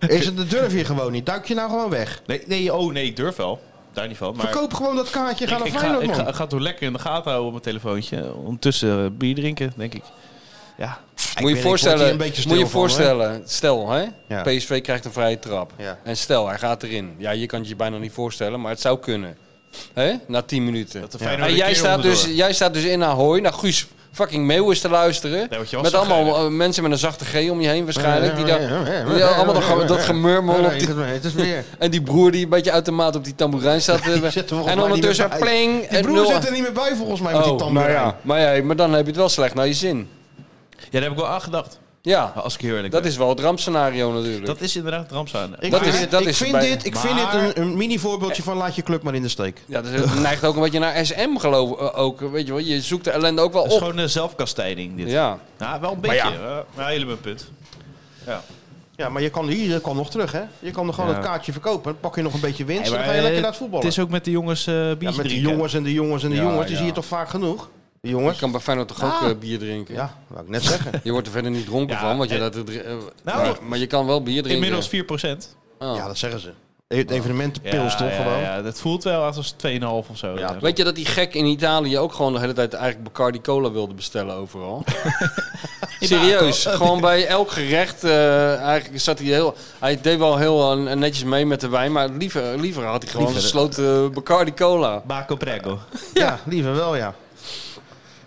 [SPEAKER 2] Is het, dat durf je gewoon niet. Duik je nou gewoon weg.
[SPEAKER 5] Nee, nee, oh nee, ik durf wel. Daar niet van. Maar
[SPEAKER 2] Verkoop gewoon dat kaartje, ga
[SPEAKER 5] ik,
[SPEAKER 2] naar
[SPEAKER 5] ik, ga,
[SPEAKER 2] Feyenoord,
[SPEAKER 5] ik,
[SPEAKER 2] man.
[SPEAKER 5] ga, ik ga het door lekker in de gaten houden op mijn telefoontje. Ondertussen eh, bier drinken, denk ik. Ja,
[SPEAKER 2] Ik
[SPEAKER 3] Moet
[SPEAKER 2] weet-
[SPEAKER 3] je
[SPEAKER 2] ik word hier
[SPEAKER 3] voorstellen,
[SPEAKER 2] een beetje
[SPEAKER 3] moet je
[SPEAKER 2] stil van, hoor.
[SPEAKER 3] voorstellen stel hè,
[SPEAKER 2] Ja.
[SPEAKER 3] PSV krijgt een vrije trap.
[SPEAKER 2] Ja.
[SPEAKER 3] En stel, hij gaat erin. Ja, je kan het je bijna niet voorstellen, maar het zou kunnen. Hè? Na 10 minuten.
[SPEAKER 5] Dat de
[SPEAKER 3] Ja.
[SPEAKER 5] Feyenoord
[SPEAKER 3] En
[SPEAKER 5] een
[SPEAKER 3] jij
[SPEAKER 5] keer
[SPEAKER 3] staat, dus,
[SPEAKER 5] onderdoor.
[SPEAKER 3] jij staat dus in Ahoy naar Guus fucking Meeuwis te luisteren.
[SPEAKER 5] Nee, want je was
[SPEAKER 3] met
[SPEAKER 5] zo
[SPEAKER 3] allemaal
[SPEAKER 5] geinig.
[SPEAKER 3] eh, mensen met een zachte G om je heen waarschijnlijk. Die daar,
[SPEAKER 2] Ja,
[SPEAKER 3] die allemaal dat, ge- dat gemurmel op
[SPEAKER 2] Nee,
[SPEAKER 3] die-
[SPEAKER 2] het is- Het is weer.
[SPEAKER 3] En die broer die een beetje uit de maat op die tamboerijn
[SPEAKER 2] (laughs)
[SPEAKER 3] staat. te-
[SPEAKER 2] zit er volgens mij
[SPEAKER 3] en
[SPEAKER 2] niet
[SPEAKER 3] ondertussen
[SPEAKER 2] meer bij.
[SPEAKER 3] pling.
[SPEAKER 2] Die
[SPEAKER 3] en
[SPEAKER 2] broer
[SPEAKER 3] nul-
[SPEAKER 2] zit er niet meer bij volgens mij met die
[SPEAKER 3] Oh,
[SPEAKER 2] tanden.
[SPEAKER 3] nou ja. Maar, ja, maar dan heb je het wel slecht naar je zin.
[SPEAKER 5] ja daar heb ik wel aan gedacht.
[SPEAKER 3] Ja,
[SPEAKER 5] Als ik heel eerlijk
[SPEAKER 3] dat
[SPEAKER 5] ben.
[SPEAKER 3] is wel het rampscenario natuurlijk.
[SPEAKER 5] dat is inderdaad het rampzaam.
[SPEAKER 2] Ik,
[SPEAKER 3] Dat
[SPEAKER 2] vind,
[SPEAKER 3] is-
[SPEAKER 2] dit-
[SPEAKER 3] dat
[SPEAKER 2] ik
[SPEAKER 3] is
[SPEAKER 2] vind
[SPEAKER 3] bij-
[SPEAKER 2] dit, ik vind dit
[SPEAKER 5] Maar-
[SPEAKER 2] een, een mini voorbeeldje van laat je club maar in de steek.
[SPEAKER 3] Ja, dus het (laughs) neigt ook een beetje naar SM geloof eh, ook. Weet je wel, je zoekt de ellende ook wel
[SPEAKER 5] Dat is
[SPEAKER 3] op.
[SPEAKER 5] gewoon een zelfkastijding dit.
[SPEAKER 3] Ja.
[SPEAKER 5] Nou, wel een
[SPEAKER 3] Maar
[SPEAKER 5] beetje. eh, Maar jullie hebben een punt. Ja.
[SPEAKER 2] Ja, maar je kan hier je kan nog terug, hè? Je kan nog gewoon
[SPEAKER 5] Ja.
[SPEAKER 2] het kaartje verkopen, dan pak je nog een beetje winst
[SPEAKER 5] Hey,
[SPEAKER 2] en dan
[SPEAKER 5] maar,
[SPEAKER 2] ga je lekker
[SPEAKER 5] eh,
[SPEAKER 2] naar het voetballen.
[SPEAKER 5] Het is ook met de jongens eh biertje
[SPEAKER 2] ja, met die
[SPEAKER 5] drinken.
[SPEAKER 2] jongens en de jongens en de
[SPEAKER 3] Ja,
[SPEAKER 2] jongens, die
[SPEAKER 3] ja.
[SPEAKER 2] zie je toch vaak genoeg? De
[SPEAKER 3] Je
[SPEAKER 2] jongens?
[SPEAKER 3] kan bij Feyenoord toch ook
[SPEAKER 2] Ah.
[SPEAKER 3] eh, bier drinken?
[SPEAKER 2] Ja, wou ik net zeggen.
[SPEAKER 3] Je wordt er verder niet dronken
[SPEAKER 5] Ja,
[SPEAKER 3] van, want je
[SPEAKER 5] eh,
[SPEAKER 3] dat er dri- eh,
[SPEAKER 5] nou,
[SPEAKER 3] maar, maar je kan wel bier drinken.
[SPEAKER 5] Inmiddels 4 procent.
[SPEAKER 3] Oh.
[SPEAKER 2] Ja, dat zeggen ze. E- Het evenementenpils toch
[SPEAKER 5] ja,
[SPEAKER 2] gewoon?
[SPEAKER 5] Ja, dat voelt wel als 2,5 of zo.
[SPEAKER 2] Ja.
[SPEAKER 3] Weet je dat die gek in Italië ook gewoon de hele tijd eigenlijk Bacardi Cola wilde bestellen
[SPEAKER 2] (laughs)
[SPEAKER 3] overal? (laughs) Serieus, gewoon bij elk gerecht eh, eigenlijk zat hij heel... Hij deed wel heel eh, netjes mee met de wijn, maar liever, liever had hij gewoon
[SPEAKER 2] Liever-
[SPEAKER 3] gesloten Bacardi Cola.
[SPEAKER 5] Baco Prego.
[SPEAKER 2] Ja, liever wel, ja.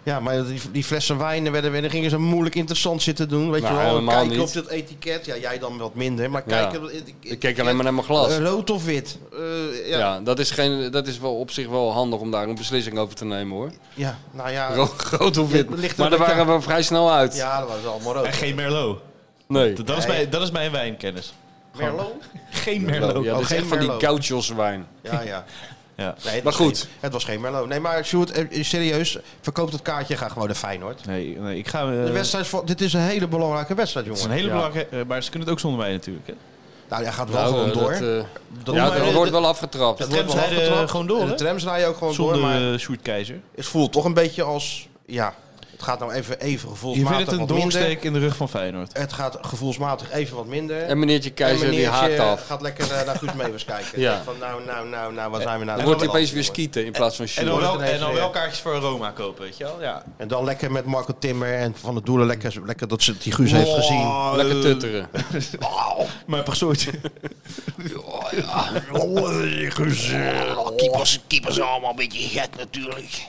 [SPEAKER 2] Ja, maar die, die flessen wijn werden weer, dan gingen ze moeilijk interessant zitten doen. Weet
[SPEAKER 3] Nou,
[SPEAKER 2] je wel,
[SPEAKER 3] helemaal
[SPEAKER 2] kijken
[SPEAKER 3] niet.
[SPEAKER 2] op dat etiket. Ja, jij dan wat minder, maar
[SPEAKER 3] Ja.
[SPEAKER 2] kijken op het eti-
[SPEAKER 3] Ik keek alleen maar naar mijn
[SPEAKER 2] etiket.
[SPEAKER 3] glas.
[SPEAKER 2] Eh, Rood of wit? Eh, ja.
[SPEAKER 3] Ja,
[SPEAKER 2] Ja.
[SPEAKER 3] dat, is geen, dat is wel op zich wel handig om daar een beslissing over te nemen hoor.
[SPEAKER 2] nou ja.
[SPEAKER 3] Ro- Rood of
[SPEAKER 2] Ja, het
[SPEAKER 3] wit.
[SPEAKER 2] ligt
[SPEAKER 3] Maar
[SPEAKER 2] er een
[SPEAKER 3] daar
[SPEAKER 2] beetje
[SPEAKER 3] waren we vrij snel uit.
[SPEAKER 2] Ja, dat was allemaal rood.
[SPEAKER 5] En geen Merlot.
[SPEAKER 3] Nee.
[SPEAKER 5] Dat, dat is,
[SPEAKER 2] Nee.
[SPEAKER 5] mijn, dat is mijn wijnkennis.
[SPEAKER 2] Merlot?
[SPEAKER 5] Geen
[SPEAKER 3] Ja,
[SPEAKER 5] Merlot.
[SPEAKER 3] dat is
[SPEAKER 2] geen
[SPEAKER 3] echt van die
[SPEAKER 2] Merlot.
[SPEAKER 3] gauchos wijn.
[SPEAKER 2] Ja, ja.
[SPEAKER 5] Ja.
[SPEAKER 2] Nee, het
[SPEAKER 3] Maar
[SPEAKER 2] was
[SPEAKER 3] goed.
[SPEAKER 2] geen- het was geen Merlot. Nee, maar Sjoerd, eh, serieus, verkoop dat kaartje, ga gewoon naar Feyenoord.
[SPEAKER 5] Nee, nee, ik ga... eh,
[SPEAKER 2] De wedstrijd, is voor- dit is een hele belangrijke wedstrijd,
[SPEAKER 5] het is een
[SPEAKER 2] jongen.
[SPEAKER 5] hele
[SPEAKER 3] Ja.
[SPEAKER 5] belangrijke... eh, maar ze kunnen het ook zonder mij natuurlijk. Hè.
[SPEAKER 2] Nou, jij gaat wel
[SPEAKER 3] Nou,
[SPEAKER 2] gewoon
[SPEAKER 3] eh,
[SPEAKER 2] door.
[SPEAKER 3] Dat,
[SPEAKER 2] Dat-
[SPEAKER 3] eh, ja,
[SPEAKER 2] maar
[SPEAKER 3] dat
[SPEAKER 2] de-
[SPEAKER 3] wordt
[SPEAKER 2] de-
[SPEAKER 3] wel afgetrapt.
[SPEAKER 2] dat
[SPEAKER 5] de trams
[SPEAKER 2] wordt wel
[SPEAKER 5] rijden
[SPEAKER 2] afgetrapt.
[SPEAKER 5] gewoon door,
[SPEAKER 2] eh, De
[SPEAKER 5] hè?
[SPEAKER 2] trams rijden ook gewoon
[SPEAKER 5] Zonder
[SPEAKER 2] door, maar...
[SPEAKER 5] eh, Sjoerd Keizer.
[SPEAKER 2] het voelt toch een beetje als, ja, het gaat nou even, even
[SPEAKER 5] Je vindt
[SPEAKER 2] gevoelsmatig
[SPEAKER 5] het een
[SPEAKER 2] wat minder.
[SPEAKER 5] doorsteek in de rug van Feyenoord.
[SPEAKER 2] Het gaat gevoelsmatig even wat minder.
[SPEAKER 3] En meneertje Keizer die haakt
[SPEAKER 2] meneertje
[SPEAKER 3] af.
[SPEAKER 2] gaat lekker eh, naar Guus Meeuwis kijken.
[SPEAKER 3] Ja.
[SPEAKER 2] Denkt Van nou, nou, nou, nou, wat zijn we nou?
[SPEAKER 3] Dan
[SPEAKER 2] aan
[SPEAKER 3] wordt
[SPEAKER 2] de
[SPEAKER 3] hij opeens
[SPEAKER 2] hand, jongen?
[SPEAKER 3] weer skieten in plaats van
[SPEAKER 5] En dan,
[SPEAKER 3] shoot.
[SPEAKER 2] hoor-
[SPEAKER 5] wel, en dan
[SPEAKER 2] Ja.
[SPEAKER 5] wel kaartjes voor Roma kopen, weet je wel? Ja.
[SPEAKER 2] En dan lekker met Marco Timmer en Van der Doelen. Lekker, lekker dat ze die Guus heeft gezien.
[SPEAKER 3] (laughs)
[SPEAKER 5] eh,
[SPEAKER 3] Lekker
[SPEAKER 5] (laughs)
[SPEAKER 3] tutteren.
[SPEAKER 5] Mijn persoon. (laughs)
[SPEAKER 3] eh, oh,
[SPEAKER 6] Keepers, keepers zijn allemaal een beetje gek natuurlijk.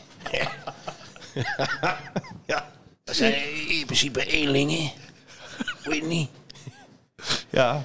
[SPEAKER 6] ja. Dat zijn in principe eenlingen. Weet je niet.
[SPEAKER 5] Ja.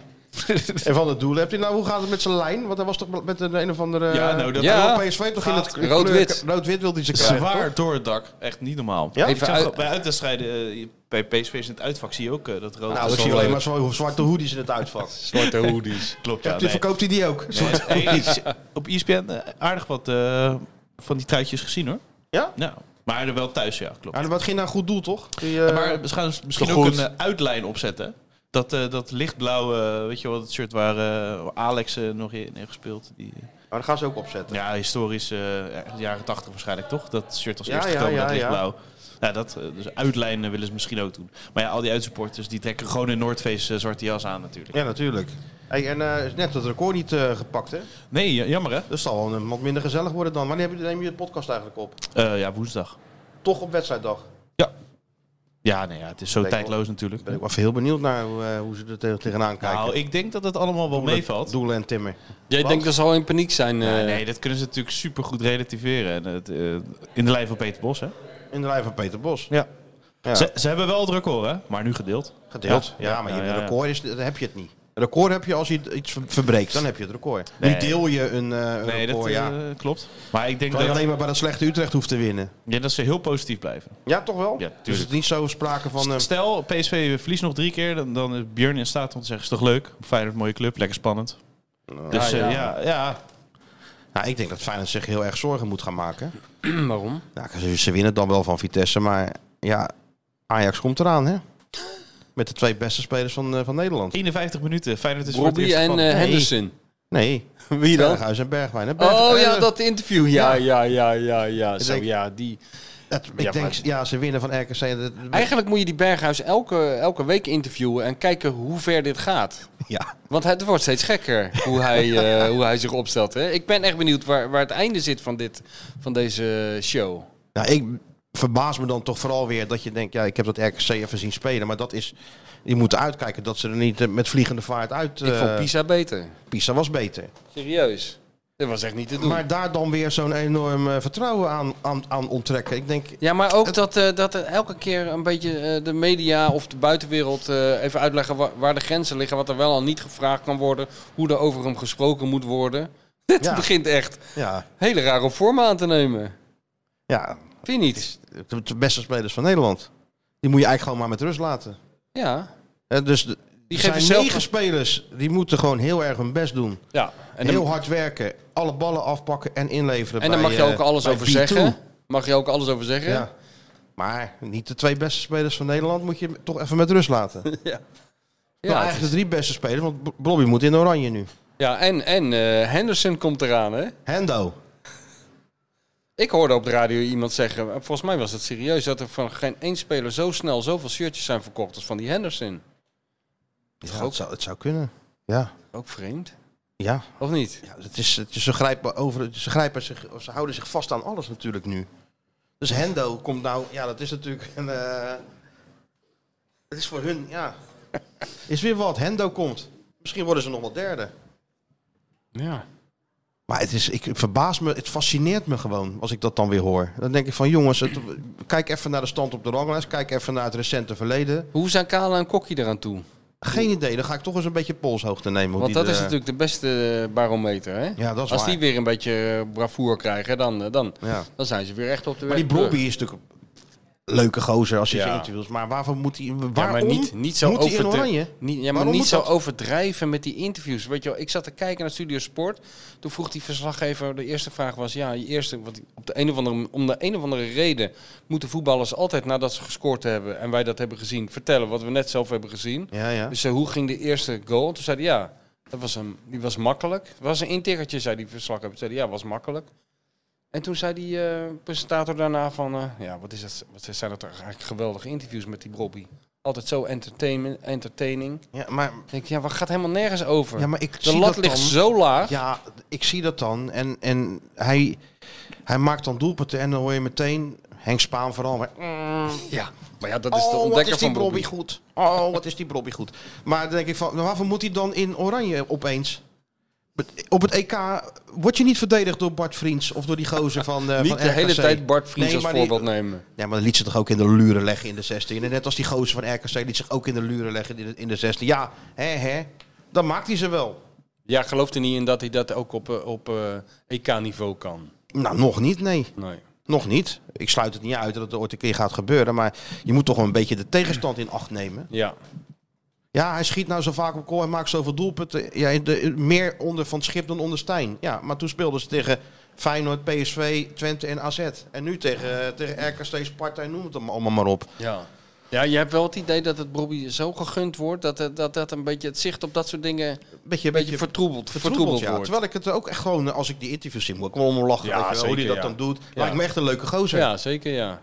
[SPEAKER 2] En Van der Doelen, hebt hij nou, hoe gaat het met zijn lijn? Want hij was toch met een, een of andere...
[SPEAKER 5] Ja, nou, dat-
[SPEAKER 3] Ja.
[SPEAKER 2] Door PSV toch in
[SPEAKER 5] Gaat-
[SPEAKER 2] het kleur-
[SPEAKER 3] rood-wit.
[SPEAKER 2] Rood-wit wilde hij ze krijgen.
[SPEAKER 5] Zwaar Nou,
[SPEAKER 2] toch?
[SPEAKER 5] door het dak. Echt niet normaal.
[SPEAKER 2] Ja?
[SPEAKER 5] Ik zag
[SPEAKER 3] Even
[SPEAKER 5] ook bij uitwedstrijden, eh, bij PSV is in het uitvak zie je ook eh, dat
[SPEAKER 2] Nou,
[SPEAKER 5] rood. dat
[SPEAKER 2] ik
[SPEAKER 5] is
[SPEAKER 2] zie
[SPEAKER 5] wel
[SPEAKER 2] alleen
[SPEAKER 5] leuk.
[SPEAKER 2] maar zo- zwarte hoodies in het uitvak.
[SPEAKER 3] Zwarte hoodies.
[SPEAKER 5] Klopt, ja.
[SPEAKER 2] Hebt u
[SPEAKER 5] nee.
[SPEAKER 2] Verkoopt hij die ook?
[SPEAKER 5] (laughs) Nee, hey, is- op ESPN eh, aardig wat eh, van die truitjes gezien hoor.
[SPEAKER 2] Ja?
[SPEAKER 5] Ja. Maar er wel thuis, ja, klopt.
[SPEAKER 2] Ja, maar het ging naar een goed doel, toch? Die, eh,
[SPEAKER 5] maar ze gaan misschien
[SPEAKER 3] toch
[SPEAKER 5] ook
[SPEAKER 3] goed?
[SPEAKER 5] een eh, uitlijn opzetten. Dat, eh, dat lichtblauwe, eh, weet je wel, dat shirt waar eh, Alex eh, nog in heeft gespeeld. Die, eh,
[SPEAKER 2] Maar dat gaan ze ook opzetten.
[SPEAKER 5] ja, historisch, eh, echt jaren tachtig waarschijnlijk toch? Dat shirt als
[SPEAKER 2] Ja,
[SPEAKER 5] eerste
[SPEAKER 2] ja,
[SPEAKER 5] gekomen, dat
[SPEAKER 2] ja, ja.
[SPEAKER 5] lichtblauw. Ja, dat, eh, dus uitlijnen willen ze misschien ook doen. Maar ja, al die uitsupporters die trekken gewoon in Noordface eh, zwarte jas aan natuurlijk.
[SPEAKER 2] Ja, natuurlijk. Hey, en eh, is net dat record niet eh, gepakt, hè?
[SPEAKER 5] Nee, ja, jammer hè?
[SPEAKER 2] Dus het zal wel een- wat minder gezellig worden dan. Wanneer heb je- neem je de podcast eigenlijk op?
[SPEAKER 5] Eh, ja, woensdag.
[SPEAKER 2] Toch op wedstrijddag.
[SPEAKER 5] Ja, nee, ja, het is zo
[SPEAKER 2] Ben ik wel-
[SPEAKER 5] tijdloos natuurlijk.
[SPEAKER 2] Ben ik wel even heel benieuwd naar hoe, eh, hoe ze er te- tegenaan kijken.
[SPEAKER 5] Nou, ik denk dat het allemaal wel meevalt.
[SPEAKER 2] Doelen en Timmer.
[SPEAKER 3] Jij
[SPEAKER 2] Wat?
[SPEAKER 3] denkt dat ze al in paniek zijn. eh.
[SPEAKER 5] Ja, nee, dat kunnen ze natuurlijk supergoed relativeren. En het, eh, in de lijn van Peter Bos, hè?
[SPEAKER 2] In de rij van Peter Bos.
[SPEAKER 5] Ja.
[SPEAKER 2] Ja.
[SPEAKER 5] Ze, ze hebben wel het record, hè? Maar nu gedeeld.
[SPEAKER 2] Gedeeld. Ja, maar
[SPEAKER 5] ja,
[SPEAKER 2] je
[SPEAKER 5] ja, ja.
[SPEAKER 2] record is, dan heb je het niet. record heb je als je iets ver- verbreekt. Dan heb je het record.
[SPEAKER 5] Nee.
[SPEAKER 2] Nu deel je een, eh, een
[SPEAKER 5] Nee, dat
[SPEAKER 2] record, ja.
[SPEAKER 5] eh, klopt. Maar ik denk
[SPEAKER 2] Terwijl je
[SPEAKER 5] dat,
[SPEAKER 2] alleen maar bij dat slechte Utrecht hoeft te winnen.
[SPEAKER 5] ja, dat ze heel positief blijven.
[SPEAKER 2] Ja, toch wel? dus
[SPEAKER 5] Ja, tuurlijk.
[SPEAKER 2] het is niet zo sprake van... eh,
[SPEAKER 5] Stel, PSV verliest nog drie keer, dan, dan is Björn in staat om te zeggen, is toch leuk? Feyenoord, mooie club, lekker spannend. dus eh,
[SPEAKER 3] ja.
[SPEAKER 5] ja, ja.
[SPEAKER 2] nou, ik denk dat Feyenoord zich heel erg zorgen moet gaan maken.
[SPEAKER 3] (clears throat) Waarom?
[SPEAKER 2] Nou, ze- ze winnen dan wel van Vitesse, maar ja, Ajax komt eraan, hè? Met de twee beste spelers van, eh, van Nederland.
[SPEAKER 5] 51 minuten, Feyenoord is voor het
[SPEAKER 3] Robbie
[SPEAKER 5] eerst
[SPEAKER 3] en
[SPEAKER 5] spannend.
[SPEAKER 3] eh,
[SPEAKER 5] Nee.
[SPEAKER 3] Henderson.
[SPEAKER 2] Nee,
[SPEAKER 3] Wie dan?
[SPEAKER 2] Berghuis en Bergwijn. hè? Berg-
[SPEAKER 3] Oh
[SPEAKER 2] eh,
[SPEAKER 3] ja, dat interview. Ja, ja, ja, ja, ja. Zo,
[SPEAKER 2] denk-
[SPEAKER 3] ja die.
[SPEAKER 2] dat- ik
[SPEAKER 3] Ja,
[SPEAKER 2] denk,
[SPEAKER 3] maar-
[SPEAKER 2] ja, ze winnen van RKC. en dat-
[SPEAKER 3] Eigenlijk moet je die Berghuis elke, elke week interviewen en kijken hoe ver dit gaat.
[SPEAKER 2] Ja.
[SPEAKER 3] Want het wordt steeds gekker hoe hij,
[SPEAKER 5] (laughs)
[SPEAKER 3] eh, hoe hij zich opstelt. Hè? Ik ben echt benieuwd waar, waar het einde zit van, dit, van deze show.
[SPEAKER 2] Nou, ik verbaas me dan toch vooral weer dat je denkt, ja, ik heb dat RKC even zien spelen. Maar dat is, je moet uitkijken dat ze er niet eh, met vliegende vaart uit...
[SPEAKER 3] Ik vond
[SPEAKER 2] eh,
[SPEAKER 3] Pisa beter.
[SPEAKER 2] Pisa was beter.
[SPEAKER 3] Serieus. Dat was echt niet te doen.
[SPEAKER 2] Mm. Maar daar dan weer zo'n enorm eh, vertrouwen aan, aan, aan onttrekken. Ik denk,
[SPEAKER 3] ja, maar ook dat, eh, dat er elke keer een beetje eh, de media of de buitenwereld eh, even uitleggen wa- waar de grenzen liggen. Wat er wel al niet gevraagd kan worden. Hoe er over hem gesproken moet worden. (laughs) Het
[SPEAKER 2] Ja.
[SPEAKER 3] begint echt
[SPEAKER 2] ja,
[SPEAKER 3] hele rare vormen aan te nemen.
[SPEAKER 2] ja
[SPEAKER 3] Vind je niet?
[SPEAKER 2] de, de beste spelers van Nederland. Die moet je eigenlijk gewoon maar met rust laten.
[SPEAKER 3] Ja.
[SPEAKER 2] Eh, dus de-
[SPEAKER 3] Die
[SPEAKER 2] er
[SPEAKER 3] geven
[SPEAKER 2] zijn
[SPEAKER 3] zelf-
[SPEAKER 2] negen spelers, die moeten gewoon heel erg hun best doen.
[SPEAKER 3] ja. En
[SPEAKER 2] heel
[SPEAKER 3] dan,
[SPEAKER 2] hard werken, alle ballen afpakken en inleveren.
[SPEAKER 3] en dan
[SPEAKER 2] bij,
[SPEAKER 3] mag je
[SPEAKER 2] eh,
[SPEAKER 3] ook alles
[SPEAKER 2] bij
[SPEAKER 3] over
[SPEAKER 2] P2.
[SPEAKER 3] zeggen. Mag je ook alles over zeggen? (laughs)
[SPEAKER 2] Ja. Maar niet de twee beste spelers van Nederland moet je toch even met rust laten. (laughs) Ja,
[SPEAKER 3] Nou, Ja, het
[SPEAKER 2] eigenlijk de drie beste spelers, want B- Blobby moet in oranje nu.
[SPEAKER 3] Ja, en, en eh, Henderson komt eraan, hè?
[SPEAKER 2] Hendo.
[SPEAKER 3] Ik hoorde op de radio iemand zeggen, eh, volgens mij was het serieus, dat er van geen één speler zo snel zoveel shirtjes zijn verkocht als van die Henderson.
[SPEAKER 2] Ja, het, zou, het zou kunnen. Ja.
[SPEAKER 3] Ook vreemd,
[SPEAKER 2] Ja,
[SPEAKER 3] of niet?
[SPEAKER 2] ja het is, het is, ze, grijpen over, ze, grijpen zich, of ze houden zich vast aan alles natuurlijk nu. Dus Hendo komt nou, ja, dat is natuurlijk een. eh, het is voor hun, (laughs) ja. Is weer wat, Hendo komt. Misschien worden ze nog wel derde.
[SPEAKER 3] Ja.
[SPEAKER 2] Maar het, is, ik, het verbaast me, het fascineert me gewoon als ik dat dan weer hoor. Dan denk ik van jongens, het- kijk even naar de stand op de ranglijst. Kijk even naar het recente verleden.
[SPEAKER 3] Hoe zijn Kala en Kokkie eraan toe?
[SPEAKER 2] Geen idee, dan ga ik toch eens een beetje polshoogte nemen. hoe
[SPEAKER 3] Want
[SPEAKER 2] Oh, die
[SPEAKER 3] dat
[SPEAKER 2] de-
[SPEAKER 3] is natuurlijk de beste eh, barometer, hè?
[SPEAKER 2] Ja, dat is
[SPEAKER 3] als
[SPEAKER 2] waar.
[SPEAKER 3] die weer een beetje eh, bravoer krijgen, dan, eh, dan,
[SPEAKER 2] Ja.
[SPEAKER 3] dan zijn ze weer echt op de
[SPEAKER 2] Maar die
[SPEAKER 3] weg terug.
[SPEAKER 2] Brobby is natuurlijk een leuke gozer als hij
[SPEAKER 3] Ja.
[SPEAKER 2] zijn interviews. Maar waarvoor moet hij, waarom
[SPEAKER 3] Ja, maar niet, niet zo
[SPEAKER 2] moet hij in
[SPEAKER 3] overdri-
[SPEAKER 2] oranje?
[SPEAKER 3] Niet, ja, maar
[SPEAKER 2] Waarom
[SPEAKER 3] niet
[SPEAKER 2] moet
[SPEAKER 3] zo
[SPEAKER 2] dat?
[SPEAKER 3] overdrijven met die interviews. Weet je wel, ik zat te kijken naar Studio Sport. Toen vroeg die verslaggever, de eerste vraag was... Ja, je eerste, want op de een of andere, om de een of andere reden moeten voetballers altijd nadat ze gescoord hebben... en wij dat hebben gezien, vertellen wat we net zelf hebben gezien.
[SPEAKER 2] Ja, ja.
[SPEAKER 3] Dus eh, hoe ging de eerste goal? Toen zei hij, ja, dat was een, die was makkelijk. Het was een intikkertje, zei die verslaggever. Toen zei hij, ja, was makkelijk. En toen zei die eh, presentator daarna van... eh, ja, wat, is dat, wat zijn dat toch eigenlijk geweldige interviews met die Bobby. Altijd zo entertainment, entertaining.
[SPEAKER 2] Ja, maar,
[SPEAKER 3] Ik denk, ja, wat gaat helemaal nergens over?
[SPEAKER 2] ja, maar ik
[SPEAKER 3] de
[SPEAKER 2] zie
[SPEAKER 3] lat
[SPEAKER 2] dat
[SPEAKER 3] ligt
[SPEAKER 2] dan.
[SPEAKER 3] zo laag.
[SPEAKER 2] Ja, ik zie dat dan. En, en hij, hij maakt dan doelpunten en dan hoor je meteen Henk Spaan vooral. Maar,
[SPEAKER 3] Ja, Maar ja, dat is de
[SPEAKER 2] oh, wat
[SPEAKER 3] ontdekker
[SPEAKER 2] is die
[SPEAKER 3] van
[SPEAKER 2] Bobby
[SPEAKER 3] Bobby.
[SPEAKER 2] goed. Oh, wat is die Bobby goed. Maar dan denk ik van, waarvoor moet hij dan in oranje opeens? Op het EK word je niet verdedigd door Bart Vriends of door die gozer van eh,
[SPEAKER 3] Niet
[SPEAKER 2] van
[SPEAKER 3] de hele
[SPEAKER 2] RKC.
[SPEAKER 3] tijd Bart Vries
[SPEAKER 2] Nee,
[SPEAKER 3] als
[SPEAKER 2] maar die-
[SPEAKER 3] voorbeeld nemen.
[SPEAKER 2] Ja, maar dat liet ze toch ook in de luren leggen in de 16. En net als die gozer van RKC liet zich ook in de luren leggen in de, in de 16. Ja, hè, hè. Dan maakt hij ze wel.
[SPEAKER 3] Ja, gelooft er niet in dat hij dat ook op, eh, op eh, EK-niveau kan.
[SPEAKER 2] Nou, nog niet, nee.
[SPEAKER 3] Nee.
[SPEAKER 2] Nog niet. Ik sluit het niet uit dat het ooit een keer gaat gebeuren. Maar je moet toch wel een beetje de tegenstand in acht nemen.
[SPEAKER 3] Ja.
[SPEAKER 2] Ja, hij schiet nou zo vaak op goal en maakt zoveel doelpunten. Ja, de, meer onder Van Schip dan onder Stijn. Ja, maar toen speelden ze tegen Feyenoord, PSV, Twente en AZ. En nu tegen, eh, tegen RKC, Sparta en noem het allemaal maar op.
[SPEAKER 3] Ja. Ja, je hebt wel het idee dat het Bobby zo gegund wordt dat het, dat, dat een beetje het zicht op dat soort dingen een
[SPEAKER 2] Beetje,
[SPEAKER 3] beetje vertroebeld, vertroebeld,
[SPEAKER 2] Vertroebeld, ja.
[SPEAKER 3] wordt.
[SPEAKER 2] Terwijl ik het ook echt gewoon, eh, als ik die interviews zie, moet ik wel om lachen.
[SPEAKER 3] Ja,
[SPEAKER 2] weet je wel, hoe die
[SPEAKER 3] zeker,
[SPEAKER 2] dat
[SPEAKER 3] ja.
[SPEAKER 2] dan doet.
[SPEAKER 3] Ja.
[SPEAKER 2] Lijkt me echt een leuke gozer.
[SPEAKER 3] Ja, zeker ja.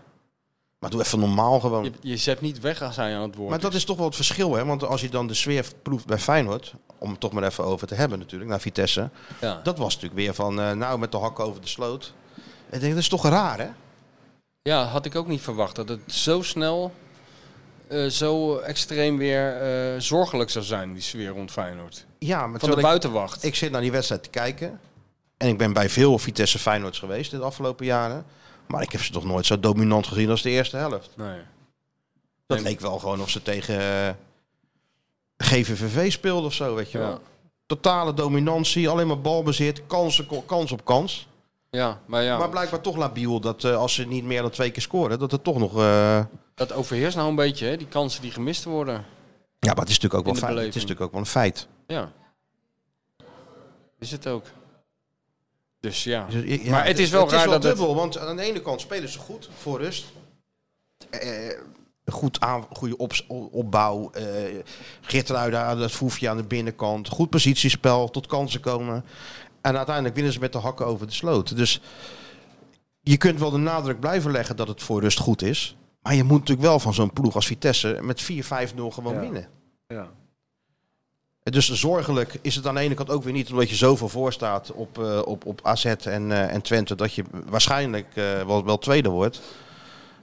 [SPEAKER 2] Maar doe even normaal gewoon.
[SPEAKER 3] Je, dus- je zet niet weg als hij aan het woord
[SPEAKER 2] maar dat is toch wel het verschil, hè? Want als je dan de sfeer proeft bij Feyenoord, om het toch maar even over te hebben natuurlijk, naar Vitesse.
[SPEAKER 3] is. Ja.
[SPEAKER 2] Dat was natuurlijk weer van, eh, nou, met de hakken over de sloot. Ik denk, dat is toch raar, hè?
[SPEAKER 3] ja, had ik ook niet verwacht. Dat het zo snel, eh, zo extreem weer eh, zorgelijk zou zijn, die sfeer rond Feyenoord.
[SPEAKER 2] Ja, maar
[SPEAKER 3] Van de
[SPEAKER 2] terwijl ik,
[SPEAKER 3] buitenwacht.
[SPEAKER 2] ik zit naar die wedstrijd te kijken. En ik ben bij veel Vitesse Feyenoords geweest de afgelopen jaren. Maar ik heb ze toch nooit zo dominant gezien als de eerste helft.
[SPEAKER 3] nee.
[SPEAKER 2] Dat
[SPEAKER 3] Nee.
[SPEAKER 2] leek wel gewoon of ze tegen, eh, GVVV speelde of zo, weet je wel.
[SPEAKER 3] Ja.
[SPEAKER 2] Totale dominantie, alleen maar balbezit, kansen, ko- kans op kans.
[SPEAKER 3] Ja, maar ja,
[SPEAKER 2] Maar blijkbaar toch labiel dat eh, als ze niet meer dan twee keer scoren, dat het toch nog... eh,
[SPEAKER 3] dat overheerst nou een beetje, hè? die kansen die gemist worden.
[SPEAKER 2] Ja, maar het is natuurlijk ook wel,
[SPEAKER 3] In de
[SPEAKER 2] feit. Het is
[SPEAKER 3] beleving.
[SPEAKER 2] natuurlijk ook wel een feit.
[SPEAKER 3] Ja. Is het ook. Dus ja.
[SPEAKER 2] Dus, ja,
[SPEAKER 3] Maar het is wel raar dat het-
[SPEAKER 2] dubbel, want aan de ene kant spelen ze goed voor rust. Eh, goed aan, goede ops- opbouw. eh Geertruida, dat Foefje aan de binnenkant. Goed positiespel, tot kansen komen. En uiteindelijk winnen ze met de hakken over de sloot. Dus je kunt wel de nadruk blijven leggen dat het voor rust goed is. Maar je moet natuurlijk wel van zo'n ploeg als Vitesse met 4-5-0 gewoon
[SPEAKER 3] Ja.
[SPEAKER 2] winnen.
[SPEAKER 3] Ja.
[SPEAKER 2] Dus zorgelijk is het aan de ene kant ook weer niet omdat je zoveel voorstaat op, eh, op, op AZ en, eh, en Twente dat je waarschijnlijk eh, wel, wel tweede wordt.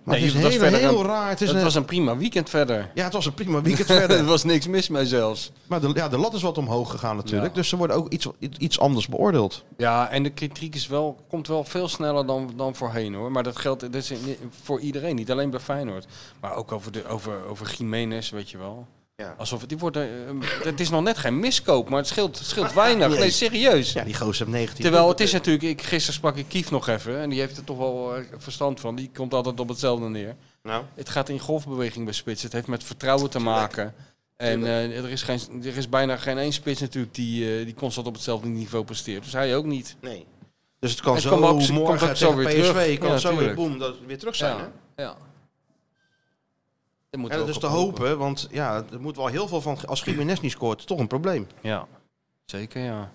[SPEAKER 2] Maar
[SPEAKER 3] Nee,
[SPEAKER 2] het is
[SPEAKER 3] dat was
[SPEAKER 2] heel,
[SPEAKER 3] verder
[SPEAKER 2] heel
[SPEAKER 3] een-
[SPEAKER 2] raar. Het is
[SPEAKER 3] Het
[SPEAKER 2] een-
[SPEAKER 3] was een prima weekend verder.
[SPEAKER 2] ja, Dus, eh, (laughs) het was een prima
[SPEAKER 3] (laughs)
[SPEAKER 2] weekend
[SPEAKER 3] Er
[SPEAKER 2] verder.
[SPEAKER 3] was niks mis mee zelfs.
[SPEAKER 2] Maar de, ja, de lat is wat omhoog gegaan natuurlijk.
[SPEAKER 3] Ja.
[SPEAKER 2] Dus ze worden ook iets, iets anders beoordeeld.
[SPEAKER 3] Ja, en de kritiek is wel, komt wel veel sneller dan, dan voorheen hoor. Maar dat geldt dat is in- voor iedereen, niet alleen bij Feyenoord. Maar ook over, de, over, over Jiménez, weet je wel.
[SPEAKER 2] Ja.
[SPEAKER 3] Alsof het, die wordt, eh, het is nog net geen miskoop, maar het scheelt, het scheelt
[SPEAKER 2] (laughs)
[SPEAKER 3] weinig. Nee, serieus.
[SPEAKER 2] Ja, die gozer heeft 19.
[SPEAKER 3] Terwijl het is natuurlijk, ik, gisteren sprak ik Kief nog even en die heeft er toch wel eh, verstand van. Die komt altijd op hetzelfde neer.
[SPEAKER 2] Nou.
[SPEAKER 3] Het gaat in golfbeweging bij spits. Het heeft met vertrouwen te maken. En eh, er, is geen, er is bijna geen één spits natuurlijk die, eh, die constant op hetzelfde niveau presteert. Dus hij ook niet.
[SPEAKER 2] Nee. Dus het kan
[SPEAKER 3] Het
[SPEAKER 2] zo
[SPEAKER 3] komt ook-
[SPEAKER 2] morgen
[SPEAKER 3] komt ook zo
[SPEAKER 2] tegen
[SPEAKER 3] weer
[SPEAKER 2] PSV,
[SPEAKER 3] terug.
[SPEAKER 2] kan
[SPEAKER 3] Ja,
[SPEAKER 2] zo weer
[SPEAKER 3] tuurlijk.
[SPEAKER 2] boem, dat we weer terug zijn. Hè? dus
[SPEAKER 3] ja. Dat moet
[SPEAKER 2] En dat is te hopen, want ja, er moet wel heel veel van, als Jiménez niet scoort, toch een probleem.
[SPEAKER 3] Ja, zeker ja.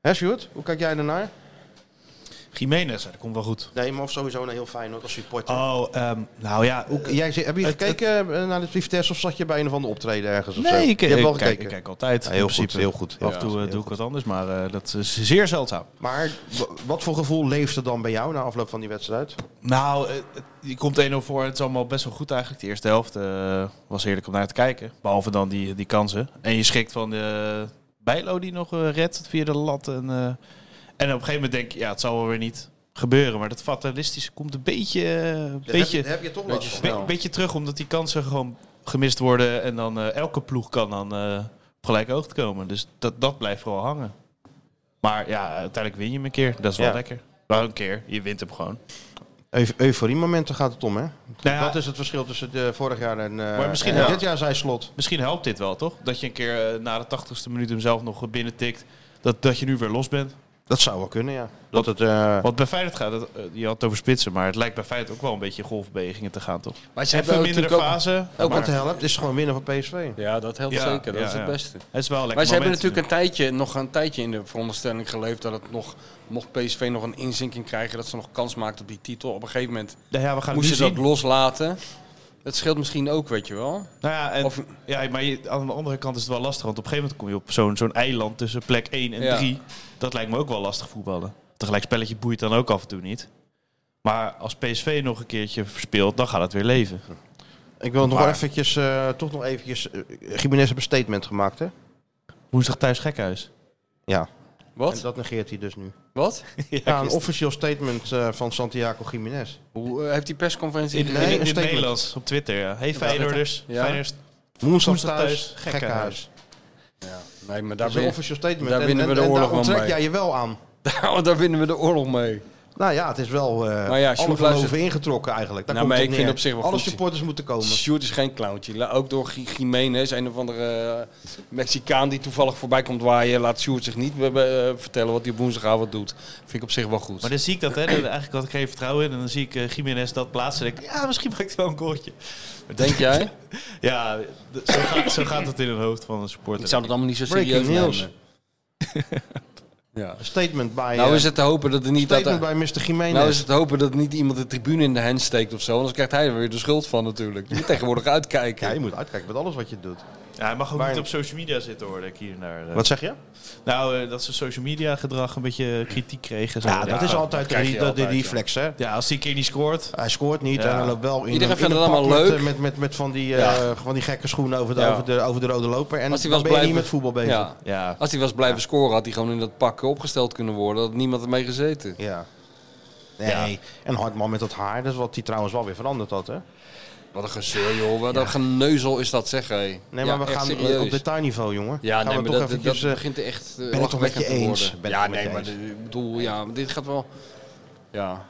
[SPEAKER 2] Hè Sjoerd, hoe kijk jij ernaar?
[SPEAKER 5] Jiménez, dat komt wel goed.
[SPEAKER 2] Nee, maar of sowieso naar heel fijn hoor, als supporter.
[SPEAKER 5] Oh, ehm, nou ja.
[SPEAKER 2] Hoe- Ah, jij, zit- heb je
[SPEAKER 5] Het-
[SPEAKER 2] gekeken eh, naar de Vitesse of zat je bij een of andere optreden ergens? Of zo?
[SPEAKER 5] Nee, ik,
[SPEAKER 2] je hebt wel
[SPEAKER 5] ik
[SPEAKER 2] gekeken.
[SPEAKER 5] kijk, ik kijk altijd.
[SPEAKER 2] Ja,
[SPEAKER 5] in
[SPEAKER 2] heel, goed,
[SPEAKER 5] principe.
[SPEAKER 2] heel goed, heel
[SPEAKER 5] Af en
[SPEAKER 2] goed.
[SPEAKER 5] toe eh,
[SPEAKER 2] Heel
[SPEAKER 5] doe ik
[SPEAKER 2] goed.
[SPEAKER 5] wat anders, maar eh, dat is zeer zeldzaam.
[SPEAKER 2] Maar w- wat voor gevoel leeft er dan bij jou na afloop van die wedstrijd?
[SPEAKER 5] Nou, eh, het- je komt 1-0 voor. Het is allemaal best wel goed eigenlijk. De eerste helft eh, was heerlijk om naar te kijken. Behalve dan die, die kansen. En je schrikt van de Bijlo die nog eh, redt via de lat. En, eh, en op een gegeven moment denk je, ja, het zal wel weer niet gebeuren. Maar dat fatalistische komt een beetje, eh, een beetje,
[SPEAKER 2] heb je toch
[SPEAKER 3] last beetje van.
[SPEAKER 5] be-
[SPEAKER 3] snel.
[SPEAKER 5] beetje terug. Omdat die kansen gewoon gemist worden. En dan eh, elke ploeg kan dan eh, op gelijke hoogte komen. Dus dat, dat blijft vooral hangen. Maar ja, uiteindelijk win je hem een keer. Dat is wel
[SPEAKER 2] Ja.
[SPEAKER 5] lekker. Nou, een keer. Je wint hem gewoon. Nou
[SPEAKER 2] Euforie-momenten gaat het om, hè?
[SPEAKER 5] ja.
[SPEAKER 2] Dat is het verschil tussen de vorig jaar en, eh,
[SPEAKER 5] Maar misschien
[SPEAKER 2] en
[SPEAKER 5] ja.
[SPEAKER 2] dit jaar zijn slot.
[SPEAKER 5] Misschien helpt dit wel, toch? Dat je een keer eh, na de tachtigste minuut hem zelf nog binnen tikt. Dat, dat je nu weer los bent.
[SPEAKER 2] Dat zou wel kunnen, ja. Dat het, eh,
[SPEAKER 5] Want bij Feyenoord gaat het, eh, je had het over spitsen, maar het lijkt bij Feyenoord ook wel een beetje golfbewegingen te gaan, toch?
[SPEAKER 3] Maar ze
[SPEAKER 5] Even een mindere
[SPEAKER 3] natuurlijk ook-
[SPEAKER 5] fase.
[SPEAKER 2] ook
[SPEAKER 5] maar
[SPEAKER 2] wat helpt, is gewoon winnen van PSV.
[SPEAKER 3] Ja, dat helpt
[SPEAKER 5] Ja,
[SPEAKER 3] zeker. Dat
[SPEAKER 5] ja,
[SPEAKER 3] is het
[SPEAKER 5] ja.
[SPEAKER 3] beste.
[SPEAKER 5] het is wel een lekker
[SPEAKER 3] Maar ze hebben
[SPEAKER 5] moment
[SPEAKER 3] natuurlijk een tijdje, nog een tijdje in de veronderstelling geleefd dat het nog, mocht PSV nog een inzinking krijgen, dat ze nog kans maakt op die titel. Op een gegeven moment
[SPEAKER 5] nu. Nou ja, we gaan het
[SPEAKER 3] moest
[SPEAKER 5] nu
[SPEAKER 3] je
[SPEAKER 5] zien.
[SPEAKER 3] dat loslaten. Dat scheelt misschien ook, weet je wel.
[SPEAKER 5] Nou ja, en,
[SPEAKER 3] Of-
[SPEAKER 5] ja, maar je- aan de andere kant is het wel lastig. Want op een gegeven moment kom je op zo'n zo'n eiland tussen plek 1 en
[SPEAKER 3] Ja.
[SPEAKER 5] 3. Dat lijkt me ook wel lastig voetballen. Tegelijk spelletje boeit dan ook af en toe niet. Maar als PSV nog een keertje verspeelt, dan gaat het weer leven.
[SPEAKER 2] Ik wil nog
[SPEAKER 5] Maar-
[SPEAKER 2] wel eventjes, eh, toch nog eventjes... eh, Gimenez heeft een statement gemaakt, hè?
[SPEAKER 5] Woensdag thuis gekhuis.
[SPEAKER 2] Ja. En
[SPEAKER 3] Wat?
[SPEAKER 2] dat negeert hij dus nu.
[SPEAKER 3] Wat?
[SPEAKER 2] Ja, een officieel statement eh, van Santiago Jiménez.
[SPEAKER 3] Hoe eh, heeft die persconferentie?
[SPEAKER 5] In, in,
[SPEAKER 2] Nee, een
[SPEAKER 5] in het
[SPEAKER 2] statement.
[SPEAKER 5] Nederlands, op Twitter, ja. Hey Feyenoorders,
[SPEAKER 3] Ja.
[SPEAKER 5] Feyenoorders,
[SPEAKER 2] Woensdag
[SPEAKER 5] Woensdag
[SPEAKER 2] thuis,
[SPEAKER 5] thuis,
[SPEAKER 2] gekkenhuis.
[SPEAKER 3] Ja. Nee, maar
[SPEAKER 2] Dat
[SPEAKER 3] daar,
[SPEAKER 2] is een
[SPEAKER 3] win,
[SPEAKER 2] officieel statement.
[SPEAKER 3] daar
[SPEAKER 2] en,
[SPEAKER 3] winnen we de
[SPEAKER 2] en- en
[SPEAKER 3] oorlog
[SPEAKER 2] daar
[SPEAKER 3] wel
[SPEAKER 2] onttrek
[SPEAKER 3] mee.
[SPEAKER 2] jij je wel aan.
[SPEAKER 3] (laughs) daar winnen we de oorlog mee.
[SPEAKER 2] Nou ja, het is wel eh
[SPEAKER 3] Maar ja,
[SPEAKER 2] alle
[SPEAKER 3] Sjoerd
[SPEAKER 2] geloven
[SPEAKER 3] luistert-
[SPEAKER 2] ingetrokken eigenlijk. Daar
[SPEAKER 3] Nou,
[SPEAKER 2] komt
[SPEAKER 3] maar
[SPEAKER 2] het op
[SPEAKER 3] ik vind
[SPEAKER 2] neer.
[SPEAKER 3] op zich wel
[SPEAKER 2] Alle
[SPEAKER 3] goed.
[SPEAKER 2] supporters moeten komen.
[SPEAKER 3] Sjoerd is geen clowntje. La- Ook door G- Jiménez, een of andere eh, Mexicaan die toevallig voorbij komt waaien, laat Sjoerd zich niet eh, eh, vertellen wat hij op woensdagavond doet. Vind ik op zich wel goed.
[SPEAKER 5] Maar dan zie ik dat, hè. Dan- Eigenlijk had ik geen vertrouwen in. En dan zie ik eh Jiménez dat plaatsen. En denk ik, ja, misschien maakt hij wel een goaltje. Maar
[SPEAKER 3] Denk
[SPEAKER 5] dat-
[SPEAKER 2] (laughs)
[SPEAKER 3] jij?
[SPEAKER 5] Ja, d- zo gaat, zo gaat het in het hoofd van een supporter.
[SPEAKER 3] Ik zou dat allemaal niet zo
[SPEAKER 2] Breaking
[SPEAKER 3] serieus
[SPEAKER 2] news.
[SPEAKER 3] nemen. (laughs) ja.
[SPEAKER 2] Statement bij,
[SPEAKER 3] Nou
[SPEAKER 2] eh,
[SPEAKER 3] is het te hopen dat er niet... Dat
[SPEAKER 2] statement
[SPEAKER 3] er-
[SPEAKER 2] bij Mr. Jiménez.
[SPEAKER 3] nou is het te hopen dat niet iemand de tribune in de hand steekt of zo. Anders krijgt hij er weer de schuld van natuurlijk. Je
[SPEAKER 2] (laughs)
[SPEAKER 3] moet tegenwoordig
[SPEAKER 2] ja, je
[SPEAKER 3] uitkijken.
[SPEAKER 2] moet uitkijken met alles wat je doet.
[SPEAKER 5] Ja, hij mag ook
[SPEAKER 2] Waar-
[SPEAKER 5] niet op social media zitten, hoorde ik hier naar. eh.
[SPEAKER 2] Wat zeg je?
[SPEAKER 5] Nou, eh, dat ze social media gedrag een beetje kritiek kregen. Zo.
[SPEAKER 2] Ja, dat is altijd
[SPEAKER 3] krijg je
[SPEAKER 2] de, de
[SPEAKER 3] altijd,
[SPEAKER 2] reflex, hè.
[SPEAKER 5] Ja, als die een keer niet scoort.
[SPEAKER 2] Hij scoort niet
[SPEAKER 5] Ja.
[SPEAKER 2] en hij loopt wel in
[SPEAKER 3] Iedereen
[SPEAKER 2] een- in
[SPEAKER 3] vindt
[SPEAKER 2] een
[SPEAKER 3] het
[SPEAKER 2] pak
[SPEAKER 3] allemaal
[SPEAKER 2] met,
[SPEAKER 3] leuk.
[SPEAKER 2] eh, Met, met, met van, die, eh,
[SPEAKER 3] Ja.
[SPEAKER 2] van die gekke schoenen over de,
[SPEAKER 3] Ja.
[SPEAKER 2] over, de, over de rode loper. En
[SPEAKER 3] Als hij
[SPEAKER 2] dan
[SPEAKER 3] was
[SPEAKER 2] ben je niet
[SPEAKER 3] blijven-
[SPEAKER 2] met voetbal bezig.
[SPEAKER 3] Ja.
[SPEAKER 5] Ja.
[SPEAKER 3] Als hij was blijven scoren had hij gewoon in dat pak opgesteld kunnen worden. Had niemand ermee gezeten.
[SPEAKER 2] Ja. Nee, en Hartman met dat haar, dat is wat hij trouwens wel weer veranderd had, hè?
[SPEAKER 3] Wat een gezeur, joh. Wat een geneuzel is dat, zeg. hé. Nee,
[SPEAKER 2] Nee, maar we gaan eh, op detailniveau, jongen.
[SPEAKER 3] Ja,
[SPEAKER 2] gaan
[SPEAKER 3] nee,
[SPEAKER 2] we
[SPEAKER 3] maar
[SPEAKER 2] toch
[SPEAKER 3] dat,
[SPEAKER 2] eventjes,
[SPEAKER 3] dat
[SPEAKER 2] eh,
[SPEAKER 3] begint echt eh,
[SPEAKER 2] ben ik toch met je
[SPEAKER 3] lachwekkend te
[SPEAKER 2] eens.
[SPEAKER 3] worden.
[SPEAKER 2] Ben ik
[SPEAKER 3] ja,
[SPEAKER 2] toch met
[SPEAKER 3] nee,
[SPEAKER 2] je
[SPEAKER 3] maar
[SPEAKER 2] eens.
[SPEAKER 3] de- ik bedoel, ja, maar dit gaat wel... Ja.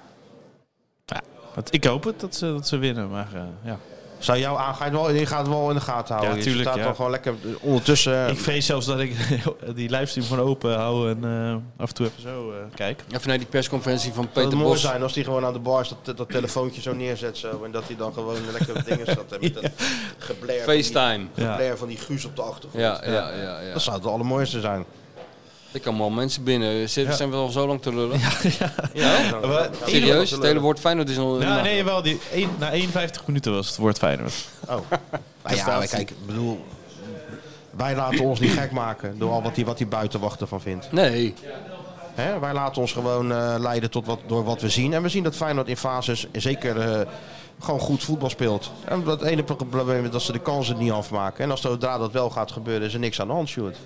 [SPEAKER 5] Want ik hoop het dat ze, dat ze winnen, maar eh, ja.
[SPEAKER 2] Zou jou aan, ga je, het wel, je gaat het wel in de gaten houden.
[SPEAKER 5] Ja, tuurlijk,
[SPEAKER 2] Je staat
[SPEAKER 5] ja.
[SPEAKER 2] toch gewoon lekker ondertussen. eh,
[SPEAKER 5] Ik vrees zelfs dat ik (laughs) die livestream gewoon open hou en eh, af en toe even zo eh, kijk.
[SPEAKER 3] Even naar die persconferentie van
[SPEAKER 2] het
[SPEAKER 3] Peter
[SPEAKER 2] zou mooi
[SPEAKER 3] Bos.
[SPEAKER 2] zijn als hij gewoon aan de bar dat, dat telefoontje zo neerzet zo, en dat hij dan gewoon lekker dingen staat
[SPEAKER 3] (laughs)
[SPEAKER 2] hè, met dat geblair van, die,
[SPEAKER 3] FaceTime.
[SPEAKER 2] geblair van die guus op de achtergrond.
[SPEAKER 3] Ja, ja, ja. ja.
[SPEAKER 2] Dat zou het allermooiste zijn.
[SPEAKER 3] Er komen al mensen binnen. Ze zijn we al zo lang te lullen.
[SPEAKER 2] Dan- dan- dan- dan-
[SPEAKER 3] Serieus?
[SPEAKER 2] dan-
[SPEAKER 3] Het hele woord Feyenoord is al...
[SPEAKER 5] Ja,
[SPEAKER 3] nou,
[SPEAKER 5] nee, wel. Die één- na 51 minuten was het woord Feyenoord.
[SPEAKER 2] Nou ja, maar kijk, ik bedoel, wij laten ons niet gek maken door al wat die, wat die buitenwachter van vindt.
[SPEAKER 3] Nee.
[SPEAKER 2] Hè? Wij laten ons gewoon eh, leiden tot wat, door wat we zien. En we zien dat Feyenoord in fases zeker eh, gewoon goed voetbal speelt. En dat ene probleem is dat ze de kansen niet afmaken. En als zodra dat wel gaat gebeuren, is er niks aan de hand, Sjoerd.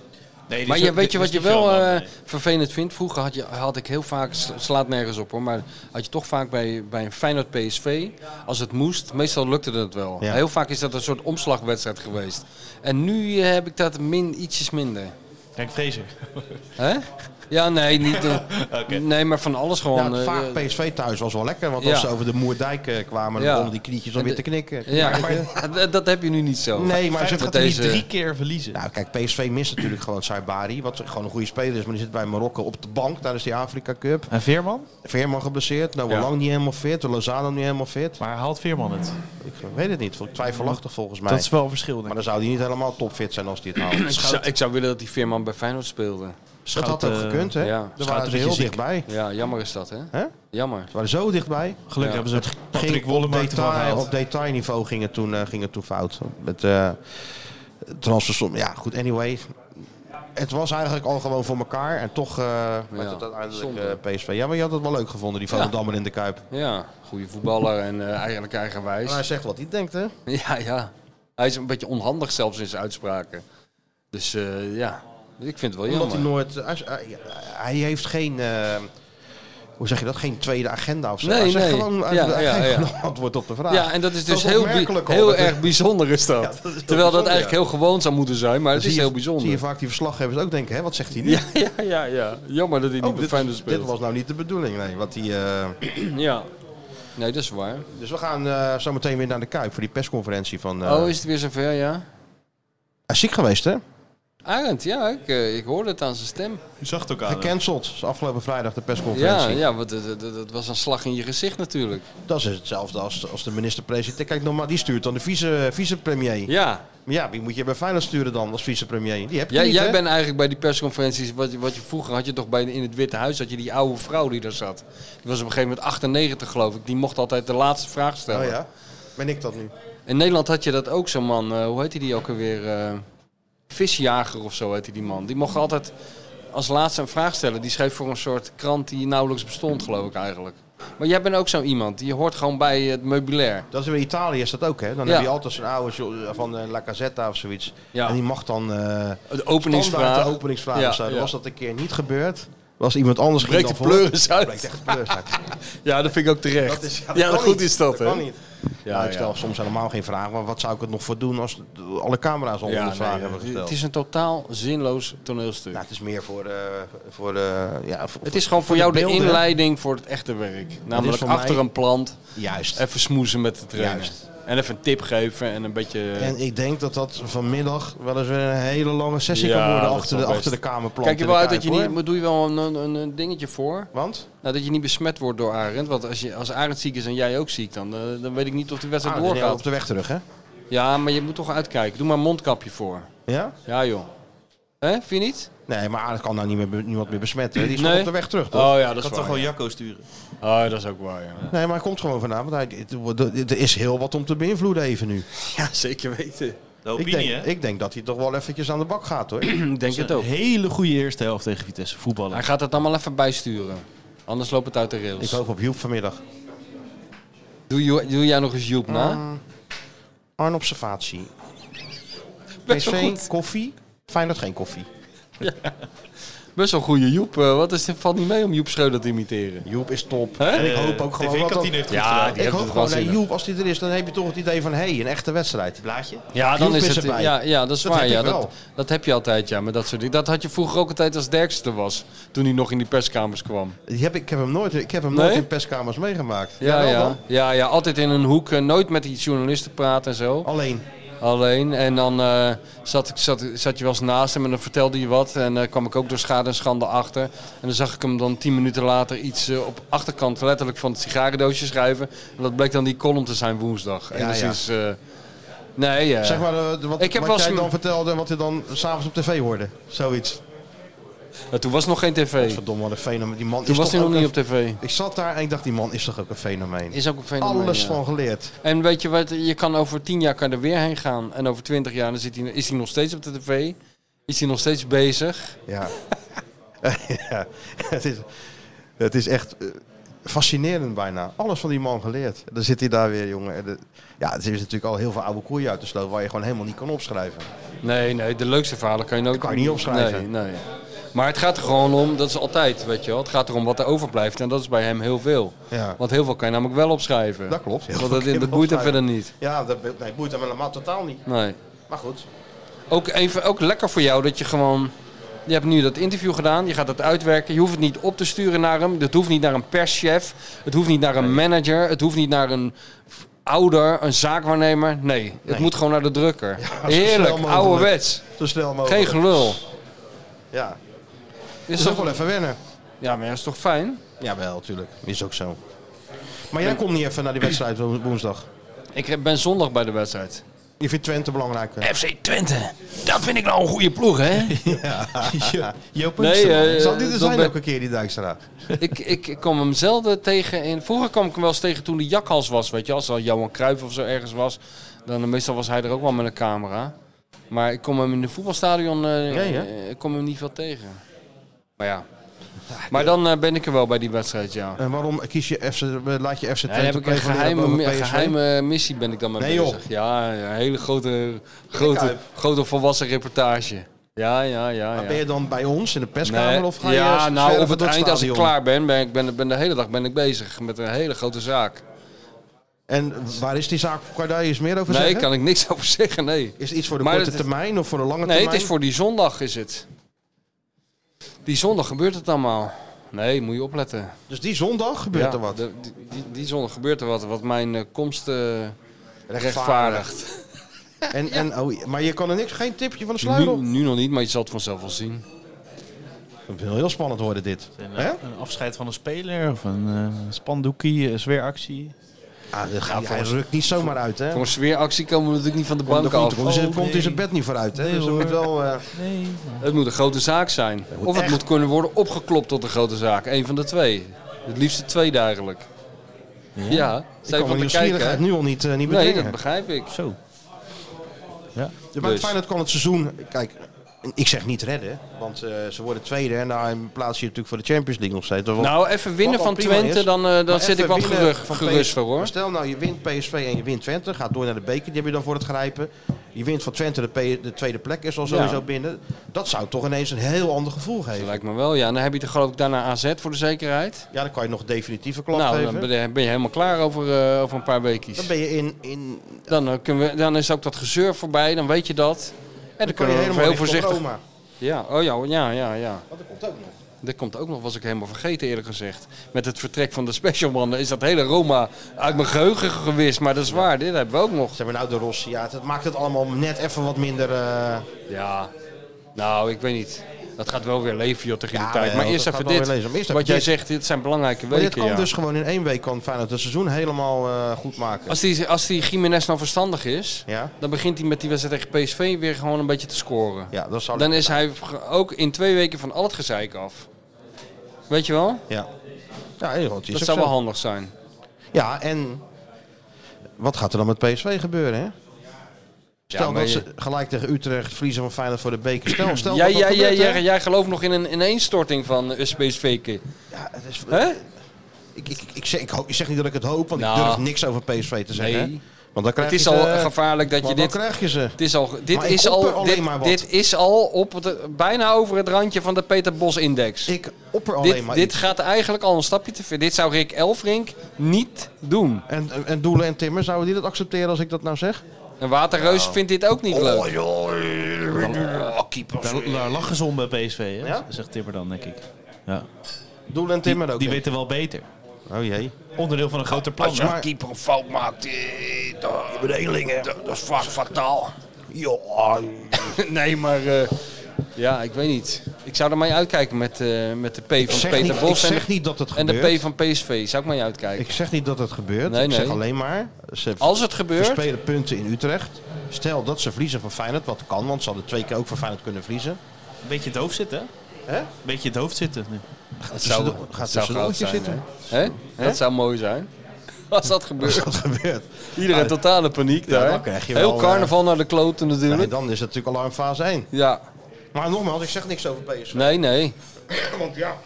[SPEAKER 5] Nee,
[SPEAKER 3] Maar je, weet je wat je wel eh, vervelend vindt? Vroeger had, je, had ik heel vaak, s- slaat nergens op hoor, maar had je toch vaak bij, bij een Feyenoord PSV, als het moest, meestal lukte het wel.
[SPEAKER 2] Ja.
[SPEAKER 3] Heel vaak is dat een soort omslagwedstrijd geweest. En nu eh, heb ik dat min, ietsjes minder.
[SPEAKER 5] Kijk, Fraser.
[SPEAKER 3] Hè? Ja, nee, niet.
[SPEAKER 2] (laughs)
[SPEAKER 3] eh, Nee, maar van alles
[SPEAKER 2] Ja,
[SPEAKER 3] gewoon.
[SPEAKER 2] het
[SPEAKER 3] eh,
[SPEAKER 2] Nou, vaak
[SPEAKER 3] eh,
[SPEAKER 2] PSV thuis was wel lekker. Want
[SPEAKER 3] Ja.
[SPEAKER 2] als ze over de Moerdijk eh, kwamen, dan
[SPEAKER 3] Ja.
[SPEAKER 2] begonnen die knietjes
[SPEAKER 3] En
[SPEAKER 2] alweer te
[SPEAKER 3] de-
[SPEAKER 2] knikken.
[SPEAKER 3] ja,
[SPEAKER 2] Maar-
[SPEAKER 3] (laughs) dat- dat heb je nu niet zo.
[SPEAKER 2] nee, maar ze
[SPEAKER 5] Feyenoord gaat
[SPEAKER 3] met
[SPEAKER 5] er niet
[SPEAKER 3] deze-
[SPEAKER 5] drie keer verliezen.
[SPEAKER 2] Nou, kijk, PSV mist natuurlijk gewoon Saibari, wat gewoon een goede speler is. Maar die zit bij Marokko op de bank tijdens die Afrika Cup.
[SPEAKER 5] En Veerman?
[SPEAKER 2] Veerman geblesseerd, nou Lang niet helemaal fit, Lozano niet helemaal fit.
[SPEAKER 5] Maar haalt Veerman het?
[SPEAKER 2] Ik weet het niet, twijfelachtig volgens mij.
[SPEAKER 5] Dat is wel een verschil, denk
[SPEAKER 2] Maar
[SPEAKER 5] ik.
[SPEAKER 2] dan zou die niet helemaal topfit zijn als die het haalt.
[SPEAKER 3] Ik zou, ik zou willen dat die Veerman bij Feyenoord speelde.
[SPEAKER 2] dat had ook
[SPEAKER 5] eh,
[SPEAKER 2] gekund, hè?
[SPEAKER 3] ja.
[SPEAKER 2] Daar
[SPEAKER 3] Schout
[SPEAKER 2] waren ze
[SPEAKER 5] een
[SPEAKER 2] heel
[SPEAKER 5] beetje
[SPEAKER 2] dichtbij.
[SPEAKER 3] Ja, jammer is dat, hè?
[SPEAKER 2] Hè?
[SPEAKER 3] Jammer.
[SPEAKER 2] Ze waren zo dichtbij.
[SPEAKER 5] Gelukkig
[SPEAKER 3] Ja.
[SPEAKER 5] hebben ze het
[SPEAKER 2] Ging
[SPEAKER 5] Patrick
[SPEAKER 2] op,
[SPEAKER 5] Wollemaker ervan
[SPEAKER 2] detail, op
[SPEAKER 5] gehaald.
[SPEAKER 2] detailniveau ging het toen, eh, ging het toen fout. Met eh transfersom. Ja, goed, anyway. Het was eigenlijk al gewoon voor elkaar. En toch eh werd het uiteindelijk
[SPEAKER 3] zonde.
[SPEAKER 2] eh, PSV. Ja, maar je had het wel leuk gevonden, die Volendammer in de Kuip.
[SPEAKER 3] Ja, goede voetballer en eh, eigenlijk eigenwijs.
[SPEAKER 2] Maar hij zegt wat hij denkt, hè?
[SPEAKER 3] (laughs) Ja, ja. Hij is een beetje onhandig zelfs in zijn uitspraken. Dus eh, ja, ik vind het wel
[SPEAKER 2] Omdat
[SPEAKER 3] jammer.
[SPEAKER 2] hij nooit... eh, Hij, is- hij- hij heeft geen... eh, hoe zeg je dat? Geen tweede agenda of zo.
[SPEAKER 3] Nee,
[SPEAKER 2] hij zegt
[SPEAKER 3] nee.
[SPEAKER 2] gewoon hij
[SPEAKER 3] Ja,
[SPEAKER 2] hij
[SPEAKER 3] ja,
[SPEAKER 2] geeft
[SPEAKER 3] ja.
[SPEAKER 2] gewoon een (laughs) antwoord op de vraag.
[SPEAKER 3] Ja, en dat is
[SPEAKER 2] Dat
[SPEAKER 3] dus
[SPEAKER 2] is
[SPEAKER 3] heel, bi-
[SPEAKER 2] opmerkelijk al,
[SPEAKER 3] heel
[SPEAKER 2] dat is-
[SPEAKER 3] erg bijzonder is dat.
[SPEAKER 2] dat is heel
[SPEAKER 3] Terwijl dat
[SPEAKER 2] bijzonder,
[SPEAKER 3] eigenlijk heel gewoon zou moeten zijn, maar het
[SPEAKER 2] zie
[SPEAKER 3] is
[SPEAKER 2] je-
[SPEAKER 3] heel
[SPEAKER 2] Zie je
[SPEAKER 3] bijzonder.
[SPEAKER 2] vaak die verslaggevers ook denken, hè? Wat zegt hij nu?
[SPEAKER 3] Ja, (laughs) ja, ja, ja. Jammer dat hij niet
[SPEAKER 2] Oh,
[SPEAKER 3] bij
[SPEAKER 2] dit,
[SPEAKER 3] Feyenoord
[SPEAKER 2] dit
[SPEAKER 3] speelt.
[SPEAKER 2] was nou niet de bedoeling, nee. Want die, eh,
[SPEAKER 3] Ja. Nee, dat is waar.
[SPEAKER 2] dus we gaan eh, zo meteen weer naar de Kuip voor die persconferentie van... eh
[SPEAKER 3] Oh, is het weer zover, ja?
[SPEAKER 2] Hij is ziek geweest, hè?
[SPEAKER 3] Arend, ja, ik, eh, ik hoorde het aan zijn stem.
[SPEAKER 5] U zag het ook aan. hem.
[SPEAKER 2] Gecanceld. Dus afgelopen vrijdag de
[SPEAKER 3] Ja,
[SPEAKER 2] persconferentie.
[SPEAKER 3] ja, want het- het- het- het was een slag in je gezicht natuurlijk.
[SPEAKER 2] Dat is hetzelfde als, als de minister-president. Kijk, normaal die stuurt dan de vice, vicepremier. Ja.
[SPEAKER 3] Ja,
[SPEAKER 2] ja, wie moet je bij Feyenoord sturen dan als vicepremier? Die heb je
[SPEAKER 3] Jij,
[SPEAKER 2] niet,
[SPEAKER 3] jij
[SPEAKER 2] hè?
[SPEAKER 3] bent eigenlijk bij die persconferenties, wat, je- wat je vroeger had je toch bij, in het Witte Huis, had je die oude vrouw die daar zat. Die was op een gegeven moment 98 geloof ik, die mocht altijd de laatste vraag stellen.
[SPEAKER 2] Oh ja, ben ik dat nu?
[SPEAKER 3] In Nederland had je dat ook zo'n man, eh, hoe heette die ook alweer, eh, visjager of zo heette die man. Die mocht altijd als laatste een vraag stellen, die schreef voor een soort krant die nauwelijks bestond geloof ik eigenlijk. Maar jij bent ook zo iemand, die hoort gewoon bij het meubilair.
[SPEAKER 2] Dat is in Italië is dat ook, hè? Dan
[SPEAKER 3] Ja.
[SPEAKER 2] heb je altijd zo'n oude jo- van eh, La Gazzetta of zoiets.
[SPEAKER 3] Ja.
[SPEAKER 2] En die mag dan eh
[SPEAKER 3] De
[SPEAKER 2] standaard
[SPEAKER 3] openingsvraag.
[SPEAKER 2] de openingsvraag
[SPEAKER 3] Ja,
[SPEAKER 2] of zo. Dan
[SPEAKER 3] ja.
[SPEAKER 2] was dat een keer niet gebeurd. Was iemand anders
[SPEAKER 3] Breekt
[SPEAKER 2] ging
[SPEAKER 3] de
[SPEAKER 2] dan voor.
[SPEAKER 3] pleuris uit.
[SPEAKER 2] Breekt (laughs) echt de pleuris uit.
[SPEAKER 3] Ja, dat vind ik ook terecht.
[SPEAKER 2] Dat is, Dus ja,
[SPEAKER 3] ja,
[SPEAKER 2] dat kan
[SPEAKER 3] goed
[SPEAKER 2] niet.
[SPEAKER 3] is dat,
[SPEAKER 2] Dat
[SPEAKER 3] hè?
[SPEAKER 2] kan niet.
[SPEAKER 3] Ja,
[SPEAKER 2] Nou, ik
[SPEAKER 3] ja.
[SPEAKER 2] stel soms helemaal geen vraag, maar wat zou ik het nog voor doen als alle camera's al
[SPEAKER 3] Ja,
[SPEAKER 2] onder de vraag
[SPEAKER 3] nee,
[SPEAKER 2] hebben
[SPEAKER 3] het-
[SPEAKER 2] gesteld?
[SPEAKER 3] het is een totaal zinloos toneelstuk.
[SPEAKER 2] Nou, het is meer voor, eh, voor, eh, ja, voor-
[SPEAKER 3] het is gewoon voor
[SPEAKER 2] de
[SPEAKER 3] jou de,
[SPEAKER 2] beelden, hè?
[SPEAKER 3] inleiding voor het echte werk. Namelijk
[SPEAKER 2] voor
[SPEAKER 3] achter
[SPEAKER 2] mij-
[SPEAKER 3] een plant,
[SPEAKER 2] Juist.
[SPEAKER 3] even smoezen met de trainer.
[SPEAKER 2] Juist.
[SPEAKER 3] En even een tip geven en een beetje... eh,
[SPEAKER 2] En ik denk dat dat vanmiddag wel eens weer een hele lange sessie
[SPEAKER 3] Ja,
[SPEAKER 2] kan worden
[SPEAKER 3] dat
[SPEAKER 2] achter
[SPEAKER 3] zal
[SPEAKER 2] de,
[SPEAKER 3] best.
[SPEAKER 2] achter de kamerplant.
[SPEAKER 3] Kijk je
[SPEAKER 2] in de
[SPEAKER 3] wel uit dat je
[SPEAKER 2] Kuip,
[SPEAKER 3] niet...
[SPEAKER 2] hoor.
[SPEAKER 3] maar Doe je wel een, een, een dingetje voor?
[SPEAKER 2] Want?
[SPEAKER 3] Nou, dat je niet besmet wordt door Arend. Want als, je, als Arend ziek is en jij ook ziek, dan, eh, dan weet ik niet of de wedstrijd
[SPEAKER 2] Ah, dan ben je
[SPEAKER 3] doorgaat.
[SPEAKER 2] op de weg terug, hè?
[SPEAKER 3] Ja, maar je moet toch uitkijken. Doe maar een mondkapje voor.
[SPEAKER 2] Ja?
[SPEAKER 3] Ja, joh. Hè, vind je niet?
[SPEAKER 2] Nee, maar Arendt kan nou niet meer, be- niemand meer besmetten. hè? Die is
[SPEAKER 3] Nee.
[SPEAKER 2] nog op de weg terug, toch?
[SPEAKER 3] Oh ja, dat
[SPEAKER 5] Ik
[SPEAKER 3] is
[SPEAKER 5] had toch
[SPEAKER 3] waar.
[SPEAKER 5] gewoon
[SPEAKER 3] ja.
[SPEAKER 5] Jacco sturen.
[SPEAKER 3] Oh, dat is ook waar, ja.
[SPEAKER 2] Nee, maar hij komt gewoon vanavond. Hij, het wordt- er is heel wat om te beïnvloeden even nu. (laughs)
[SPEAKER 3] Ja, zeker weten.
[SPEAKER 5] De
[SPEAKER 2] Ik
[SPEAKER 5] opinie,
[SPEAKER 2] denk,
[SPEAKER 5] hè?
[SPEAKER 2] ik denk dat hij toch wel eventjes aan de bak gaat, hoor.
[SPEAKER 3] Ik denk het ook.
[SPEAKER 5] Een hele goede eerste helft tegen Vitesse voetballen.
[SPEAKER 3] Hij gaat het allemaal even bijsturen. Anders loopt het uit de
[SPEAKER 2] Ik
[SPEAKER 3] rails.
[SPEAKER 2] hoop op Joep vanmiddag.
[SPEAKER 3] Doe, jo- doe jij nog eens Joep na?
[SPEAKER 2] Mm, Arn observatie.
[SPEAKER 3] Best wel
[SPEAKER 2] PSV,
[SPEAKER 3] goed.
[SPEAKER 2] koffie. Feyenoord geen koffie.
[SPEAKER 3] Best wel een goede Joep. eh, wat is er valt niet mee om Joep Schreuder te imiteren?
[SPEAKER 2] Joep is top.
[SPEAKER 3] Hè?
[SPEAKER 2] En ik hoop ook gewoon... wat dan-
[SPEAKER 7] TV-kantine heeft het goed
[SPEAKER 3] Ja,
[SPEAKER 7] gedaan.
[SPEAKER 3] die
[SPEAKER 2] ik
[SPEAKER 3] hebben
[SPEAKER 2] hoop
[SPEAKER 3] het
[SPEAKER 2] gewoon, nee,
[SPEAKER 3] waanzinnig.
[SPEAKER 2] Joep, als die er is, dan heb je toch het idee van... Hé, hey, een echte wedstrijd.
[SPEAKER 7] Blaadje?
[SPEAKER 3] Ja,
[SPEAKER 2] Joep
[SPEAKER 3] dan is
[SPEAKER 2] is
[SPEAKER 3] het.
[SPEAKER 2] erbij.
[SPEAKER 3] Ja, ja, dat is
[SPEAKER 2] Dat
[SPEAKER 3] waar.
[SPEAKER 2] heb
[SPEAKER 3] Ja,
[SPEAKER 2] ik
[SPEAKER 3] dat,
[SPEAKER 2] wel.
[SPEAKER 3] dat heb je altijd, ja, met dat soort dingen. Dat had je vroeger ook altijd als Derksen er was. Toen hij nog in die perskamers kwam.
[SPEAKER 2] Die heb ik, ik heb hem nooit, ik heb hem
[SPEAKER 3] Nee?
[SPEAKER 2] nooit in perskamers meegemaakt.
[SPEAKER 3] Ja,
[SPEAKER 2] Jawel
[SPEAKER 3] ja.
[SPEAKER 2] dan?
[SPEAKER 3] Ja, ja, altijd in een hoek. eh, Nooit met die journalisten praten en zo.
[SPEAKER 2] Alleen.
[SPEAKER 3] Alleen. En dan eh, zat, ik- zat, zat je wel eens naast hem en dan vertelde hij wat. En eh kwam ik ook door schade en schande achter. En dan zag ik hem dan tien minuten later iets eh, op achterkant letterlijk van het sigarendoosje schrijven. En dat bleek dan die column te zijn woensdag. En
[SPEAKER 2] Ja,
[SPEAKER 3] dat
[SPEAKER 2] ja.
[SPEAKER 3] is... eh, nee, eh,
[SPEAKER 2] Zeg maar eh, wat,
[SPEAKER 3] Ik heb
[SPEAKER 2] wat
[SPEAKER 3] wel eens
[SPEAKER 2] jij
[SPEAKER 3] een-
[SPEAKER 2] dan vertelde en wat je dan s'avonds op tv hoorde. Zoiets.
[SPEAKER 3] nou, toen was nog geen tv.
[SPEAKER 2] Verdomme, wat een fenomeen. Die man
[SPEAKER 3] Toen
[SPEAKER 2] is
[SPEAKER 3] was
[SPEAKER 2] toch
[SPEAKER 3] hij nog
[SPEAKER 2] ook
[SPEAKER 3] niet
[SPEAKER 2] een-
[SPEAKER 3] op tv.
[SPEAKER 2] Ik zat daar en ik dacht, die man is toch ook een fenomeen.
[SPEAKER 3] Is ook een fenomeen.
[SPEAKER 2] Alles
[SPEAKER 3] ja.
[SPEAKER 2] van geleerd.
[SPEAKER 3] En weet je wat, je kan over tien jaar kan er weer heen gaan. En over twintig jaar dan zit hij, is hij nog steeds op de tv. Is hij nog steeds bezig. (laughs)
[SPEAKER 2] Ja. ja. Het, is, het is echt eh, fascinerend bijna. Alles van die man geleerd. Dan zit hij daar weer, jongen. En de- ja, er is natuurlijk al heel veel oude koeien uit de sloot waar je gewoon helemaal niet kan opschrijven.
[SPEAKER 3] Nee, nee, de leukste verhalen kan je nooit...
[SPEAKER 2] Dat kan je niet opschrijven.
[SPEAKER 3] Nee, nee. Maar het gaat er gewoon om, dat is altijd, weet je wel. Het gaat erom wat er overblijft. En dat is bij hem heel veel.
[SPEAKER 2] Ja.
[SPEAKER 3] Want heel veel kan je namelijk wel opschrijven.
[SPEAKER 2] Dat klopt. Heel
[SPEAKER 3] Want
[SPEAKER 2] veel
[SPEAKER 3] dat,
[SPEAKER 2] kan je
[SPEAKER 3] dat
[SPEAKER 2] wel
[SPEAKER 3] boeit hem verder
[SPEAKER 2] opschrijven.
[SPEAKER 3] niet.
[SPEAKER 2] Ja, dat be- nee, boeit hem helemaal totaal niet.
[SPEAKER 3] Nee.
[SPEAKER 2] Maar goed.
[SPEAKER 3] Ook, even, ook lekker voor jou dat je gewoon... Je hebt nu dat interview gedaan, je gaat dat uitwerken. Je hoeft het niet op te sturen naar hem. Het hoeft niet naar een perschef. Het hoeft niet naar een manager. Het hoeft niet naar een f- ouder, een zaakwaarnemer. Nee, het moet gewoon naar de drukker.
[SPEAKER 2] zo snel
[SPEAKER 3] Heerlijk,
[SPEAKER 2] mogelijk.
[SPEAKER 3] ouderwets.
[SPEAKER 2] Zo snel
[SPEAKER 3] Geen
[SPEAKER 2] mogelijk.
[SPEAKER 3] gelul.
[SPEAKER 2] Ja, dat is
[SPEAKER 3] Is
[SPEAKER 2] toch
[SPEAKER 3] toch,
[SPEAKER 2] wel even wennen.
[SPEAKER 3] ja, maar dat is toch fijn?
[SPEAKER 2] Jawel, tuurlijk. Is ook zo. Maar jij komt niet even naar die wedstrijd wo- woensdag.
[SPEAKER 3] Ik ben zondag bij de wedstrijd.
[SPEAKER 2] Je vindt Twente belangrijk. hè?
[SPEAKER 6] FC Twente. Dat vind ik nou een goede ploeg, hè?
[SPEAKER 2] (laughs)
[SPEAKER 5] Joop
[SPEAKER 3] Nee, eh,
[SPEAKER 2] Zal dit er
[SPEAKER 3] dat
[SPEAKER 2] zijn
[SPEAKER 3] ben-
[SPEAKER 2] ook een keer, die Dijkstra?
[SPEAKER 3] (laughs) ik, ik, ik kwam hem zelden tegen. In, vroeger kwam ik hem wel eens tegen toen hij jakhals was. Weet je, als al Johan Cruijff of zo ergens was. Dan eh, meestal was hij er ook wel met een camera. Maar ik kom hem in het voetbalstadion eh,
[SPEAKER 2] Nee, hè?
[SPEAKER 3] eh, ik kom hem niet veel tegen. Maar ja. Maar dan eh, ben ik er wel bij die wedstrijd, ja.
[SPEAKER 2] En waarom kies je FC, eh, laat je FC Twente
[SPEAKER 3] Ja, dan heb ik een
[SPEAKER 2] prevaleren
[SPEAKER 3] geheime,
[SPEAKER 2] boven
[SPEAKER 3] een
[SPEAKER 2] PSV?
[SPEAKER 3] geheime missie ben ik dan mee
[SPEAKER 2] Nee, joh.
[SPEAKER 3] bezig. Ja, een hele grote, grote,
[SPEAKER 2] Kuip.
[SPEAKER 3] grote volwassen reportage. Ja, ja, ja.
[SPEAKER 2] Maar
[SPEAKER 3] ja.
[SPEAKER 2] ben je dan bij ons in de perskamer
[SPEAKER 3] Nee,
[SPEAKER 2] of ga je
[SPEAKER 3] ja,
[SPEAKER 2] s-
[SPEAKER 3] nou,
[SPEAKER 2] zwerven
[SPEAKER 3] op het
[SPEAKER 2] door
[SPEAKER 3] eind als ik
[SPEAKER 2] stadion?
[SPEAKER 3] klaar ben, ben ik ben, ben de hele dag ben ik bezig met een hele grote zaak.
[SPEAKER 2] En waar is die zaak? Kan je daar iets meer over
[SPEAKER 3] nee,
[SPEAKER 2] zeggen?
[SPEAKER 3] kan ik niks (laughs) over zeggen, nee.
[SPEAKER 2] Is het iets voor de
[SPEAKER 3] Maar
[SPEAKER 2] korte
[SPEAKER 3] het is-
[SPEAKER 2] termijn of voor de lange
[SPEAKER 3] Nee,
[SPEAKER 2] termijn?
[SPEAKER 3] het is voor die zondag is het. Die zondag gebeurt het allemaal. Nee, moet je opletten.
[SPEAKER 2] Dus die zondag gebeurt
[SPEAKER 3] Ja,
[SPEAKER 2] er wat.
[SPEAKER 3] de- die, die, die zondag gebeurt er wat, wat mijn eh, komst eh, rechtvaardigt.
[SPEAKER 2] En, en, oh, maar je kan er niks, geen tipje van de sluier
[SPEAKER 3] Nu,
[SPEAKER 2] op.
[SPEAKER 3] nu nog niet, maar je zal het vanzelf wel zien.
[SPEAKER 2] Het wil heel spannend worden dit. Hè?
[SPEAKER 5] Een afscheid van een speler of een eh, spandoekie, een zweeractie.
[SPEAKER 2] Ah, dat gaat, hij rukt niet zomaar uit, hè?
[SPEAKER 3] Voor een sfeeractie komen we natuurlijk niet van de bank
[SPEAKER 2] Daar komt,
[SPEAKER 3] af.
[SPEAKER 2] komt,
[SPEAKER 5] Oh,
[SPEAKER 2] komt hij
[SPEAKER 5] nee.
[SPEAKER 2] zijn bed niet vooruit, hè? dus dat
[SPEAKER 5] hoor.
[SPEAKER 2] moet wel... eh,
[SPEAKER 5] Nee.
[SPEAKER 3] Het moet een grote zaak zijn. Of het
[SPEAKER 2] echt-
[SPEAKER 3] moet kunnen worden opgeklopt tot een grote zaak. Eén van de twee. Het liefste twee eigenlijk. Ja, ja
[SPEAKER 2] ik
[SPEAKER 3] sta je
[SPEAKER 2] kan mijn
[SPEAKER 3] van te kijken.
[SPEAKER 2] nieuwsgierigheid
[SPEAKER 3] hè?
[SPEAKER 2] nu al niet, eh, niet
[SPEAKER 3] Nee,
[SPEAKER 2] bedwingen.
[SPEAKER 3] dat begrijp ik.
[SPEAKER 5] Zo.
[SPEAKER 2] Ja, maar
[SPEAKER 3] Dus.
[SPEAKER 2] Feyenoord kan het seizoen... Kijk, ik zeg niet redden. Want eh, ze worden tweede en daar plaats je natuurlijk voor de Champions League nog steeds. Want-
[SPEAKER 3] Nou, even winnen
[SPEAKER 2] Wat
[SPEAKER 3] van
[SPEAKER 2] al prima
[SPEAKER 3] Twente,
[SPEAKER 2] is.
[SPEAKER 3] dan, eh, dan
[SPEAKER 2] Maar
[SPEAKER 3] zit ik
[SPEAKER 2] even
[SPEAKER 3] wel
[SPEAKER 2] winnen
[SPEAKER 3] gerust,
[SPEAKER 2] van
[SPEAKER 3] gerust
[SPEAKER 2] PSV.
[SPEAKER 3] voor hoor.
[SPEAKER 2] Maar stel nou, je wint PSV en je wint Twente. Gaat door naar de beker, die heb je dan voor het grijpen. Je wint van Twente, de, P- de tweede plek is al sowieso
[SPEAKER 3] Ja.
[SPEAKER 2] binnen. Dat zou toch ineens een heel ander gevoel
[SPEAKER 3] Dat
[SPEAKER 2] geven.
[SPEAKER 3] lijkt me wel, ja. En dan heb je er geloof ik daarna AZ voor de zekerheid.
[SPEAKER 2] Ja, dan kan je nog definitieve klap
[SPEAKER 3] Nou, dan
[SPEAKER 2] geven.
[SPEAKER 3] ben je- ben je helemaal klaar over, eh, over een paar
[SPEAKER 2] Dan
[SPEAKER 3] weekjes.
[SPEAKER 2] ben je in... in
[SPEAKER 3] Dan, eh, kunnen we, dan is ook dat gezeur voorbij, dan weet je dat. En dan,
[SPEAKER 2] kan je
[SPEAKER 3] kunnen we
[SPEAKER 2] helemaal
[SPEAKER 3] heel
[SPEAKER 2] heel
[SPEAKER 3] voorzichtig...
[SPEAKER 2] Roma.
[SPEAKER 3] Ja, oh ja, ja, ja, ja.
[SPEAKER 2] Want dat komt ook nog.
[SPEAKER 3] Dat komt ook nog, was ik helemaal vergeten eerlijk gezegd. Met het vertrek van de specialmannen is dat hele Roma uit mijn geheugen gewist. Maar dat is waar, dit hebben we ook nog.
[SPEAKER 2] Ze hebben nou de Rossi. Ja, dat maakt het allemaal net even wat minder... eh,
[SPEAKER 3] Ja, nou, ik weet niet. Dat gaat wel weer leven joh, tegen die
[SPEAKER 2] Ja,
[SPEAKER 3] tijd.
[SPEAKER 2] wel,
[SPEAKER 3] Maar eerst
[SPEAKER 2] dat
[SPEAKER 3] even
[SPEAKER 2] gaat wel
[SPEAKER 3] dit.
[SPEAKER 2] weer leven. Maar eerst
[SPEAKER 3] wat
[SPEAKER 2] even
[SPEAKER 3] jij
[SPEAKER 2] dit.
[SPEAKER 3] zegt, dit zijn belangrijke
[SPEAKER 2] maar dit
[SPEAKER 3] weken.
[SPEAKER 2] kan
[SPEAKER 3] ja.
[SPEAKER 2] dus gewoon in één week kan Feyenoord het seizoen helemaal eh, goed maken.
[SPEAKER 3] Als die, als die Jiménez nou verstandig is,
[SPEAKER 2] Ja?
[SPEAKER 3] dan begint hij met die wedstrijd tegen PSV weer gewoon een beetje te scoren.
[SPEAKER 2] Ja, dat zou...
[SPEAKER 3] Dan is hij ge- ook in twee weken van al het gezeik af. Weet je wel?
[SPEAKER 2] Ja. Ja, heel goed. Is
[SPEAKER 3] Dat
[SPEAKER 2] ook
[SPEAKER 3] zou
[SPEAKER 2] zo.
[SPEAKER 3] wel handig zijn.
[SPEAKER 2] Ja, en wat gaat er dan met PSV gebeuren, hè? Stel
[SPEAKER 3] maar
[SPEAKER 2] dat
[SPEAKER 3] je-
[SPEAKER 2] ze gelijk tegen Utrecht verliezen van Feyenoord voor de beker.
[SPEAKER 3] (clears throat)
[SPEAKER 2] Stel, stel dat
[SPEAKER 3] Jij,
[SPEAKER 2] dat
[SPEAKER 3] jij, jij,
[SPEAKER 2] gebeurt, hè?
[SPEAKER 3] jij, jij gelooft nog in een ineenstorting van eh, PSV.
[SPEAKER 2] Ja, het is-
[SPEAKER 3] Hè?
[SPEAKER 2] ik, ik, ik, zeg, ik, ho- ik zeg niet dat ik het hoop, want
[SPEAKER 3] Nou.
[SPEAKER 2] ik durf niks over PSV te zeggen.
[SPEAKER 3] Nee.
[SPEAKER 2] Want dan krijg
[SPEAKER 3] Het is
[SPEAKER 2] je
[SPEAKER 3] al
[SPEAKER 2] ze-
[SPEAKER 3] gevaarlijk dat je
[SPEAKER 2] maar dan
[SPEAKER 3] dit...
[SPEAKER 2] krijg je ze.
[SPEAKER 3] Het is al, dit,
[SPEAKER 2] Maar ik
[SPEAKER 3] is
[SPEAKER 2] opper
[SPEAKER 3] al,
[SPEAKER 2] alleen
[SPEAKER 3] dit,
[SPEAKER 2] maar wat.
[SPEAKER 3] dit is al op de, bijna over het randje van de Peter Bos index.
[SPEAKER 2] Ik opper alleen
[SPEAKER 3] dit,
[SPEAKER 2] maar
[SPEAKER 3] dit
[SPEAKER 2] iets.
[SPEAKER 3] gaat eigenlijk al een stapje te ver. Dit zou Rick Elfrink niet doen.
[SPEAKER 2] En, en Doelen en Timmer, zouden die dat accepteren als ik dat nou zeg?
[SPEAKER 3] Een waterreus vindt dit ook
[SPEAKER 2] Oh,
[SPEAKER 3] niet leuk.
[SPEAKER 6] Oh,
[SPEAKER 5] Daar, daar lachen ze om bij PSV, hè?
[SPEAKER 2] Ja?
[SPEAKER 5] zegt Timmer dan, denk ik. Ja.
[SPEAKER 2] Doelen en Timmer ook.
[SPEAKER 5] Die
[SPEAKER 2] niet.
[SPEAKER 5] weten wel beter.
[SPEAKER 2] Oh jee.
[SPEAKER 5] Onderdeel van een groter plan.
[SPEAKER 6] Als je
[SPEAKER 5] hè?
[SPEAKER 6] een keeper een fout maakt, eh, dat, dat, dat is vaak fataal. Ja,
[SPEAKER 3] (laughs) nee, maar... eh, ja, ik weet niet. Ik zou er maar uitkijken met, eh, met de P van
[SPEAKER 2] zeg
[SPEAKER 3] Peter
[SPEAKER 2] niet,
[SPEAKER 3] Bos
[SPEAKER 2] ik
[SPEAKER 3] en,
[SPEAKER 2] zeg niet dat het
[SPEAKER 3] en
[SPEAKER 2] gebeurt.
[SPEAKER 3] de P van PSV. Zou ik maar uitkijken.
[SPEAKER 2] Ik zeg niet dat het gebeurt.
[SPEAKER 3] Nee,
[SPEAKER 2] ik
[SPEAKER 3] nee.
[SPEAKER 2] zeg alleen maar, ze
[SPEAKER 3] Als het gebeurt...
[SPEAKER 2] verspelen punten in Utrecht. Stel dat ze verliezen van Feyenoord, wat kan, want ze hadden twee keer ook van Feyenoord kunnen verliezen.
[SPEAKER 5] Een beetje het hoofd zitten,
[SPEAKER 2] Hè?
[SPEAKER 5] Een beetje het hoofd zitten. Nu.
[SPEAKER 2] Het
[SPEAKER 3] zou-
[SPEAKER 2] gaat
[SPEAKER 3] het zou
[SPEAKER 2] tussen de
[SPEAKER 3] goud
[SPEAKER 2] oortjes
[SPEAKER 3] zijn,
[SPEAKER 2] zitten.
[SPEAKER 3] Hè? Dat zou mooi zijn. (laughs) Als dat gebeurt.
[SPEAKER 2] Dat gebeurt.
[SPEAKER 3] Iedereen totale paniek
[SPEAKER 2] Ah, Ja,
[SPEAKER 3] daar.
[SPEAKER 2] dan krijg je
[SPEAKER 3] Heel
[SPEAKER 2] wel, eh,
[SPEAKER 3] carnaval naar de kloten natuurlijk.
[SPEAKER 2] Nee, dan is het natuurlijk alarmfase 1.
[SPEAKER 3] Ja,
[SPEAKER 2] Maar nogmaals, ik zeg niks over PSV.
[SPEAKER 3] nee, nee.
[SPEAKER 2] Want ja,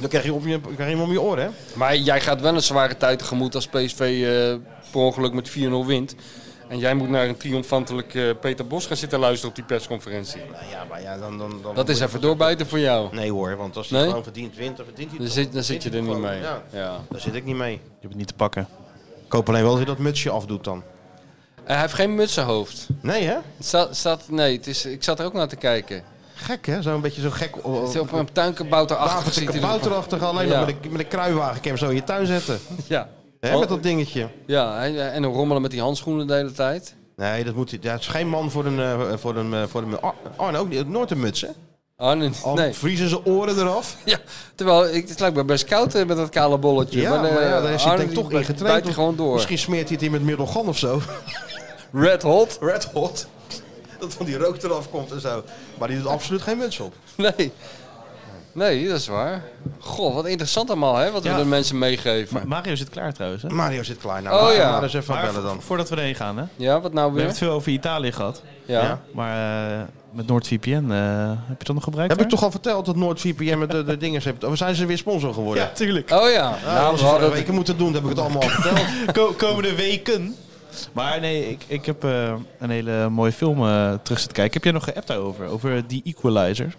[SPEAKER 2] dan krijg je, om je, krijg je hem om je oren, hè?
[SPEAKER 3] Maar jij gaat wel een zware tijd tegemoet als PSV eh, per ongeluk met 4-0 wint. En jij moet naar een triomfantelijk eh, Peter Bos gaan zitten luisteren op die persconferentie.
[SPEAKER 2] Nou ja, maar ja, dan... dan, dan
[SPEAKER 3] Dat is even doorbijten voor jou.
[SPEAKER 2] Nee hoor, want als hij
[SPEAKER 3] Nee? Dus
[SPEAKER 2] gewoon verdient wint, dan verdient hij
[SPEAKER 3] Dan
[SPEAKER 2] het
[SPEAKER 3] zit,
[SPEAKER 2] toch.
[SPEAKER 3] dan zit je er
[SPEAKER 2] Verdient
[SPEAKER 3] niet
[SPEAKER 2] hij
[SPEAKER 3] mee.
[SPEAKER 2] het gewoon, Ja.
[SPEAKER 3] Ja.
[SPEAKER 2] Daar zit ik niet mee.
[SPEAKER 5] Je hebt het niet te pakken.
[SPEAKER 2] Ik hoop alleen wel dat hij dat mutsje afdoet dan.
[SPEAKER 3] En hij heeft geen mutsenhoofd.
[SPEAKER 2] Nee hè?
[SPEAKER 3] Het staat, staat, nee, het is, ik zat er ook naar te kijken.
[SPEAKER 2] Gek hè? Zo'n beetje zo gek... eh,
[SPEAKER 3] Het is op een tuinkebouterachtig
[SPEAKER 2] David
[SPEAKER 3] ziet
[SPEAKER 2] de
[SPEAKER 3] hij er-
[SPEAKER 2] kabouterachtig, alleen
[SPEAKER 3] Ja.
[SPEAKER 2] nog met een, met een kruiwagen. Kan je hem zo in je tuin zetten.
[SPEAKER 3] Ja, Oh,
[SPEAKER 2] Hè, met dat dingetje.
[SPEAKER 3] ja hij- en dan rommelen met die handschoenen de hele tijd.
[SPEAKER 2] Nee, dat moet, hij- dat is geen man voor een... eh, Voor een, eh, voor een Ar- Arne, ook niet, nooit een muts hè?
[SPEAKER 3] Oh, nee,
[SPEAKER 2] Al
[SPEAKER 3] nee.
[SPEAKER 2] vriezen ze oren eraf.
[SPEAKER 3] (laughs) Ja, terwijl ik, het lijkt me best koud eh, met dat kale bolletje.
[SPEAKER 2] Ja, maar,
[SPEAKER 3] eh,
[SPEAKER 2] ja, daar is hij
[SPEAKER 3] Arne
[SPEAKER 2] denk ik
[SPEAKER 3] die
[SPEAKER 2] toch in
[SPEAKER 3] bijt-
[SPEAKER 2] getraind.
[SPEAKER 3] bijt
[SPEAKER 2] of-
[SPEAKER 3] gewoon door.
[SPEAKER 2] Misschien smeert hij het in met middelgan of zo. (laughs)
[SPEAKER 3] Red hot?
[SPEAKER 2] Red hot. Dat van die rook eraf komt en zo. Maar die doet absoluut geen muts op.
[SPEAKER 3] (laughs) Nee. Nee, dat is waar. Goh, wat interessant allemaal, hè? Wat
[SPEAKER 5] Ja.
[SPEAKER 3] we de mensen meegeven.
[SPEAKER 5] Ma- Mario zit klaar trouwens, hè?
[SPEAKER 2] Mario zit klaar. Nou,
[SPEAKER 3] Oh,
[SPEAKER 2] laten we
[SPEAKER 3] ja.
[SPEAKER 2] maar eens even
[SPEAKER 5] Maar
[SPEAKER 2] bellen dan.
[SPEAKER 5] vo- voordat we erheen gaan, hè? We
[SPEAKER 3] Ja, wat nou
[SPEAKER 5] hebben het
[SPEAKER 3] weer?
[SPEAKER 5] veel over Italië gehad.
[SPEAKER 3] Ja.
[SPEAKER 2] Ja.
[SPEAKER 5] Maar eh, met NoordVPN, eh heb je dat nog gebruikt?
[SPEAKER 2] Heb ik
[SPEAKER 5] daar?
[SPEAKER 2] toch al verteld dat NoordVPN met de, de dingen heeft... Oh, zijn ze weer sponsor geworden?
[SPEAKER 5] Ja, tuurlijk.
[SPEAKER 3] Oh ja.
[SPEAKER 2] Ja,
[SPEAKER 3] nou,
[SPEAKER 2] dat
[SPEAKER 3] we
[SPEAKER 2] hadden
[SPEAKER 3] hadden
[SPEAKER 2] we weken moeten doen, dat heb ik het allemaal al verteld.
[SPEAKER 5] Ko- komende weken. Maar nee, ik, ik heb eh, een hele mooie film eh terug zitten kijken. Heb jij nog geappt daarover? Over die Equalizer?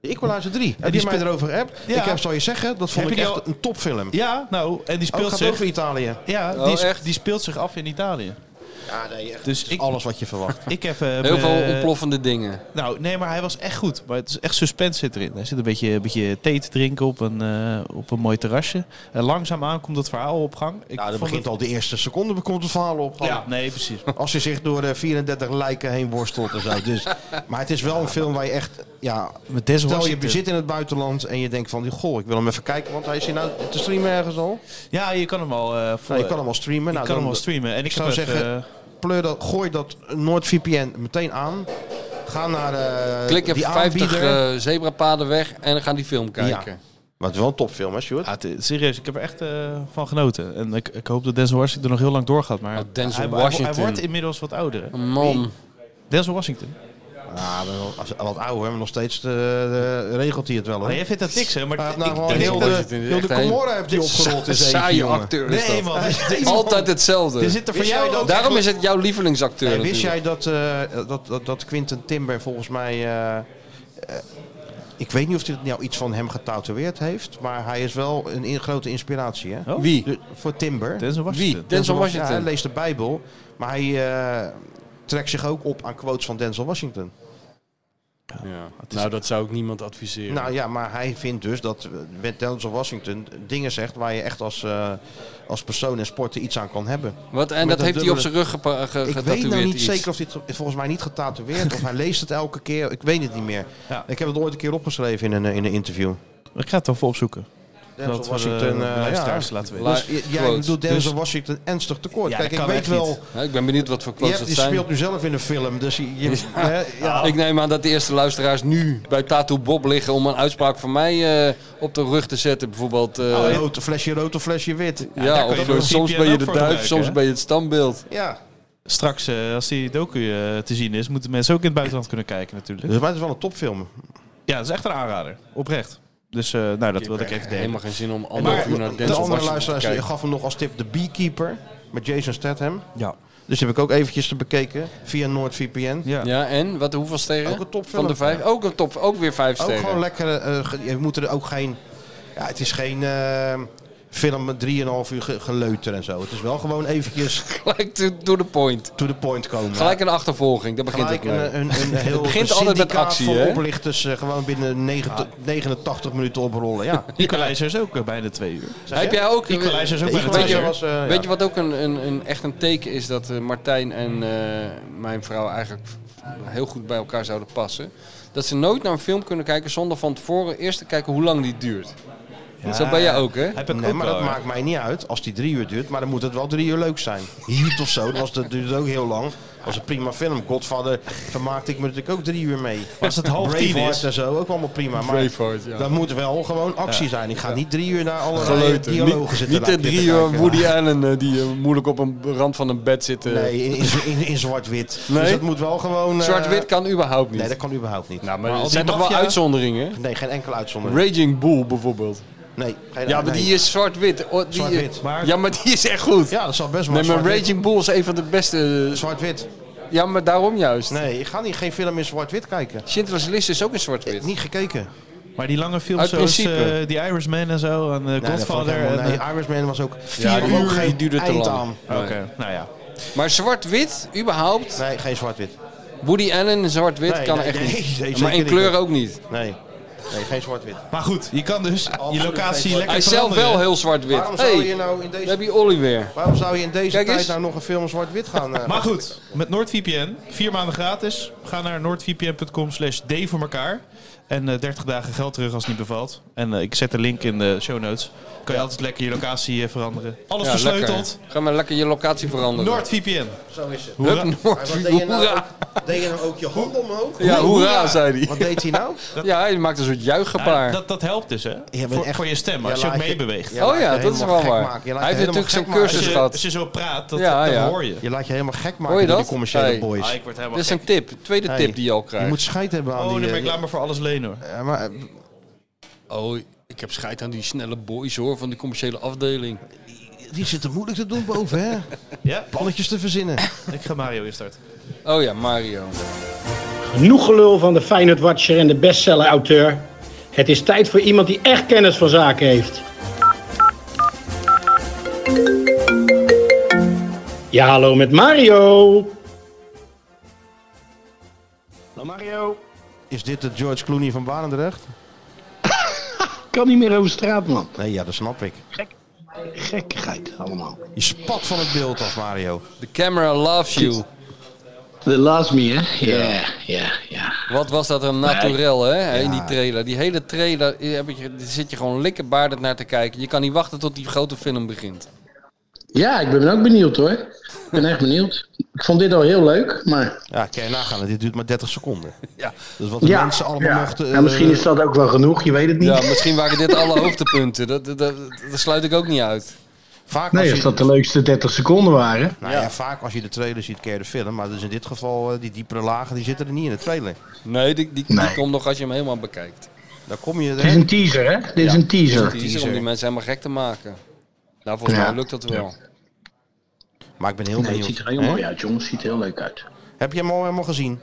[SPEAKER 2] De Equalizer 3. Heb
[SPEAKER 5] die
[SPEAKER 2] je mij
[SPEAKER 5] spe-
[SPEAKER 2] erover geappt?
[SPEAKER 5] Ja.
[SPEAKER 2] Ik heb, zal je zeggen, dat vond ik
[SPEAKER 5] Heb je
[SPEAKER 2] echt
[SPEAKER 5] die al-
[SPEAKER 2] een topfilm.
[SPEAKER 5] Ja, nou, en die
[SPEAKER 2] Oh, het
[SPEAKER 5] speelt
[SPEAKER 2] gaat
[SPEAKER 5] zich...
[SPEAKER 2] over Italië.
[SPEAKER 5] Ja,
[SPEAKER 3] Oh,
[SPEAKER 5] die, is-
[SPEAKER 3] echt?
[SPEAKER 5] die speelt zich af in Italië.
[SPEAKER 2] Ja, nee, echt.
[SPEAKER 5] Dus
[SPEAKER 2] Dus
[SPEAKER 5] ik-
[SPEAKER 2] alles wat je
[SPEAKER 5] (laughs)
[SPEAKER 2] verwacht.
[SPEAKER 5] Ik heb... eh,
[SPEAKER 3] heel
[SPEAKER 2] eh,
[SPEAKER 3] veel ontploffende dingen.
[SPEAKER 5] Nou, nee, maar hij was echt goed. Maar het is echt suspense zit erin. Hij zit een beetje, een beetje thee te drinken op een, eh, op een mooi terrasje. En langzaamaan komt dat verhaal op gang. Ik
[SPEAKER 2] Nou, dat
[SPEAKER 5] vond
[SPEAKER 2] begint al de eerste seconde, komt het verhaal op.
[SPEAKER 5] het- Ja, nee, precies.
[SPEAKER 2] Als je zich door eh, 34 lijken heen worstelt en
[SPEAKER 5] (laughs)
[SPEAKER 2] zo. Dus, maar het is wel een film waar je echt... Ja,
[SPEAKER 5] Met Denzel
[SPEAKER 2] stel je
[SPEAKER 5] Washington.
[SPEAKER 2] zit in het buitenland en je denkt van... Goh, ik wil hem even kijken, want hij is hier nou te streamen ergens al.
[SPEAKER 5] Ja, je kan hem al... eh voor,
[SPEAKER 2] Nou, je kan hem al streamen. Nou,
[SPEAKER 5] kan hem
[SPEAKER 2] dan
[SPEAKER 5] al streamen. En ik
[SPEAKER 2] zou
[SPEAKER 5] heb even,
[SPEAKER 2] zeggen,
[SPEAKER 5] eh,
[SPEAKER 2] pleur dat, gooi dat NoordVPN meteen aan. Ga naar eh
[SPEAKER 3] Klik
[SPEAKER 2] die
[SPEAKER 3] even 50
[SPEAKER 2] aanbieder.
[SPEAKER 3] eh, zebrapaden weg en dan gaan die film kijken.
[SPEAKER 2] Maar het is wel een topfilm, hè, Sjoerd?
[SPEAKER 5] Ja, het is- eh, ah, serieus, ik heb er echt eh, van genoten. En ik, ik hoop dat Denzel Washington nog heel lang doorgaat. Maar
[SPEAKER 3] Oh, Denzel
[SPEAKER 5] hij, hij-
[SPEAKER 3] Washington.
[SPEAKER 5] hij wordt inmiddels wat ouder. hè?
[SPEAKER 3] Man.
[SPEAKER 5] Denzel Washington.
[SPEAKER 2] Ja, Ah, nou, wel- als, wat ouder, maar nog steeds eh, eh, regelt hij het wel. Hoor.
[SPEAKER 5] Maar jij vindt dat niks, hè? Maar
[SPEAKER 2] Hij heeft
[SPEAKER 5] ik-
[SPEAKER 2] nou
[SPEAKER 5] ik-
[SPEAKER 2] gewoon
[SPEAKER 5] denk
[SPEAKER 2] heel
[SPEAKER 5] dat-
[SPEAKER 2] de,
[SPEAKER 3] het in de
[SPEAKER 2] heel de
[SPEAKER 3] echt heen-
[SPEAKER 2] Comora heeft hij
[SPEAKER 3] (laughs)
[SPEAKER 2] opgerold in zijn
[SPEAKER 3] Saaie
[SPEAKER 2] eentje, jongen.
[SPEAKER 3] acteur is
[SPEAKER 5] Nee,
[SPEAKER 3] dat.
[SPEAKER 5] (laughs) man.
[SPEAKER 3] Altijd hetzelfde.
[SPEAKER 5] Er zit er voor
[SPEAKER 2] Wist
[SPEAKER 5] jou
[SPEAKER 2] jij
[SPEAKER 5] ook...
[SPEAKER 2] dat-
[SPEAKER 3] Daarom is het jouw lievelingsacteur
[SPEAKER 2] Hey, wist
[SPEAKER 3] natuurlijk.
[SPEAKER 2] jij dat, eh, dat, dat, dat Quinten Timber volgens mij... eh, eh, ik weet niet of hij nou iets van hem getatoeëerd heeft, maar hij is wel een in- grote inspiratie, hè?
[SPEAKER 5] Oh?
[SPEAKER 3] Wie?
[SPEAKER 2] De- voor Timber.
[SPEAKER 5] Denzel Washington.
[SPEAKER 3] Denzel
[SPEAKER 2] Ja, hij
[SPEAKER 3] Washington.
[SPEAKER 2] leest de Bijbel, maar hij eh, trekt zich ook op aan quotes van Denzel Washington.
[SPEAKER 3] Ja. Nou, dat zou ik niemand adviseren.
[SPEAKER 2] Nou ja, maar hij vindt dus dat eh, Denzel Washington dingen zegt waar je echt als, eh, als persoon en sporter iets aan kan hebben.
[SPEAKER 3] Wat, en
[SPEAKER 2] Met
[SPEAKER 3] dat
[SPEAKER 2] een
[SPEAKER 3] heeft hij op
[SPEAKER 2] dubbele-
[SPEAKER 3] zijn rug gepa- ge-
[SPEAKER 2] Ik
[SPEAKER 3] getatoeëerd
[SPEAKER 2] weet nou niet
[SPEAKER 3] iets.
[SPEAKER 2] zeker of dit volgens mij niet getatoeëerd of hij leest het elke keer. Ik weet het niet meer.
[SPEAKER 5] Ja.
[SPEAKER 2] Ik heb het ooit een keer opgeschreven in een, eh, in een interview.
[SPEAKER 5] Ik ga het dan voor opzoeken.
[SPEAKER 2] Denzel
[SPEAKER 5] we de
[SPEAKER 2] Washington, eh,
[SPEAKER 5] luisteraars
[SPEAKER 2] ja.
[SPEAKER 5] laten weten.
[SPEAKER 3] Laat-
[SPEAKER 2] Dus, j- jij
[SPEAKER 3] Quotes.
[SPEAKER 2] doet Denzel
[SPEAKER 5] Dus-
[SPEAKER 2] Washington ernstig tekort.
[SPEAKER 5] Ja,
[SPEAKER 2] Kijk,
[SPEAKER 5] dat
[SPEAKER 2] ik
[SPEAKER 5] kan
[SPEAKER 2] weet
[SPEAKER 5] echt
[SPEAKER 2] wel,
[SPEAKER 5] niet.
[SPEAKER 3] Nou, ik ben benieuwd wat voor
[SPEAKER 2] je,
[SPEAKER 3] quotes
[SPEAKER 2] hebt-
[SPEAKER 3] dat
[SPEAKER 2] je
[SPEAKER 3] zijn.
[SPEAKER 2] speelt nu zelf in een film, dus je, je- hè, ja.
[SPEAKER 3] Ik neem aan dat de eerste luisteraars nu bij Tattoo Bob liggen om een uitspraak van mij eh, op de rug te zetten. Bijvoorbeeld, eh,
[SPEAKER 2] Een rood, een flesje rood, een flesje wit.
[SPEAKER 3] ja,
[SPEAKER 5] daar kan
[SPEAKER 3] of
[SPEAKER 5] je
[SPEAKER 3] eh,
[SPEAKER 5] de
[SPEAKER 3] soms
[SPEAKER 5] CPN
[SPEAKER 3] ben je
[SPEAKER 5] ook
[SPEAKER 3] de
[SPEAKER 5] voor
[SPEAKER 3] duif,
[SPEAKER 5] gebruiken,
[SPEAKER 3] soms
[SPEAKER 5] hè?
[SPEAKER 3] ben je het standbeeld.
[SPEAKER 2] Ja.
[SPEAKER 5] Straks, eh, als die docu eh, te zien is, moeten mensen ook in het buitenland kunnen kijken natuurlijk.
[SPEAKER 2] Dus maar het is wel een topfilm.
[SPEAKER 5] Ja, dat is echt een aanrader. Oprecht. Dus eh, nou, dat wilde ik even delen.
[SPEAKER 3] Helemaal geen zin om anderhalf uur naar
[SPEAKER 2] de
[SPEAKER 3] Denzel
[SPEAKER 2] andere
[SPEAKER 3] Washington te
[SPEAKER 2] luisteraars
[SPEAKER 3] kijken.
[SPEAKER 2] gaf hem nog als tip The Beekeeper met Jason Statham.
[SPEAKER 5] Ja.
[SPEAKER 2] Dat Dus die heb ik ook eventjes te bekeken via NoordVPN.
[SPEAKER 5] Ja.
[SPEAKER 3] Ja, en? Wat, hoeveel sterren?
[SPEAKER 2] eh, Ook een topfilm.
[SPEAKER 3] Van de vijf? Ook een top, ook weer vijf
[SPEAKER 2] Ook
[SPEAKER 3] sterren.
[SPEAKER 2] gewoon lekker. eh, ge- je moet er ook geen. Ja, het is geen eh, film met 3,5 uur ge- geleuter en zo. Het is wel gewoon eventjes
[SPEAKER 3] (laughs) Gelijk to, to the point.
[SPEAKER 2] to the point komen.
[SPEAKER 3] Gelijk een achtervolging, daar begint
[SPEAKER 2] Gelijk
[SPEAKER 3] het mee.
[SPEAKER 2] een, eh, een,
[SPEAKER 3] (laughs)
[SPEAKER 2] een heel
[SPEAKER 3] Het begint altijd met
[SPEAKER 2] syndicaat
[SPEAKER 3] actie,
[SPEAKER 2] van
[SPEAKER 3] hè?
[SPEAKER 2] oplichters eh, gewoon binnen 90 89 minuten oprollen. Ja.
[SPEAKER 5] Equalizer is ook eh, bijna twee uur.
[SPEAKER 3] (laughs) Heb jij ook...
[SPEAKER 5] Equalizer is ook
[SPEAKER 2] De
[SPEAKER 5] bijna twee
[SPEAKER 2] Equalizer
[SPEAKER 5] uur.
[SPEAKER 2] was, eh, ja.
[SPEAKER 3] Weet je wat ook een, een, een, echt een teken is dat eh, Martijn en eh, mijn vrouw eigenlijk heel goed bij elkaar zouden passen? Dat ze nooit naar een film kunnen kijken zonder van tevoren eerst te kijken hoe lang die duurt. Zo ben jij ook, hè?
[SPEAKER 5] Heb ik
[SPEAKER 2] Nee,
[SPEAKER 5] ook
[SPEAKER 2] maar
[SPEAKER 5] wel,
[SPEAKER 2] dat
[SPEAKER 5] ja.
[SPEAKER 2] maakt mij niet uit als die drie uur duurt. Maar dan moet het wel drie uur leuk zijn. Heat of zo, dat was- dat duurde ook heel lang. Dat was een prima film. Godfather, daar maakte ik me natuurlijk ook drie uur mee.
[SPEAKER 5] Als het half tien
[SPEAKER 2] Braveheart
[SPEAKER 5] is.
[SPEAKER 2] en zo, ook allemaal prima. Maar
[SPEAKER 3] Braveheart, ja.
[SPEAKER 2] dat moet wel gewoon actie zijn. Ik ga niet drie uur naar allerlei
[SPEAKER 3] Geleuter.
[SPEAKER 2] dialogen
[SPEAKER 3] Niet,
[SPEAKER 2] zitten
[SPEAKER 3] niet de
[SPEAKER 2] naar
[SPEAKER 3] drie
[SPEAKER 2] zitten
[SPEAKER 3] uur
[SPEAKER 2] kijken.
[SPEAKER 3] Woody Allen eh, die eh, moeilijk op een rand van een bed eh, zitten.
[SPEAKER 2] Nee, in, in, in, in zwart-wit.
[SPEAKER 3] Nee?
[SPEAKER 2] Dus dat moet wel gewoon... eh,
[SPEAKER 3] Zwart-wit kan überhaupt niet.
[SPEAKER 2] Nee, dat kan überhaupt niet.
[SPEAKER 3] nou, maar
[SPEAKER 2] al
[SPEAKER 3] er
[SPEAKER 2] die
[SPEAKER 3] zijn toch wel
[SPEAKER 2] maffia-
[SPEAKER 3] uitzonderingen?
[SPEAKER 2] Nee, geen enkele uitzondering.
[SPEAKER 3] Raging Bull bijvoorbeeld.
[SPEAKER 2] Nee, geen
[SPEAKER 3] Ja, maar
[SPEAKER 2] nee.
[SPEAKER 3] die is zwart-wit. Oh, die-
[SPEAKER 2] Zwart-wit, maar-
[SPEAKER 3] Ja, maar die is echt goed.
[SPEAKER 2] Ja, dat zal best wel
[SPEAKER 3] nee, maar
[SPEAKER 2] zwart-wit.
[SPEAKER 3] Raging Bull is een van de beste. eh,
[SPEAKER 2] Zwart-wit.
[SPEAKER 3] Ja, maar daarom juist.
[SPEAKER 2] Nee, ik ga niet, geen film in zwart-wit kijken.
[SPEAKER 3] Schindler's List is ook in zwart-wit.
[SPEAKER 2] Niet gekeken.
[SPEAKER 3] Nou,
[SPEAKER 5] Maar die lange films
[SPEAKER 3] Uit
[SPEAKER 5] zoals eh
[SPEAKER 3] principe.
[SPEAKER 5] The Irishman en zo en eh,
[SPEAKER 2] Nee, dat vond ik
[SPEAKER 5] Godfather.
[SPEAKER 2] helemaal-
[SPEAKER 5] en,
[SPEAKER 2] nee,
[SPEAKER 5] eh,
[SPEAKER 2] Irishman was ook vier
[SPEAKER 3] Ja, die-
[SPEAKER 2] uur.
[SPEAKER 3] die
[SPEAKER 2] geen
[SPEAKER 3] duurde te
[SPEAKER 2] eind
[SPEAKER 3] lang.
[SPEAKER 2] aan.
[SPEAKER 5] Oké, nou ja.
[SPEAKER 3] Maar zwart-wit, überhaupt.
[SPEAKER 2] Nee, geen zwart-wit.
[SPEAKER 3] Woody Allen in zwart-wit
[SPEAKER 2] Nee,
[SPEAKER 3] kan
[SPEAKER 2] nee,
[SPEAKER 3] echt
[SPEAKER 2] nee,
[SPEAKER 3] niet.
[SPEAKER 2] nee,
[SPEAKER 3] maar
[SPEAKER 2] zeker
[SPEAKER 3] in
[SPEAKER 2] niet.
[SPEAKER 3] kleur ook niet.
[SPEAKER 2] Nee. Nee, geen zwart-wit.
[SPEAKER 5] Maar goed, je kan dus je locatie lekker
[SPEAKER 3] Hij is zelf wel
[SPEAKER 5] veranderen.
[SPEAKER 3] heel zwart-wit.
[SPEAKER 2] Waarom zou je
[SPEAKER 3] hey,
[SPEAKER 2] nou in
[SPEAKER 3] daar
[SPEAKER 2] deze,
[SPEAKER 3] heb je Oliver.
[SPEAKER 2] waarom zou je in deze
[SPEAKER 3] Kijk
[SPEAKER 2] tijd
[SPEAKER 3] eens.
[SPEAKER 2] nou nog een film zwart-wit gaan? eh,
[SPEAKER 5] Maar goed, met NoordVPN, vier maanden gratis. Ga naar noordvpn.com slash d voor elkaar. En eh 30 dagen geld terug als het niet bevalt. En eh, ik zet de link in de show notes. Kan je altijd lekker je locatie eh, veranderen. Alles
[SPEAKER 3] Ja,
[SPEAKER 5] versleuteld. Nou,
[SPEAKER 3] lekker. Ga maar lekker je locatie veranderen.
[SPEAKER 5] NoordVPN.
[SPEAKER 2] Zo is het.
[SPEAKER 5] Hoera.
[SPEAKER 3] Hup,
[SPEAKER 2] Maar
[SPEAKER 3] Noord.
[SPEAKER 2] wat deed je nou?
[SPEAKER 3] Hoera.
[SPEAKER 2] ook- Deed je nou ook je hand omhoog?
[SPEAKER 3] Ja, hoera, zei hij.
[SPEAKER 2] Wat deed hij nou?
[SPEAKER 3] Ja, hij maakt een soort
[SPEAKER 5] Ja,
[SPEAKER 3] juichgebaar.
[SPEAKER 5] dat, dat helpt dus, hè?
[SPEAKER 2] bent
[SPEAKER 5] voor,
[SPEAKER 2] echt-
[SPEAKER 5] voor je stem,
[SPEAKER 2] Ja,
[SPEAKER 5] als je ook
[SPEAKER 2] laat je-
[SPEAKER 5] meebeweegt.
[SPEAKER 2] Ja, laat
[SPEAKER 3] Oh ja,
[SPEAKER 2] je
[SPEAKER 3] dat is
[SPEAKER 2] helemaal
[SPEAKER 3] wel
[SPEAKER 2] gek
[SPEAKER 3] waar.
[SPEAKER 2] maken. Je laat
[SPEAKER 3] Hij
[SPEAKER 2] je
[SPEAKER 3] heeft
[SPEAKER 2] helemaal
[SPEAKER 3] natuurlijk zo'n
[SPEAKER 2] gek maken.
[SPEAKER 5] Als,
[SPEAKER 3] cursus
[SPEAKER 5] je,
[SPEAKER 3] gehad.
[SPEAKER 5] als je zo praat, dat,
[SPEAKER 3] Ja,
[SPEAKER 5] dat
[SPEAKER 3] ja. Dus
[SPEAKER 5] hoor je.
[SPEAKER 2] Je laat je helemaal gek
[SPEAKER 3] Hoor je
[SPEAKER 2] maken door die
[SPEAKER 3] dat?
[SPEAKER 2] commerciële
[SPEAKER 3] Hey.
[SPEAKER 2] boys.
[SPEAKER 5] Ah, ik word helemaal
[SPEAKER 3] Dit is
[SPEAKER 5] gek.
[SPEAKER 3] een tip. Tweede
[SPEAKER 2] Hey,
[SPEAKER 3] tip die je al
[SPEAKER 2] Je
[SPEAKER 3] krijgt.
[SPEAKER 2] moet scheid hebben aan
[SPEAKER 5] Oh,
[SPEAKER 2] die...
[SPEAKER 5] nu ben ik
[SPEAKER 2] eh,
[SPEAKER 5] klaar maar voor alles lenen, hoor.
[SPEAKER 2] ja, maar, eh,
[SPEAKER 3] Oh, ik heb scheid aan die snelle boys hoor, van die commerciële afdeling.
[SPEAKER 2] die zitten moeilijk te doen boven,
[SPEAKER 3] (laughs)
[SPEAKER 2] hè?
[SPEAKER 5] Ja,
[SPEAKER 2] Plannetjes te verzinnen.
[SPEAKER 5] ik ga Mario instarten.
[SPEAKER 3] Oh ja, Mario.
[SPEAKER 7] Genoeg gelul van de Feyenoord Watcher en de bestseller-auteur. Het is tijd voor iemand die echt kennis van zaken heeft. Ja, hallo met Mario. Hallo Mario.
[SPEAKER 2] Is dit de George Clooney van Barendrecht?
[SPEAKER 7] Kan niet meer over straat, man.
[SPEAKER 2] Nee, ja, dat snap ik.
[SPEAKER 7] Gekkigheid allemaal.
[SPEAKER 2] Je spat van het beeld af, Mario.
[SPEAKER 3] The camera loves you.
[SPEAKER 7] The last me, hè? Ja, ja, ja.
[SPEAKER 3] Wat was dat een naturel, hè? In die trailer. Die hele trailer eh, heb je, daar zit je gewoon likkenbaardend naar te kijken. Je kan niet wachten tot die grote film begint.
[SPEAKER 7] Ja, ik ben ook benieuwd hoor. Ik ben echt benieuwd. Ik vond dit al heel leuk, maar...
[SPEAKER 2] Ja, kan je nagaan. Dit duurt maar 30 seconden.
[SPEAKER 3] (laughs) Ja,
[SPEAKER 2] Dus wat de mensen allemaal
[SPEAKER 7] ja.
[SPEAKER 2] mochten...
[SPEAKER 7] Ja, misschien
[SPEAKER 2] eh,
[SPEAKER 7] is dat ook wel genoeg, je weet het niet.
[SPEAKER 3] ja misschien waren dit alle
[SPEAKER 7] (laughs)
[SPEAKER 3] hoogtepunten. Dat, dat, dat, dat sluit ik ook niet uit.
[SPEAKER 2] vaak
[SPEAKER 7] Nee,
[SPEAKER 2] als
[SPEAKER 7] als
[SPEAKER 2] je,
[SPEAKER 7] dat de leukste 30 seconden waren.
[SPEAKER 2] nou ja, vaak als je de trailer ziet, ken je de film. Maar dus in dit geval, eh, die diepere lagen, die zitten er niet in de trailer.
[SPEAKER 3] Nee, die, die, die
[SPEAKER 7] Nee.
[SPEAKER 3] komt nog als je hem helemaal bekijkt.
[SPEAKER 2] Daar kom je...
[SPEAKER 7] Dit is een teaser, hè? Dit is een teaser.
[SPEAKER 3] Die is er om die mensen helemaal gek te maken. Nou, volgens
[SPEAKER 7] Ja.
[SPEAKER 3] mij lukt dat wel.
[SPEAKER 2] Maar ik ben heel
[SPEAKER 7] Nee, het
[SPEAKER 2] benieuwd.
[SPEAKER 7] ziet er heel
[SPEAKER 2] Hè?
[SPEAKER 7] mooi uit, jongens. Het ziet er heel leuk uit.
[SPEAKER 2] Heb je hem al helemaal gezien?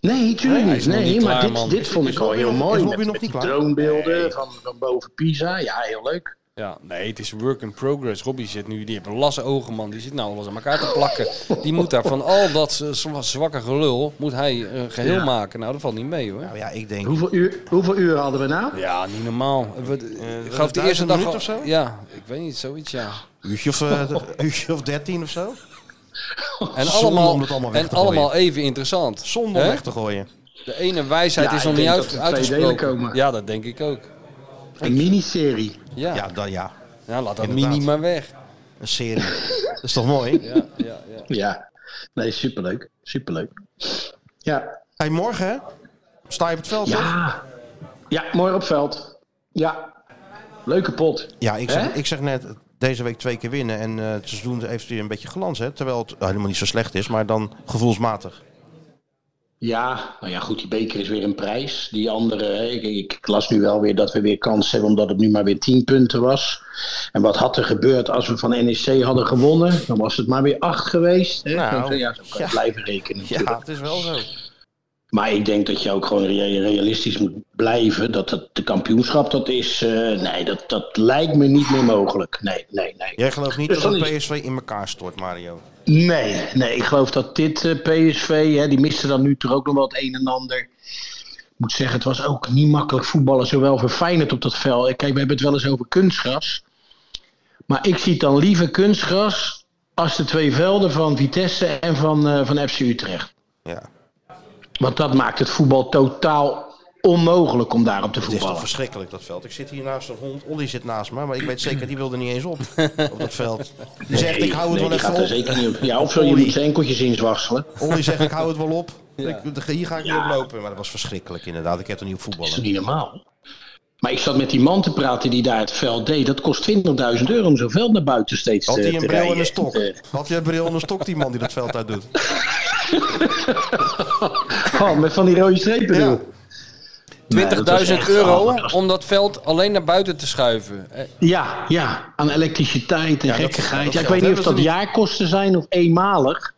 [SPEAKER 7] Nee, tuurlijk
[SPEAKER 3] hij is
[SPEAKER 7] niet.
[SPEAKER 3] nog
[SPEAKER 7] Nee,
[SPEAKER 3] niet
[SPEAKER 7] maar
[SPEAKER 3] klaar, man.
[SPEAKER 7] dit, dit vond ik al heel mooi. Met,
[SPEAKER 2] Lobby nog
[SPEAKER 7] met
[SPEAKER 2] niet
[SPEAKER 7] die
[SPEAKER 2] klaar?
[SPEAKER 7] dronebeelden van, van boven Pisa. Ja, heel leuk.
[SPEAKER 3] Ja, nee, het is work in progress. Robbie zit nu, die heeft lasse ogen, man. Die zit nou alles aan elkaar te plakken. Die moet daar van al dat z- zwa- zwakke gelul, moet hij een geheel
[SPEAKER 7] Ja.
[SPEAKER 3] maken. Nou, dat valt niet mee, hoor.
[SPEAKER 2] Nou ja, ik denk...
[SPEAKER 7] Hoeveel, uur, hoeveel uren hadden we nou?
[SPEAKER 3] Ja, niet normaal. We, ik geloof de
[SPEAKER 2] Eh, duizend
[SPEAKER 3] eerste dag...
[SPEAKER 2] minuten
[SPEAKER 3] al-
[SPEAKER 2] of zo?
[SPEAKER 3] Ja, ik weet niet, zoiets, ja.
[SPEAKER 2] Uurtje of,
[SPEAKER 7] (laughs)
[SPEAKER 2] eh, uurtje of 13 of zo?
[SPEAKER 3] En
[SPEAKER 2] Zonde
[SPEAKER 3] allemaal,
[SPEAKER 2] om het allemaal weg
[SPEAKER 3] en
[SPEAKER 2] te gooien.
[SPEAKER 3] allemaal even interessant.
[SPEAKER 2] Zonde om
[SPEAKER 3] Hè?
[SPEAKER 2] weg te gooien.
[SPEAKER 3] De ene wijsheid
[SPEAKER 7] Ja,
[SPEAKER 3] is
[SPEAKER 7] ik
[SPEAKER 3] nog niet
[SPEAKER 7] denk
[SPEAKER 3] uit,
[SPEAKER 7] dat er twee
[SPEAKER 3] uitgesproken.
[SPEAKER 7] delen komen.
[SPEAKER 3] Ja, dat denk ik ook.
[SPEAKER 7] Een miniserie.
[SPEAKER 2] Ja,
[SPEAKER 3] Ja, ja.
[SPEAKER 2] dan ja.
[SPEAKER 3] laat dat
[SPEAKER 2] Inderdaad.
[SPEAKER 3] mini maar weg.
[SPEAKER 2] Een serie. (laughs) dat is toch mooi?
[SPEAKER 3] Ja, ja, ja.
[SPEAKER 7] Ja. Nee, superleuk. Superleuk. Ja.
[SPEAKER 2] Hey, morgen hè? sta je op het veld, toch?
[SPEAKER 7] Ja. Ja, mooi op veld. Ja. Leuke pot.
[SPEAKER 2] Ja, ik
[SPEAKER 7] Hè?
[SPEAKER 2] zeg, ik zeg net, deze week twee keer winnen. En eh het seizoen heeft weer een beetje glans, hè? Terwijl het nou, helemaal niet zo slecht is, maar dan gevoelsmatig.
[SPEAKER 8] Ja, nou ja, goed, die beker is weer een prijs. Die andere, hè, ik, ik las nu wel weer dat we weer kans hebben omdat het nu maar weer 10 punten was. En wat had er gebeurd als we van NEC hadden gewonnen? Dan was het maar weer 8 geweest. Hè?
[SPEAKER 5] Nou,
[SPEAKER 8] Dan- ja, zo kan je
[SPEAKER 5] ja.
[SPEAKER 8] blijven rekenen natuurlijk.
[SPEAKER 5] Ja, het is wel zo.
[SPEAKER 8] Maar ik denk dat je ook gewoon rea- realistisch moet blijven. Dat het de kampioenschap, dat is... eh, nee, dat, dat lijkt me niet meer mogelijk. Nee, nee, nee.
[SPEAKER 2] Jij gelooft niet
[SPEAKER 8] Dus
[SPEAKER 2] dat het
[SPEAKER 8] dan is-
[SPEAKER 2] PSV in elkaar stort, Mario.
[SPEAKER 8] Nee, nee, ik geloof dat dit eh, PSV, hè, die miste dan nu toch ook nog wel het een en ander. Ik moet zeggen, het was ook niet makkelijk voetballen, zowel voor Feyenoord op dat veld. Kijk, we hebben het wel eens over kunstgras. Maar ik zie dan liever kunstgras als de twee velden van Vitesse en van, eh, van FC Utrecht.
[SPEAKER 2] Ja.
[SPEAKER 8] Want dat maakt het voetbal totaal onmogelijk om daarop te
[SPEAKER 2] Het is toch
[SPEAKER 8] voetballen.
[SPEAKER 2] verschrikkelijk, dat veld. Ik zit hier naast een hond. Olly zit naast me, maar ik weet zeker, die wilde niet eens op. Op dat veld. Die zegt, ik hou het
[SPEAKER 8] Nee,
[SPEAKER 2] wel
[SPEAKER 8] die gaat er
[SPEAKER 2] even op.
[SPEAKER 8] zeker niet op. Ja, of zo, je moet zijn enkeltjes inzwasselen.
[SPEAKER 2] Olly zegt, ik hou het wel op. Ik- hier ga ik niet op lopen. Maar dat was verschrikkelijk, inderdaad. Ik heb er niet op
[SPEAKER 8] Dat is
[SPEAKER 2] voetballen.
[SPEAKER 8] niet normaal. Maar ik zat met die man te praten die daar het veld deed. Dat kost 20.000 euro om zo'n veld naar buiten steeds
[SPEAKER 2] Had
[SPEAKER 8] eh,
[SPEAKER 2] hij
[SPEAKER 8] te
[SPEAKER 2] een bril en
[SPEAKER 8] rijden.
[SPEAKER 2] een stok?
[SPEAKER 8] Eh,
[SPEAKER 2] Had hij een bril en een stok, die man die dat veld uit
[SPEAKER 6] (laughs)
[SPEAKER 2] doet?
[SPEAKER 8] oh, met van die rode strepen
[SPEAKER 2] Ja.
[SPEAKER 8] ja.
[SPEAKER 3] 20.000 euro om dat veld alleen naar buiten te schuiven. Eh,
[SPEAKER 8] Ja, ja, aan elektriciteit en
[SPEAKER 2] Ja, dat-
[SPEAKER 8] gekkigheid.
[SPEAKER 2] dat
[SPEAKER 8] ja, ik
[SPEAKER 2] geld
[SPEAKER 8] weet niet
[SPEAKER 2] hebben
[SPEAKER 8] of dat
[SPEAKER 2] ze niet. Hm.
[SPEAKER 8] jaarkosten zijn of eenmalig.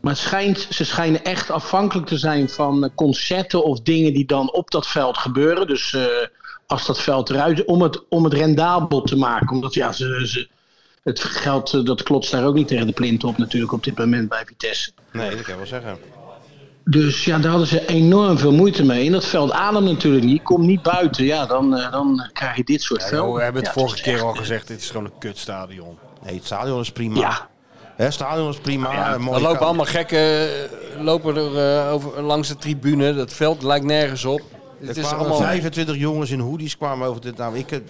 [SPEAKER 8] Maar het schijnt, ze schijnen echt afhankelijk te zijn van eh, concerten of dingen die dan op dat veld gebeuren. Dus eh, als dat veld eruit, om het, om het rendabel te maken. Omdat ja, ze, ze- het geld eh, dat klotst daar ook niet tegen de plint op natuurlijk op dit moment bij Vitesse.
[SPEAKER 2] Nee, dat kan ik wel zeggen.
[SPEAKER 8] Dus ja, daar hadden ze enorm veel moeite mee. En dat veld ademt natuurlijk niet. Kom niet buiten. Ja, dan, eh, dan krijg je dit soort velden.
[SPEAKER 6] Oh, we hebben het
[SPEAKER 8] Ja,
[SPEAKER 6] vorige keer al gezegd, dit is gewoon een kutstadion.
[SPEAKER 2] Nee, het stadion is prima.
[SPEAKER 8] Ja,
[SPEAKER 2] Hè, het stadion is prima.
[SPEAKER 8] Ja,
[SPEAKER 2] een mooie
[SPEAKER 3] Dan lopen
[SPEAKER 2] kant.
[SPEAKER 3] allemaal gekken eh, lopen er, eh, over, langs de tribune. Dat veld lijkt nergens op.
[SPEAKER 2] Er
[SPEAKER 3] Het is
[SPEAKER 2] kwamen
[SPEAKER 3] allemaal...
[SPEAKER 2] 25 jongens in hoodies kwamen over dit. Nou, ik, heb-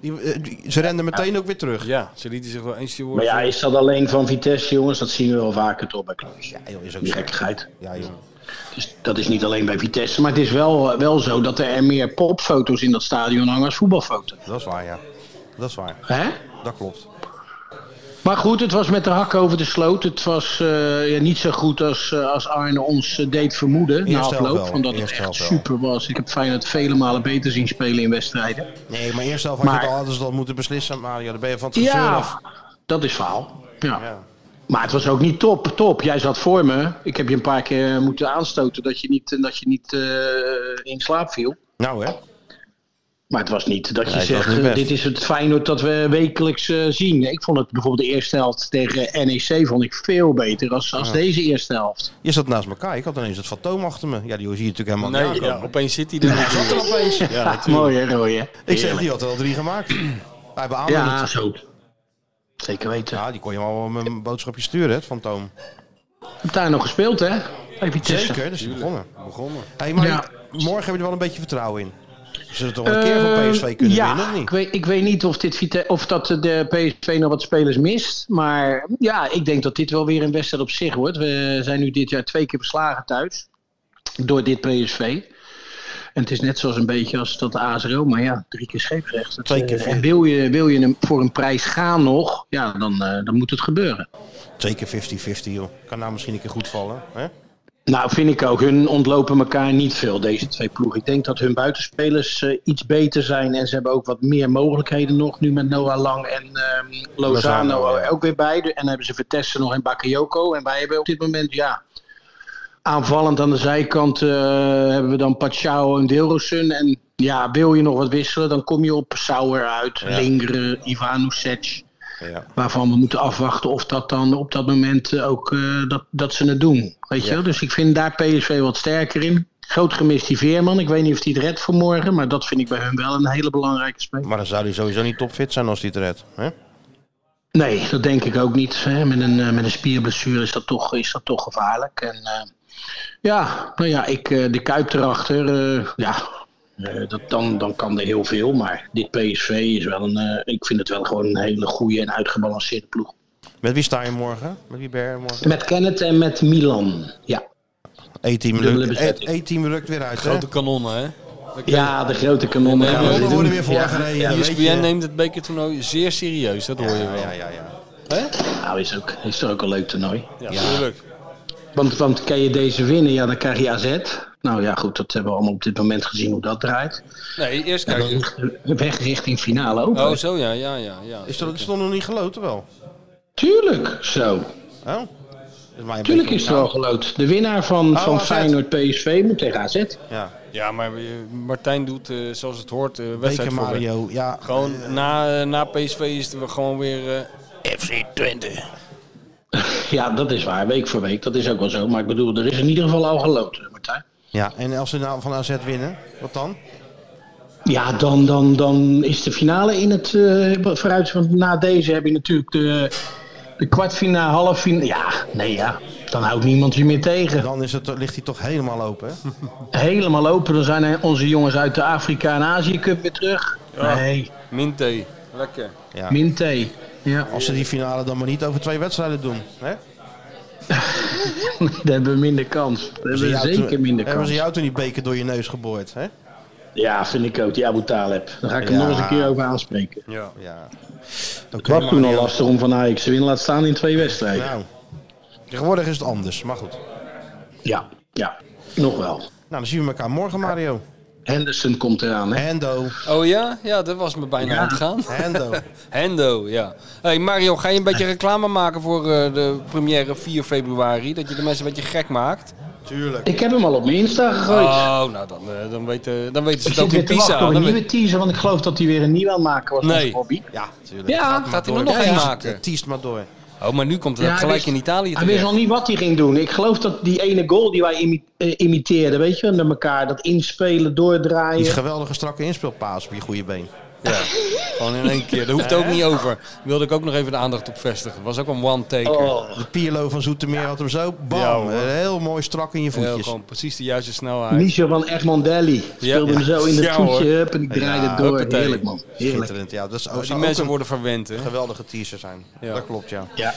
[SPEAKER 2] die, eh, die- ze renden meteen ook weer terug.
[SPEAKER 3] Ja, ze lieten zich wel eens
[SPEAKER 8] Maar
[SPEAKER 3] worden.
[SPEAKER 8] ja, is dat alleen van Vitesse, jongens? Dat zien we wel vaker toch bij clubs.
[SPEAKER 2] Ja, joh, is ook
[SPEAKER 8] Die
[SPEAKER 2] zo.
[SPEAKER 8] gekkigheid.
[SPEAKER 2] Ja, joh.
[SPEAKER 8] Dus dat is niet alleen bij Vitesse. Maar het is wel, eh, wel zo dat er meer popfoto's in dat stadion hangen als voetbalfoto's.
[SPEAKER 2] Dat is waar, ja. Dat is waar.
[SPEAKER 8] Hè?
[SPEAKER 2] Dat klopt.
[SPEAKER 8] Maar goed, het was met de hak over de sloot. Het was eh, ja, niet zo goed als, eh, als Arne ons eh, deed vermoeden na
[SPEAKER 2] Eerste helft
[SPEAKER 8] afloop.
[SPEAKER 2] wel.
[SPEAKER 8] Van dat het
[SPEAKER 2] Eerste
[SPEAKER 8] echt
[SPEAKER 2] helft wel.
[SPEAKER 8] super was. Ik heb Feyenoord vele malen beter zien spelen in wedstrijden.
[SPEAKER 2] Nee, maar eerst zelf had
[SPEAKER 8] Maar-
[SPEAKER 2] je het al, hadden ze dat moeten beslissen. Maar ja, dan ben je van het gezeur af.
[SPEAKER 8] Ja, dat is faal. Ja. Maar het was ook niet top, top. Jij zat voor me. Ik heb je een paar keer moeten aanstoten dat je niet, dat je niet eh, in slaap viel.
[SPEAKER 2] Nou, hè.
[SPEAKER 8] Maar het was niet dat je
[SPEAKER 2] Nee, het was
[SPEAKER 8] zegt,
[SPEAKER 2] niet
[SPEAKER 8] eh,
[SPEAKER 2] best.
[SPEAKER 8] dit is het Feyenoord dat we wekelijks eh, zien. Ik vond het bijvoorbeeld de eerste helft tegen NEC vond ik veel beter als, als deze eerste helft.
[SPEAKER 2] Je zat naast elkaar. Ik had ineens het fantoom achter me. Ja, die zie je natuurlijk helemaal
[SPEAKER 3] Nee,
[SPEAKER 2] niet
[SPEAKER 3] ja,
[SPEAKER 2] aankomen.
[SPEAKER 3] opeens zit hij er. Hij zat er opeens. Ja,
[SPEAKER 8] Ja, mooi hè, Roy? hè?
[SPEAKER 2] Ik zeg, die had er al drie gemaakt. (clears throat) Hij beaamde
[SPEAKER 8] Ja,
[SPEAKER 2] het.
[SPEAKER 8] zo. Zeker weten.
[SPEAKER 2] Ja, Nou, die kon je wel met een boodschapje sturen, hè, het fantoom.
[SPEAKER 8] Heb daar nog gespeeld hè? Bij Vitesse.
[SPEAKER 2] Zeker, dus die begonnen. begonnen. Hey, maar
[SPEAKER 8] Ja.
[SPEAKER 2] morgen heb je er wel een beetje vertrouwen in. Ze zullen toch wel een keer van PSV kunnen
[SPEAKER 8] Eh, ja,
[SPEAKER 2] winnen, of niet?
[SPEAKER 8] Ik weet, ik weet niet of, dit Vite- of dat de PSV nog wat spelers mist. Maar ja, ik denk dat dit wel weer een wedstrijd op zich wordt. We zijn nu dit jaar twee keer beslagen thuis. Door dit PSV. En het is net zoals een beetje als dat de AS Roma. Ja, drie keer scheepsrecht. Dat,
[SPEAKER 2] Twee keer
[SPEAKER 8] eh,
[SPEAKER 2] voor.
[SPEAKER 8] en wil je, wil je hem voor een prijs gaan nog, ja, dan, eh, dan moet het gebeuren.
[SPEAKER 2] Zeker 50-50, joh. Kan nou misschien een keer goed vallen. Hè?
[SPEAKER 8] Nou, vind ik ook. Hun ontlopen elkaar niet veel, deze twee ploegen. Ik denk dat hun buitenspelers eh, iets beter zijn. En ze hebben ook wat meer mogelijkheden nog. Nu met Noah Lang en ehm, Lozano
[SPEAKER 2] Lozano, ja.
[SPEAKER 8] ook weer bij. En dan hebben ze Vitesse nog en Bakayoko. En wij hebben op dit moment, ja... Aanvallend aan de zijkant eh, hebben we dan Pachao en Deelrosun. En ja, wil je nog wat wisselen, dan kom je op Sauer uit. Lingeren, Ivanusec.
[SPEAKER 2] Ja.
[SPEAKER 8] Waarvan we moeten afwachten of dat dan op dat moment eh, ook eh, dat, dat ze het doen. Weet je wel? Dus ik vind daar PSV wat sterker in. Groot gemist die Veerman. Ik weet niet of die het redt voor morgen. Maar dat vind ik bij hun wel een hele belangrijke speler.
[SPEAKER 2] Maar dan zou hij sowieso niet topfit zijn als hij het redt. Hè?
[SPEAKER 8] Nee, dat denk ik ook niet. Hè. Met, een, eh, met een spierblessure is dat toch, is dat toch gevaarlijk. En, eh, ja, nou ja, ik, eh, de Kuip erachter. eh, ja, eh, dat, dan, dan kan er heel veel. Maar dit PSV is wel een... eh, ik vind het wel gewoon een hele goede en uitgebalanceerde ploeg.
[SPEAKER 2] Met wie sta je morgen? Met wie ben je morgen?
[SPEAKER 8] Met Kenneth en met Milan. Ja.
[SPEAKER 2] E-team
[SPEAKER 8] Dubbele
[SPEAKER 2] rukt,
[SPEAKER 8] bezetting.
[SPEAKER 2] E- E-team rukt weer uit, hè?
[SPEAKER 3] Grote kanonnen, hè?
[SPEAKER 8] Ja, de grote kanonnen
[SPEAKER 3] Nee,
[SPEAKER 8] gaan
[SPEAKER 3] nee,
[SPEAKER 8] we
[SPEAKER 3] we
[SPEAKER 8] dit
[SPEAKER 2] worden
[SPEAKER 8] doen.
[SPEAKER 2] weer voorgereden.
[SPEAKER 8] Ja,
[SPEAKER 2] Ja,
[SPEAKER 8] ja,
[SPEAKER 2] weet je.
[SPEAKER 3] ESPN neemt het bekertoernooi zeer serieus, dat hoor je
[SPEAKER 2] Ja,
[SPEAKER 3] wel.
[SPEAKER 2] ja, ja.
[SPEAKER 8] nou, is, ook, is toch ook een leuk toernooi.
[SPEAKER 3] Ja, natuurlijk.
[SPEAKER 8] Want, want kan je deze winnen, ja, dan krijg je AZ. Nou ja, goed, dat hebben we allemaal op dit moment gezien hoe dat draait.
[SPEAKER 3] Nee, eerst
[SPEAKER 8] En dan
[SPEAKER 3] kijken.
[SPEAKER 8] ligt de weg richting finale ook.
[SPEAKER 3] Oh, zo ja, ja, ja. ja
[SPEAKER 2] Is er, is er nog niet geloten wel?
[SPEAKER 8] Tuurlijk, zo.
[SPEAKER 2] Hè? Is mij een
[SPEAKER 8] Tuurlijk
[SPEAKER 2] beetje
[SPEAKER 8] is er al geloot. De winnaar van,
[SPEAKER 2] Oh,
[SPEAKER 8] van
[SPEAKER 2] AZ.
[SPEAKER 8] Feyenoord PSV moet tegen AZ.
[SPEAKER 2] Ja,
[SPEAKER 3] Ja, maar eh, Martijn doet eh, zoals het hoort eh wedstrijd
[SPEAKER 2] Beker
[SPEAKER 3] voor wedstrijd.
[SPEAKER 2] Mario. Ja,
[SPEAKER 3] Gewoon na, eh, na PSV is het gewoon weer... eh,
[SPEAKER 6] FC Twente.
[SPEAKER 8] Ja, dat is waar. Week voor week. Dat is ook wel zo. Maar ik bedoel, er is in ieder geval al geloot, Martijn.
[SPEAKER 2] ja, en als ze nou van AZ winnen, wat dan?
[SPEAKER 8] Ja, dan, dan, dan is de finale in het eh, vooruit. Want na deze heb je natuurlijk de, de kwartfinale, halffinale. Ja, nee ja. Dan houdt niemand je meer tegen.
[SPEAKER 2] Dan is het, ligt hij toch helemaal open. hè?
[SPEAKER 8] Helemaal open. Dan zijn er onze jongens uit de Afrika en Azië Cup weer terug. Nee,
[SPEAKER 3] Minté. Lekker.
[SPEAKER 2] Ja.
[SPEAKER 8] min thee. Ja, (laughs)
[SPEAKER 2] Als ze die finale dan maar niet over twee wedstrijden doen. Hè?
[SPEAKER 8] dan hebben we minder kans. Dan hebben we
[SPEAKER 2] Hebben ze jou
[SPEAKER 8] zeker
[SPEAKER 2] toen-
[SPEAKER 8] minder
[SPEAKER 2] Hebben ze
[SPEAKER 8] kans.
[SPEAKER 2] jou toen die beker door je neus geboord? Hè?
[SPEAKER 8] Ja, vind ik ook, die Abu Taleb. Daar ga ik hem
[SPEAKER 2] Ja.
[SPEAKER 8] nog eens een keer over aanspreken.
[SPEAKER 3] Ja.
[SPEAKER 2] Ja.
[SPEAKER 8] Het was toen al lastig om van Ajax te winnen. Laat staan in twee wedstrijden.
[SPEAKER 2] Nou, tegenwoordig is het anders, maar goed. Nou,
[SPEAKER 8] Ja, ja. Nog wel.
[SPEAKER 2] dan zien we elkaar morgen, Mario.
[SPEAKER 8] Henderson komt eraan, hè?
[SPEAKER 2] Hendo.
[SPEAKER 3] Oh ja? Ja, dat was me bijna ontgaan.
[SPEAKER 2] Hendo.
[SPEAKER 8] (laughs)
[SPEAKER 3] Hendo, ja. hey Mario, ga je een beetje reclame maken voor eh, de première 4 februari? Dat je de mensen een beetje gek maakt?
[SPEAKER 2] Tuurlijk.
[SPEAKER 8] Ik heb hem al op mijn Insta gegooid.
[SPEAKER 3] Oh, nou, dan, eh, dan, weten, dan weten ze
[SPEAKER 8] ik
[SPEAKER 3] het ook
[SPEAKER 8] zit
[SPEAKER 3] in
[SPEAKER 8] weer te
[SPEAKER 3] Pisa.
[SPEAKER 8] wachten op een
[SPEAKER 3] Dan
[SPEAKER 8] nieuwe
[SPEAKER 3] weet...
[SPEAKER 8] teaser, want ik geloof dat hij weer een nieuwe aan het maken was.
[SPEAKER 3] Nee.
[SPEAKER 8] onze Bobby.
[SPEAKER 2] Ja, tuurlijk.
[SPEAKER 8] Ja,
[SPEAKER 3] Gaat hij er nog een maken?
[SPEAKER 2] Tiest maar door.
[SPEAKER 3] Oh, maar nu komt het
[SPEAKER 8] Ja, hij
[SPEAKER 3] gelijk
[SPEAKER 8] wist-
[SPEAKER 3] in Italië
[SPEAKER 8] Hij wist
[SPEAKER 3] terecht.
[SPEAKER 8] nog niet wat hij ging doen. Ik geloof dat die ene goal die wij imi- eh, imiteerden, weet je, wel, naar elkaar, dat inspelen, doordraaien.
[SPEAKER 2] Die geweldige strakke inspeelpaas op je goede been.
[SPEAKER 3] Ja. Gewoon in één keer. Daar hoeft het ook niet over. Daar wilde ik ook nog even de aandacht op vestigen. was ook een one-taker.
[SPEAKER 8] Oh,
[SPEAKER 2] De Pierlo van Zoetermeer had hem zo,
[SPEAKER 3] Ja,
[SPEAKER 2] bam,
[SPEAKER 3] hoor.
[SPEAKER 2] heel mooi strak in je
[SPEAKER 3] Eh,
[SPEAKER 2] voetjes.
[SPEAKER 3] gewoon precies de juiste snelheid.
[SPEAKER 8] Michel van Egmondelli speelde hem zo in het
[SPEAKER 3] Ja,
[SPEAKER 8] voetje
[SPEAKER 3] hoor.
[SPEAKER 8] hup, en die draaide
[SPEAKER 2] Ja,
[SPEAKER 8] door.
[SPEAKER 3] huppatee.
[SPEAKER 8] Heerlijk, man. Heerlijk.
[SPEAKER 2] Schitterend, ja. Dat is
[SPEAKER 3] Oh,
[SPEAKER 2] ook,
[SPEAKER 3] die
[SPEAKER 2] zou
[SPEAKER 3] mensen
[SPEAKER 2] ook
[SPEAKER 3] worden verwend, hè?
[SPEAKER 2] een geweldige teaser zijn.
[SPEAKER 3] Ja.
[SPEAKER 2] Dat klopt, ja.
[SPEAKER 8] Ja.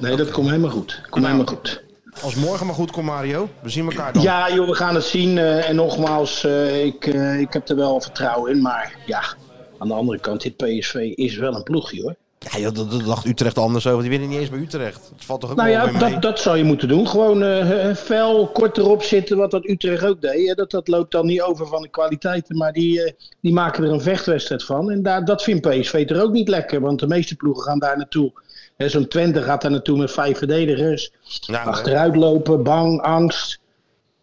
[SPEAKER 8] Nee, dat komt helemaal goed. Komt
[SPEAKER 3] Nou.
[SPEAKER 8] helemaal goed.
[SPEAKER 2] Als morgen maar goed komt, Mario. We zien elkaar dan.
[SPEAKER 8] Ja, joh, we gaan het zien. eh, en nogmaals, eh, ik, eh, ik heb er wel vertrouwen in. Maar ja, aan de andere kant, dit PSV is wel een ploegje hoor.
[SPEAKER 2] Ja, joh, dat, dat dacht Utrecht anders over. Die winnen niet eens bij Utrecht. Dat valt toch ook
[SPEAKER 8] Nou
[SPEAKER 2] wel
[SPEAKER 8] ja,
[SPEAKER 2] weer mee.
[SPEAKER 8] dat, dat zou je moeten doen. Gewoon eh, eh, fel, kort erop zitten, wat dat Utrecht ook deed. hè. Dat, dat loopt dan niet over van de kwaliteiten. Maar die, eh, die maken er een vechtwedstrijd van. En daar, dat vindt PSV er ook niet lekker. Want de meeste ploegen gaan daar naartoe. Hè, Zo'n Twente gaat daar naartoe met vijf verdedigers.
[SPEAKER 2] Nou,
[SPEAKER 8] Achteruit lopen, bang, angst.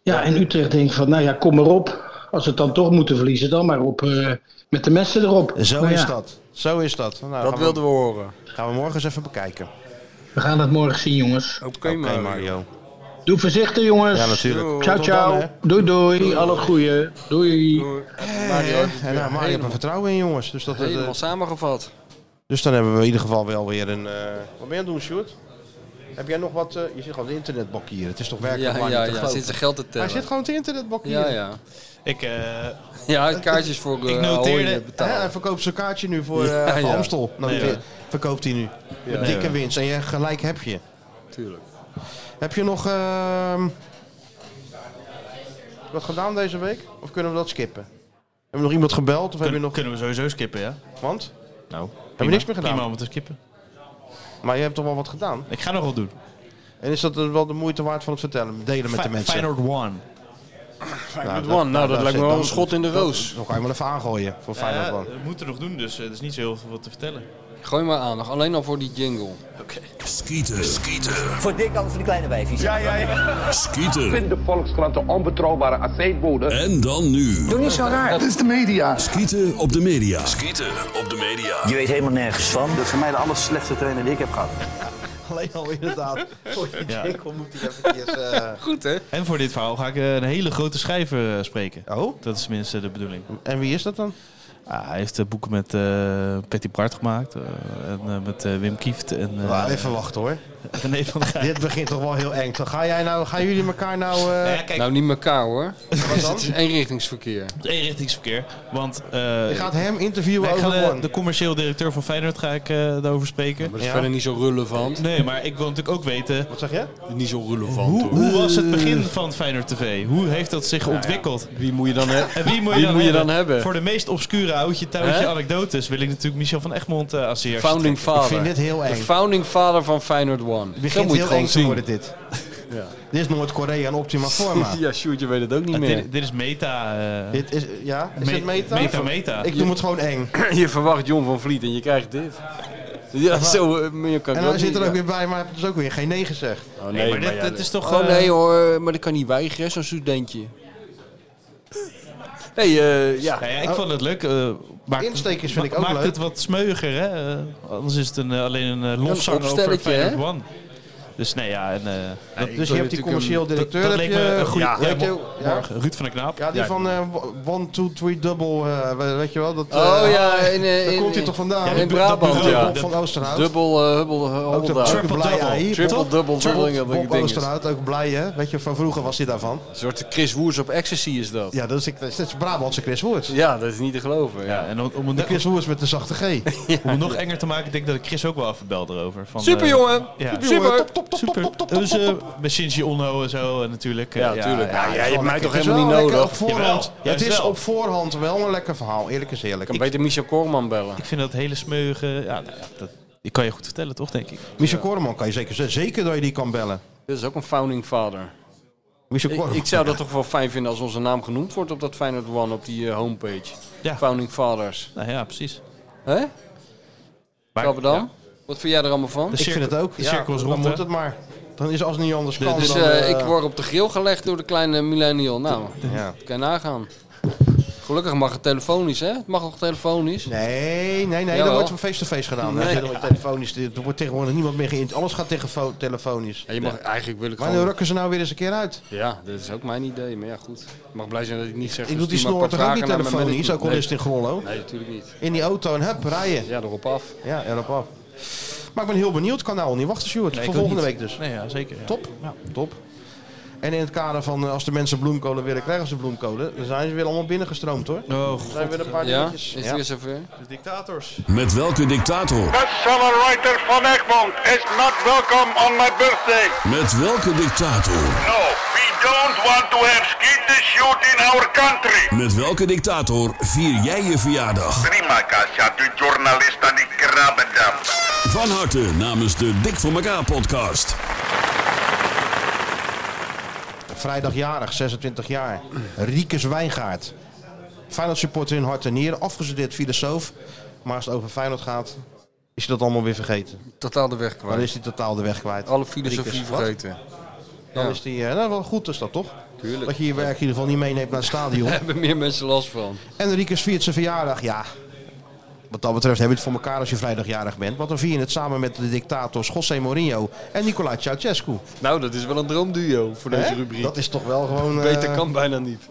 [SPEAKER 8] Ja, en Utrecht denkt van, nou ja, kom maar op. Als we het dan toch moeten verliezen, dan maar op eh, met de messen erop.
[SPEAKER 2] Zo
[SPEAKER 8] Nou
[SPEAKER 2] is
[SPEAKER 8] ja,
[SPEAKER 2] dat. Zo is dat. Nou, gaan
[SPEAKER 3] Dat wilden we horen.
[SPEAKER 2] we, gaan we morgen eens even bekijken. Oké,
[SPEAKER 8] We gaan dat morgen zien, jongens.
[SPEAKER 3] Oké, Mario.
[SPEAKER 8] Doe voorzichtig, jongens.
[SPEAKER 2] Ja, natuurlijk.
[SPEAKER 8] Ciao,
[SPEAKER 2] Tot dan,
[SPEAKER 8] ciao.
[SPEAKER 2] hè.
[SPEAKER 8] Doei, doei. Alle goeie. Doei.
[SPEAKER 3] Mario heeft het
[SPEAKER 2] En
[SPEAKER 3] weer
[SPEAKER 2] nou, Mario heeft er
[SPEAKER 3] helemaal,
[SPEAKER 2] vertrouwen in, jongens. Dus, dat, dat-
[SPEAKER 3] helemaal samengevat.
[SPEAKER 2] dus dan hebben we in ieder geval wel weer een... eh, Wat ben je aan het doen, Sjoerd? Heb jij nog wat... eh, Je zit gewoon op de internetbok hier. Het is toch
[SPEAKER 3] Ja,
[SPEAKER 2] werkelijk
[SPEAKER 3] ja,
[SPEAKER 2] waar
[SPEAKER 3] ja.
[SPEAKER 2] niet te geloven.
[SPEAKER 3] Zit zijn geld te
[SPEAKER 2] Hij
[SPEAKER 3] tellen.
[SPEAKER 2] zit gewoon op de internetbok hier.
[SPEAKER 3] Ja, ja.
[SPEAKER 5] Ik, eh,
[SPEAKER 3] Ja, het kaartjes voor eh
[SPEAKER 5] Ik noteerde-
[SPEAKER 3] Ahoy
[SPEAKER 2] Hè,
[SPEAKER 3] betalen.
[SPEAKER 2] hij verkoopt zijn kaartje nu voor, eh
[SPEAKER 3] Ja,
[SPEAKER 2] voor
[SPEAKER 3] ja.
[SPEAKER 2] Amstel. Nou,
[SPEAKER 5] Nee,
[SPEAKER 2] die-
[SPEAKER 5] ja.
[SPEAKER 2] Verkoopt hij nu. Met dikke winst. En je gelijk heb je.
[SPEAKER 3] Tuurlijk.
[SPEAKER 2] Heb je nog ehm, wat gedaan deze week? Of kunnen we dat skippen? Hebben we nog iemand gebeld? Of hebben
[SPEAKER 5] kun-
[SPEAKER 2] we nog
[SPEAKER 5] kunnen we sowieso skippen, ja?
[SPEAKER 2] Want?
[SPEAKER 5] Nou,
[SPEAKER 2] Heb je niks meer gedaan?
[SPEAKER 5] Prima om te skippen.
[SPEAKER 2] Maar je hebt toch wel wat gedaan?
[SPEAKER 5] Ik ga nog wat doen.
[SPEAKER 2] En is dat eh, wel de moeite waard van het vertellen? Delen met de
[SPEAKER 5] Fi-
[SPEAKER 2] mensen.
[SPEAKER 5] Feyenoord One.
[SPEAKER 2] Nou,
[SPEAKER 3] Met one. Nou, dat
[SPEAKER 2] daar
[SPEAKER 3] lijkt me
[SPEAKER 2] zit-
[SPEAKER 3] wel een
[SPEAKER 2] dan-
[SPEAKER 3] schot in de
[SPEAKER 2] dat-
[SPEAKER 3] roos.
[SPEAKER 2] Dan kan je hem wel even aangooien voor Feyenoord
[SPEAKER 5] Ja,
[SPEAKER 2] One.
[SPEAKER 5] Eh, we moeten nog doen, dus eh, er is niet zo heel veel wat te vertellen.
[SPEAKER 3] Gooi maar aan. nog Alleen al voor die jingle.
[SPEAKER 9] Skieten. Skieten.
[SPEAKER 6] Voor dik als voor de kleine wijfjes. Ja, ja, ja.
[SPEAKER 9] Skieten.
[SPEAKER 10] de Volkskrant de onbetrouwbare aceetbode.
[SPEAKER 9] En dan nu.
[SPEAKER 6] Doe niet zo raar. Dat is de media.
[SPEAKER 9] Skieten op de media. Skieten op de media.
[SPEAKER 6] Je weet helemaal nergens van. Dat is voor mij de aller slechtste trainer die ik heb gehad.
[SPEAKER 2] Alleen al inderdaad. Voor je jingle moet hij eventjes... eh,
[SPEAKER 3] Goed, hè?
[SPEAKER 5] En voor dit verhaal ga ik eh, een hele grote schrijver eh, spreken.
[SPEAKER 2] Oh,
[SPEAKER 5] Dat is tenminste de bedoeling.
[SPEAKER 2] en wie is dat dan?
[SPEAKER 5] Ah, hij heeft eh, boeken met eh Patty Bart gemaakt. eh, en eh, met eh, Wim Kieft en eh,
[SPEAKER 2] Nou, even wachten hoor.
[SPEAKER 5] René van der Gijp.
[SPEAKER 2] Dit begint toch wel heel eng. Dan Ga jij nou, gaan jullie elkaar nou... eh,
[SPEAKER 3] Nou, niet elkaar, hoor. (laughs) Het is eenrichtingsverkeer.
[SPEAKER 5] Eenrichtingsverkeer. Want eh,
[SPEAKER 2] je gaat hem interviewen
[SPEAKER 5] nee, ik ga
[SPEAKER 2] over
[SPEAKER 5] de,
[SPEAKER 2] One.
[SPEAKER 5] eh, de commercieel directeur van Feyenoord ga ik eh, daarover spreken.
[SPEAKER 3] Dat is
[SPEAKER 2] Ja.
[SPEAKER 3] verder niet zo relevant.
[SPEAKER 5] Nee, maar ik wil natuurlijk ook weten...
[SPEAKER 2] Wat zeg je?
[SPEAKER 3] Niet zo relevant,
[SPEAKER 5] Hoe,
[SPEAKER 3] hoor.
[SPEAKER 5] hoe was het begin van Feyenoord TV? Hoe heeft dat zich ontwikkeld?
[SPEAKER 3] Nou Wie moet je dan hebben?
[SPEAKER 5] En wie moet je,
[SPEAKER 3] Wie
[SPEAKER 5] dan,
[SPEAKER 3] moet je
[SPEAKER 5] hebben?
[SPEAKER 3] dan hebben?
[SPEAKER 5] Voor de meest obscure oudje touwtje
[SPEAKER 3] Hè?
[SPEAKER 5] anekdotes wil ik natuurlijk Michel van Egmond eh als eerste.
[SPEAKER 3] Founding
[SPEAKER 5] trekken.
[SPEAKER 2] Ik vind
[SPEAKER 3] father.
[SPEAKER 2] dit heel
[SPEAKER 3] De
[SPEAKER 2] eng.
[SPEAKER 3] founding father van Feyenoord One.
[SPEAKER 2] Het
[SPEAKER 3] Zo
[SPEAKER 2] begint
[SPEAKER 3] moet je
[SPEAKER 2] heel
[SPEAKER 3] het
[SPEAKER 2] eng
[SPEAKER 3] gewoon
[SPEAKER 2] te
[SPEAKER 3] (laughs) zien.
[SPEAKER 2] worden dit. Dit is Noord-Korea in
[SPEAKER 3] (laughs)
[SPEAKER 2] optima forma.
[SPEAKER 3] ja, Sjoerdje weet het ook niet
[SPEAKER 5] Ja,
[SPEAKER 3] meer.
[SPEAKER 5] dit, dit is meta. eh,
[SPEAKER 2] Dit is, ja, is
[SPEAKER 5] Me-
[SPEAKER 2] het meta?
[SPEAKER 5] meta, meta.
[SPEAKER 2] Ik noem het gewoon eng.
[SPEAKER 3] (clears throat) je verwacht John van Vliet en je krijgt dit. (laughs) Ja, zo eh, meer kan ik
[SPEAKER 2] En dan
[SPEAKER 3] ook
[SPEAKER 2] zit
[SPEAKER 3] niet,
[SPEAKER 2] er ook
[SPEAKER 3] ja.
[SPEAKER 2] weer bij, maar heb je dus ook weer geen nee gezegd.
[SPEAKER 3] Oh,
[SPEAKER 5] Nee, maar dit-
[SPEAKER 3] ja,
[SPEAKER 5] dit is toch,
[SPEAKER 3] Oh
[SPEAKER 5] eh,
[SPEAKER 3] nee hoor, maar dat kan niet weigeren, zo'n studentje. (laughs) Nee, eh, ja.
[SPEAKER 5] nou ja, ik vond het leuk. eh, maakt-
[SPEAKER 2] Instekers Oh. vind
[SPEAKER 5] ma-
[SPEAKER 2] ik ook
[SPEAKER 5] maakt
[SPEAKER 2] leuk.
[SPEAKER 5] het wat smeuiger, hè? eh, anders is het een, eh, alleen een eh, lofzang over
[SPEAKER 3] opstelletje,
[SPEAKER 5] Feyenoord
[SPEAKER 3] hè?
[SPEAKER 5] One. Dus nee, ja. En, eh, dat,
[SPEAKER 2] Dus je hebt die commercieel
[SPEAKER 5] dat,
[SPEAKER 2] directeur.
[SPEAKER 5] dat
[SPEAKER 2] heb
[SPEAKER 5] leek
[SPEAKER 2] je-
[SPEAKER 5] me een goede...
[SPEAKER 2] Ja,
[SPEAKER 5] Ja,
[SPEAKER 2] weet je-
[SPEAKER 5] mo-
[SPEAKER 2] ja.
[SPEAKER 5] morgen, Ruud van der Knaap.
[SPEAKER 2] Ja, die van eh, one, two, three, double, eh, we- weet je wel. Dat, eh,
[SPEAKER 3] Oh ja, in, eh,
[SPEAKER 2] daar
[SPEAKER 3] in-
[SPEAKER 2] komt hij toch vandaan?
[SPEAKER 3] in Brabant,
[SPEAKER 2] Dubbel
[SPEAKER 3] ja.
[SPEAKER 2] van Oosterhout.
[SPEAKER 3] Dubbel, eh, hubbel, eh,
[SPEAKER 2] ook
[SPEAKER 3] hobbeldaar.
[SPEAKER 2] dat triple blij
[SPEAKER 5] double.
[SPEAKER 2] ei.
[SPEAKER 3] Triple
[SPEAKER 2] Toch?
[SPEAKER 3] double,
[SPEAKER 2] Triple
[SPEAKER 3] dubbel, dat ik
[SPEAKER 2] Bob
[SPEAKER 3] denk
[SPEAKER 2] Oosterhout, ook blij hè? Weet je, van vroeger was hij daarvan.
[SPEAKER 3] Een soort Chris Woers op ecstasy is dat. Ja,
[SPEAKER 2] Ja, dat is, dat is, dat is Brabantse Chris Woerts.
[SPEAKER 3] dat is niet te geloven.
[SPEAKER 2] eh,
[SPEAKER 3] Ja.
[SPEAKER 5] Ja, en om, om het
[SPEAKER 2] De
[SPEAKER 5] nog-
[SPEAKER 2] Chris Woerts met de zachte G.
[SPEAKER 5] om
[SPEAKER 2] (laughs)
[SPEAKER 5] het nog enger te maken, denk ik dat ik Chris ook wel even belde erover. Van,
[SPEAKER 3] Super
[SPEAKER 5] eh,
[SPEAKER 3] jongen!
[SPEAKER 5] ja.
[SPEAKER 3] Super!
[SPEAKER 2] Top, top, top, top, top, top, top,
[SPEAKER 5] Dus eh, met Shinji Onno en zo en natuurlijk. eh,
[SPEAKER 3] Ja, tuurlijk.
[SPEAKER 5] ja,
[SPEAKER 3] Ja, jij hebt mij toch
[SPEAKER 2] Het is wel
[SPEAKER 3] helemaal niet
[SPEAKER 2] lekker
[SPEAKER 3] nodig.
[SPEAKER 2] Op voorhand,
[SPEAKER 5] Jawel,
[SPEAKER 2] het
[SPEAKER 5] juist
[SPEAKER 2] is
[SPEAKER 5] wel.
[SPEAKER 2] op voorhand wel een lekker verhaal. Eerlijk is eerlijk.
[SPEAKER 3] Ik kan beter Michel Korman bellen.
[SPEAKER 5] Ik vind dat hele smeuige... Ja, nou ja, dat, die kan je goed vertellen, toch, denk ik?
[SPEAKER 2] Michel Koreman kan je zeker zeggen. Zeker dat je die kan bellen.
[SPEAKER 3] Dit is ook een founding father.
[SPEAKER 2] Michel
[SPEAKER 3] Ik,
[SPEAKER 2] Koreman.
[SPEAKER 3] ik zou dat toch wel fijn vinden als onze naam genoemd wordt op dat Feyenoord One op die eh, homepage.
[SPEAKER 5] Ja.
[SPEAKER 3] Founding fathers.
[SPEAKER 5] Nou ja, precies.
[SPEAKER 3] Hè?
[SPEAKER 5] Maar-
[SPEAKER 3] Krabbedam?
[SPEAKER 5] ja.
[SPEAKER 3] Wat vind jij er allemaal van?
[SPEAKER 5] De
[SPEAKER 2] Ik
[SPEAKER 5] cirkel-
[SPEAKER 2] vind het ook.
[SPEAKER 5] De cirkel is
[SPEAKER 2] dan
[SPEAKER 5] rond, hè?
[SPEAKER 2] moet het maar. Dan is als het niet anders kan.
[SPEAKER 3] Dus
[SPEAKER 2] dan,
[SPEAKER 3] eh,
[SPEAKER 2] eh,
[SPEAKER 3] ik word op de grill gelegd door de kleine millennial. Nou,
[SPEAKER 2] ja.
[SPEAKER 3] kan je nagaan. Gelukkig mag het telefonisch, hè? Het mag ook telefonisch.
[SPEAKER 2] Nee, nee, nee.
[SPEAKER 3] Jawel.
[SPEAKER 2] Dat wordt van face-to-face gedaan.
[SPEAKER 3] Nee.
[SPEAKER 2] Nee. Telefonisch. Er wordt tegenwoordig niemand meer geïnt. Alles gaat tegen telefonisch.
[SPEAKER 3] Ja, je mag, eigenlijk wil ik
[SPEAKER 2] Wanneer
[SPEAKER 3] gewoon...
[SPEAKER 2] rukken ze nou weer eens een keer uit?
[SPEAKER 3] Ja, dat is ook mijn idee. Maar ja, goed. Ik mag blij zijn dat ik niet zeg...
[SPEAKER 2] Ik
[SPEAKER 3] dus
[SPEAKER 2] doe die
[SPEAKER 3] stuur maar
[SPEAKER 2] snor
[SPEAKER 3] een
[SPEAKER 2] toch
[SPEAKER 3] paar
[SPEAKER 2] ook niet
[SPEAKER 3] vragen naar mijn
[SPEAKER 2] telefonisch? Ook al
[SPEAKER 3] management.
[SPEAKER 2] is het in Grollo.
[SPEAKER 3] Nee, nee, natuurlijk niet.
[SPEAKER 2] In die auto en hup, rijden.
[SPEAKER 3] Ja, erop af.
[SPEAKER 2] Ja, erop af. Maar ik ben heel benieuwd. Kan nou al niet wachten, Stuart.
[SPEAKER 5] Nee,
[SPEAKER 2] Voor
[SPEAKER 5] ik ook
[SPEAKER 2] volgende
[SPEAKER 5] niet.
[SPEAKER 2] week dus.
[SPEAKER 5] Nee, ja, zeker. ja.
[SPEAKER 2] Top. Top. En in het kader van eh, als de mensen bloemkolen willen, krijgen ze bloemkolen. Dan zijn ze weer allemaal binnengestroomd hoor.
[SPEAKER 5] Oh, god.
[SPEAKER 2] zijn weer een paar
[SPEAKER 3] Ja?
[SPEAKER 2] dingetjes.
[SPEAKER 3] Is het weer zover?
[SPEAKER 2] De dictators.
[SPEAKER 9] Met welke dictator?
[SPEAKER 6] Accelerator van Egmond is not welcome on my birthday.
[SPEAKER 9] Met welke dictator?
[SPEAKER 6] No, we don't want to have skeeter shoot in our country.
[SPEAKER 9] Met welke dictator vier jij je verjaardag?
[SPEAKER 6] Prima, Kasia, de journalist aan die krabbedam.
[SPEAKER 9] Van harte namens de Dik voor elkaar podcast.
[SPEAKER 2] Vrijdagjarig, 26 jaar. Riekes Wijngaard. Feyenoord supporter in hart en nieren. Afgestudeerd filosoof. Maar als het over Feyenoord gaat, is hij dat allemaal weer vergeten.
[SPEAKER 3] Totaal de weg
[SPEAKER 2] Dan
[SPEAKER 3] kwijt.
[SPEAKER 2] is hij totaal de weg kwijt.
[SPEAKER 3] Alle filosofie
[SPEAKER 2] Riekes, wat?
[SPEAKER 3] vergeten.
[SPEAKER 2] Dan
[SPEAKER 3] Ja.
[SPEAKER 2] is hij, eh, nou wel goed is dat toch?
[SPEAKER 3] Tuurlijk.
[SPEAKER 2] Dat je je werk in ieder geval niet meeneemt naar het stadion.
[SPEAKER 3] Daar hebben meer mensen last van.
[SPEAKER 2] En Riekes viert zijn verjaardag, ja. Wat dat betreft heb je het voor elkaar als je vrijdagjarig bent. Want dan vier je het samen met de dictators José Mourinho en Nicolae Ceausescu.
[SPEAKER 3] Nou, dat is wel een droomduo voor deze
[SPEAKER 2] Hè?
[SPEAKER 3] rubriek.
[SPEAKER 2] Dat is toch wel gewoon... eh,
[SPEAKER 3] Beter kan bijna niet.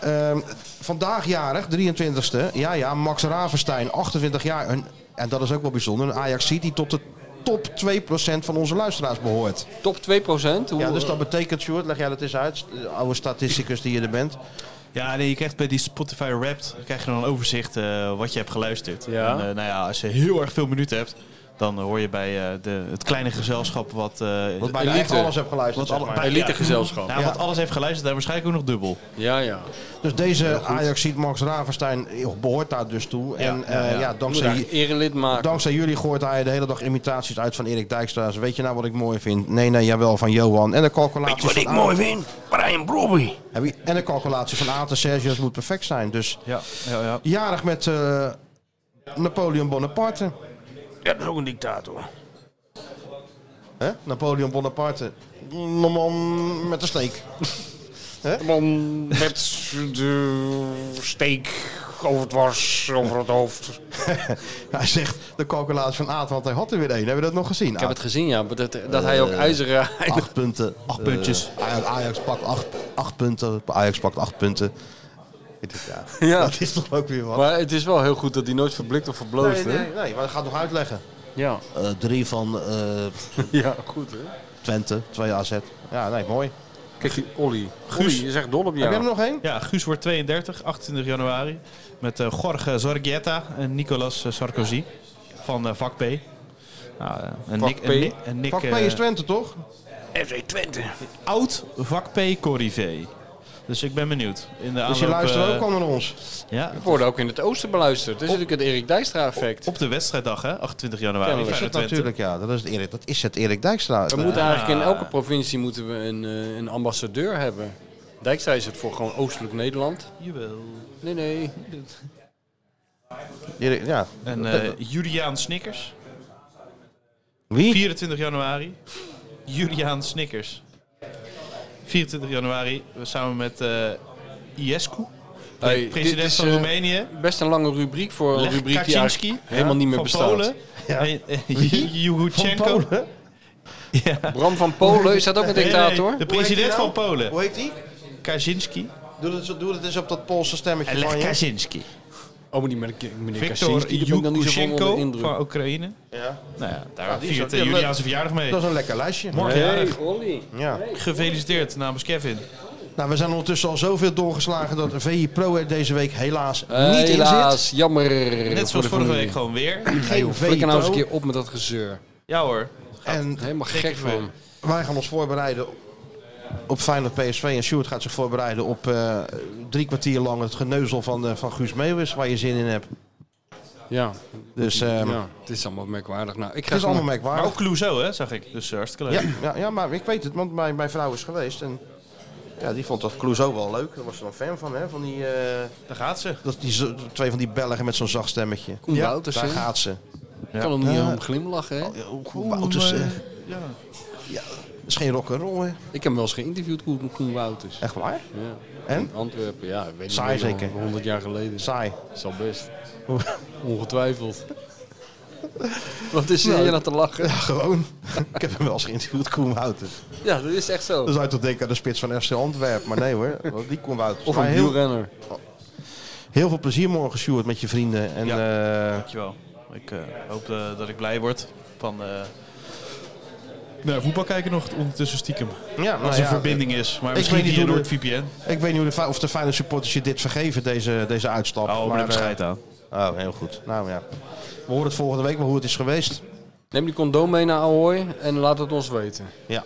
[SPEAKER 2] Ehm, vandaag jarig, 23e. Ja, ja, Max Ravenstein, 28 jaar. Een, en dat is ook wel bijzonder. Een ajax die tot de top 2% van onze luisteraars behoort.
[SPEAKER 3] Top 2%. Hoe,
[SPEAKER 2] Ja, dus dat betekent, Sjoerd, leg jij dat eens uit. de Oude statisticus die je er bent.
[SPEAKER 5] Ja, nee, je krijgt bij die Spotify Wrapped krijg je dan een overzicht eh, wat je hebt geluisterd.
[SPEAKER 3] Ja.
[SPEAKER 5] En, eh, nou ja, als je heel erg veel minuten hebt, dan hoor je bij eh, de, het kleine gezelschap wat... eh,
[SPEAKER 2] Wat bijna
[SPEAKER 3] elite.
[SPEAKER 2] echt alles heb geluisterd.
[SPEAKER 5] Wat
[SPEAKER 2] zeg
[SPEAKER 5] alle-
[SPEAKER 2] maar.
[SPEAKER 3] Elite gezelschap.
[SPEAKER 5] nou,
[SPEAKER 2] ja.
[SPEAKER 5] wat alles heeft geluisterd en waarschijnlijk ook nog dubbel.
[SPEAKER 3] eh, Ja, ja.
[SPEAKER 2] Dus deze ajax Max Ravenstein joh, behoort daar dus toe. en
[SPEAKER 5] ja,
[SPEAKER 2] eh,
[SPEAKER 5] ja.
[SPEAKER 2] ja,
[SPEAKER 3] Moet
[SPEAKER 2] dankzij,
[SPEAKER 3] daar erelid maken.
[SPEAKER 2] Dankzij jullie gooit hij de hele dag imitaties uit van Erik Dijkstra. Dus Weet je nou wat ik mooi vind? Nee, nee, jawel, van Johan. En de calculatie
[SPEAKER 6] Weet je wat
[SPEAKER 2] van
[SPEAKER 6] ik
[SPEAKER 2] A-
[SPEAKER 6] mooi vind? Brian Brobby.
[SPEAKER 2] Heb je- En de calculatie van A tot Sergius moet perfect zijn. Dus
[SPEAKER 5] Ja, ja, ja.
[SPEAKER 2] jarig met eh, Napoleon Bonaparte.
[SPEAKER 6] Ja, dat is ook een dictator.
[SPEAKER 2] hè? Napoleon Bonaparte. Mm, man met een steek.
[SPEAKER 6] Man met de steek over het was, over het hoofd.
[SPEAKER 2] Hij zegt de calculatie van Aad, want hij had er weer één. Hebben we dat nog gezien?
[SPEAKER 3] Ik heb het gezien, ja. maar Dat, dat hij ook ijzeren...
[SPEAKER 2] Acht punten. Acht puntjes. Ajax, Ajax pakt acht, acht punten. Ajax pakt acht punten. Ik denk, Ja,
[SPEAKER 3] Ja.
[SPEAKER 2] Dat is toch ook weer wat?
[SPEAKER 3] Maar het is wel heel goed dat hij nooit verblikt of
[SPEAKER 2] Nee,
[SPEAKER 3] verbloost,
[SPEAKER 2] nee,
[SPEAKER 3] hè?
[SPEAKER 2] nee, maar dat gaat nog uitleggen.
[SPEAKER 3] Ja.
[SPEAKER 2] Eh, drie van eh,
[SPEAKER 3] ja, goed, hè?
[SPEAKER 2] Twente, twee AZ. Ja, nee, mooi.
[SPEAKER 3] Kijk, die Olly. Guus. je is echt dol op
[SPEAKER 2] Heb
[SPEAKER 3] jou.
[SPEAKER 2] je er nog één?
[SPEAKER 5] Ja, Guus wordt 32, 28 januari. Met eh, Jorge Zorgietta en Nicolas eh, Sarkozy van eh, vak P. Nou, eh, en
[SPEAKER 3] Vak
[SPEAKER 5] Nick,
[SPEAKER 3] P.
[SPEAKER 5] en Nick, en Nick
[SPEAKER 2] Pak P
[SPEAKER 5] eh,
[SPEAKER 2] is Twente, toch?
[SPEAKER 6] FC Twente.
[SPEAKER 5] oud vak P Corrivé. Dus ik ben benieuwd. In de
[SPEAKER 2] Dus je
[SPEAKER 5] aanloop,
[SPEAKER 2] luistert
[SPEAKER 5] eh,
[SPEAKER 2] ook al naar ons.
[SPEAKER 5] Ja.
[SPEAKER 3] We worden ook in het oosten beluisterd. Dat is natuurlijk het Erik Dijkstra effect.
[SPEAKER 5] Op de wedstrijddag, hè? 28 januari.
[SPEAKER 2] Ja, dat is het
[SPEAKER 5] Feyenoord Twente.
[SPEAKER 2] natuurlijk, ja. Dat is het Erik, dat is het Erik Dijkstra. Eh,
[SPEAKER 3] We moeten eigenlijk in elke provincie moeten we een, eh, een ambassadeur hebben. Dijkstra is het voor gewoon oostelijk Nederland.
[SPEAKER 5] Jawel.
[SPEAKER 3] Nee, nee.
[SPEAKER 2] Erik- Ja.
[SPEAKER 5] En eh Juliaan Snickers.
[SPEAKER 2] Wie?
[SPEAKER 5] 24 januari. Juliaan Snickers. 24 januari, we samen met eh Iescu. de
[SPEAKER 3] Hey, dit
[SPEAKER 5] president
[SPEAKER 3] is,
[SPEAKER 5] van
[SPEAKER 3] eh,
[SPEAKER 5] Roemenië.
[SPEAKER 3] Best een lange rubriek voor een
[SPEAKER 5] Lech
[SPEAKER 3] rubriek die
[SPEAKER 5] Kaczynski, eh,
[SPEAKER 3] eigenlijk helemaal niet meer
[SPEAKER 5] van
[SPEAKER 3] bestaat.
[SPEAKER 5] Polen.
[SPEAKER 2] Ja.
[SPEAKER 5] En, eh, Juhutchenko.
[SPEAKER 3] Bram van Polen, is dat
[SPEAKER 5] (laughs)
[SPEAKER 3] ook een
[SPEAKER 5] Nee, nee,
[SPEAKER 3] dictator?
[SPEAKER 5] de
[SPEAKER 2] Hoe heet die
[SPEAKER 5] president
[SPEAKER 2] nou?
[SPEAKER 5] van Polen.
[SPEAKER 2] Hoe heet die?
[SPEAKER 5] Kaczynski.
[SPEAKER 2] Doe het, zo- doe het eens op dat Poolse stemmetje van je.
[SPEAKER 5] Kaczynski.
[SPEAKER 3] Oh, maar die meneer meneer
[SPEAKER 5] Victor
[SPEAKER 3] Kaczynski, daar ben ik dan niet zo van onder de
[SPEAKER 5] Yushchenko
[SPEAKER 3] indruk.
[SPEAKER 5] van Oekraïne.
[SPEAKER 2] Ja.
[SPEAKER 5] Nou ja, daar
[SPEAKER 2] die is
[SPEAKER 5] viert
[SPEAKER 2] ook-
[SPEAKER 5] eh,
[SPEAKER 2] ja,
[SPEAKER 5] Juliaan
[SPEAKER 2] leuk.
[SPEAKER 5] zijn verjaardag mee.
[SPEAKER 2] Dat is een lekker lijstje.
[SPEAKER 5] Morgen jarig.
[SPEAKER 2] Ja.
[SPEAKER 5] Gefeliciteerd namens Kevin.
[SPEAKER 2] Nou, we zijn ondertussen al zoveel doorgeslagen dat VI Pro er deze week helaas
[SPEAKER 3] Eh,
[SPEAKER 2] niet in
[SPEAKER 3] helaas, jammer.
[SPEAKER 5] Net
[SPEAKER 3] voor de
[SPEAKER 5] zoals vorige
[SPEAKER 3] familie.
[SPEAKER 5] week gewoon weer.
[SPEAKER 2] zit.
[SPEAKER 3] Hey,
[SPEAKER 2] Geen
[SPEAKER 3] joh, flikker nou eens een
[SPEAKER 2] VI
[SPEAKER 3] keer op met dat gezeur.
[SPEAKER 5] Ja hoor.
[SPEAKER 2] En
[SPEAKER 3] Helemaal gek van.
[SPEAKER 2] wij gaan ons voorbereiden op Feyenoord PSV. En Sjoerd gaat zich voorbereiden op eh, drie kwartier lang het geneuzel van, eh, van Guus Meeuwis, waar je zin in hebt.
[SPEAKER 3] Ja,
[SPEAKER 2] Dus ehm,
[SPEAKER 3] ja, het is allemaal merkwaardig. Nou, ik ga
[SPEAKER 2] het is
[SPEAKER 3] gewoon-
[SPEAKER 2] allemaal
[SPEAKER 5] Maar
[SPEAKER 2] merkwaardig.
[SPEAKER 5] ook Clouseau, hè, zag ik. Dus eh, hartstikke leuk.
[SPEAKER 2] Ah. Ja, ja, ja, maar ik weet het, want mijn, mijn vrouw is geweest en ja, die vond dat Clouseau wel leuk. Daar was ze dan fan van, hè? Van die, eh,
[SPEAKER 5] Daar gaat ze.
[SPEAKER 2] dat, die zo- twee van die Belgen met zo'n zacht stemmetje.
[SPEAKER 3] Koen Wouters,
[SPEAKER 2] Daar
[SPEAKER 3] hè?
[SPEAKER 2] gaat ze.
[SPEAKER 3] Ik kan hem niet om glimlachen, hè?
[SPEAKER 2] Koen Wouters, eh, dat is geen rock'n'roll, hè?
[SPEAKER 3] Ik heb hem wel eens geïnterviewd, Koen, Koen Wouters.
[SPEAKER 2] Echt waar?
[SPEAKER 3] Ja.
[SPEAKER 2] En?
[SPEAKER 3] In Antwerpen, ja, ik weet
[SPEAKER 2] Saai
[SPEAKER 3] niet meer,
[SPEAKER 2] zeker.
[SPEAKER 3] 100 jaar geleden.
[SPEAKER 2] Saai.
[SPEAKER 3] Dat is al best.
[SPEAKER 5] (laughs)
[SPEAKER 3] Ongetwijfeld. Wat is er
[SPEAKER 2] Nou,
[SPEAKER 3] hier aan te lachen?
[SPEAKER 2] Ja, (laughs) gewoon. (laughs) ik heb hem wel eens geïnterviewd, Koen Wouters.
[SPEAKER 3] Ja, dat is echt zo.
[SPEAKER 2] Dan zou je toch denken aan de spits van FC Antwerpen. Maar nee hoor, want die Koen Wouters.
[SPEAKER 3] Of
[SPEAKER 2] Maar
[SPEAKER 3] een
[SPEAKER 2] heel,
[SPEAKER 3] wielrenner.
[SPEAKER 2] heel veel plezier morgen, Sjoerd, met je vrienden. En eh,
[SPEAKER 5] Dankjewel. Ik eh, hoop eh, dat ik blij word van... eh nou, voetbal kijken nog ondertussen stiekem.
[SPEAKER 2] ja, nou
[SPEAKER 5] Als er
[SPEAKER 2] ja,
[SPEAKER 5] verbinding is. Maar
[SPEAKER 2] ik
[SPEAKER 5] misschien
[SPEAKER 2] weet niet
[SPEAKER 5] via
[SPEAKER 2] hoe de-
[SPEAKER 5] NordVPN.
[SPEAKER 2] Ik weet niet hoe de, Fe- of de Feyenoord supporters je dit vergeven, deze, deze uitstap.
[SPEAKER 5] Oh, maar
[SPEAKER 2] maar,
[SPEAKER 5] heb ik scheid aan.
[SPEAKER 2] eh, oh, heel goed. Nou ja. We horen het volgende week wel hoe het is geweest.
[SPEAKER 3] Neem die condoom mee naar Ahoy en laat het ons weten.
[SPEAKER 2] Ja.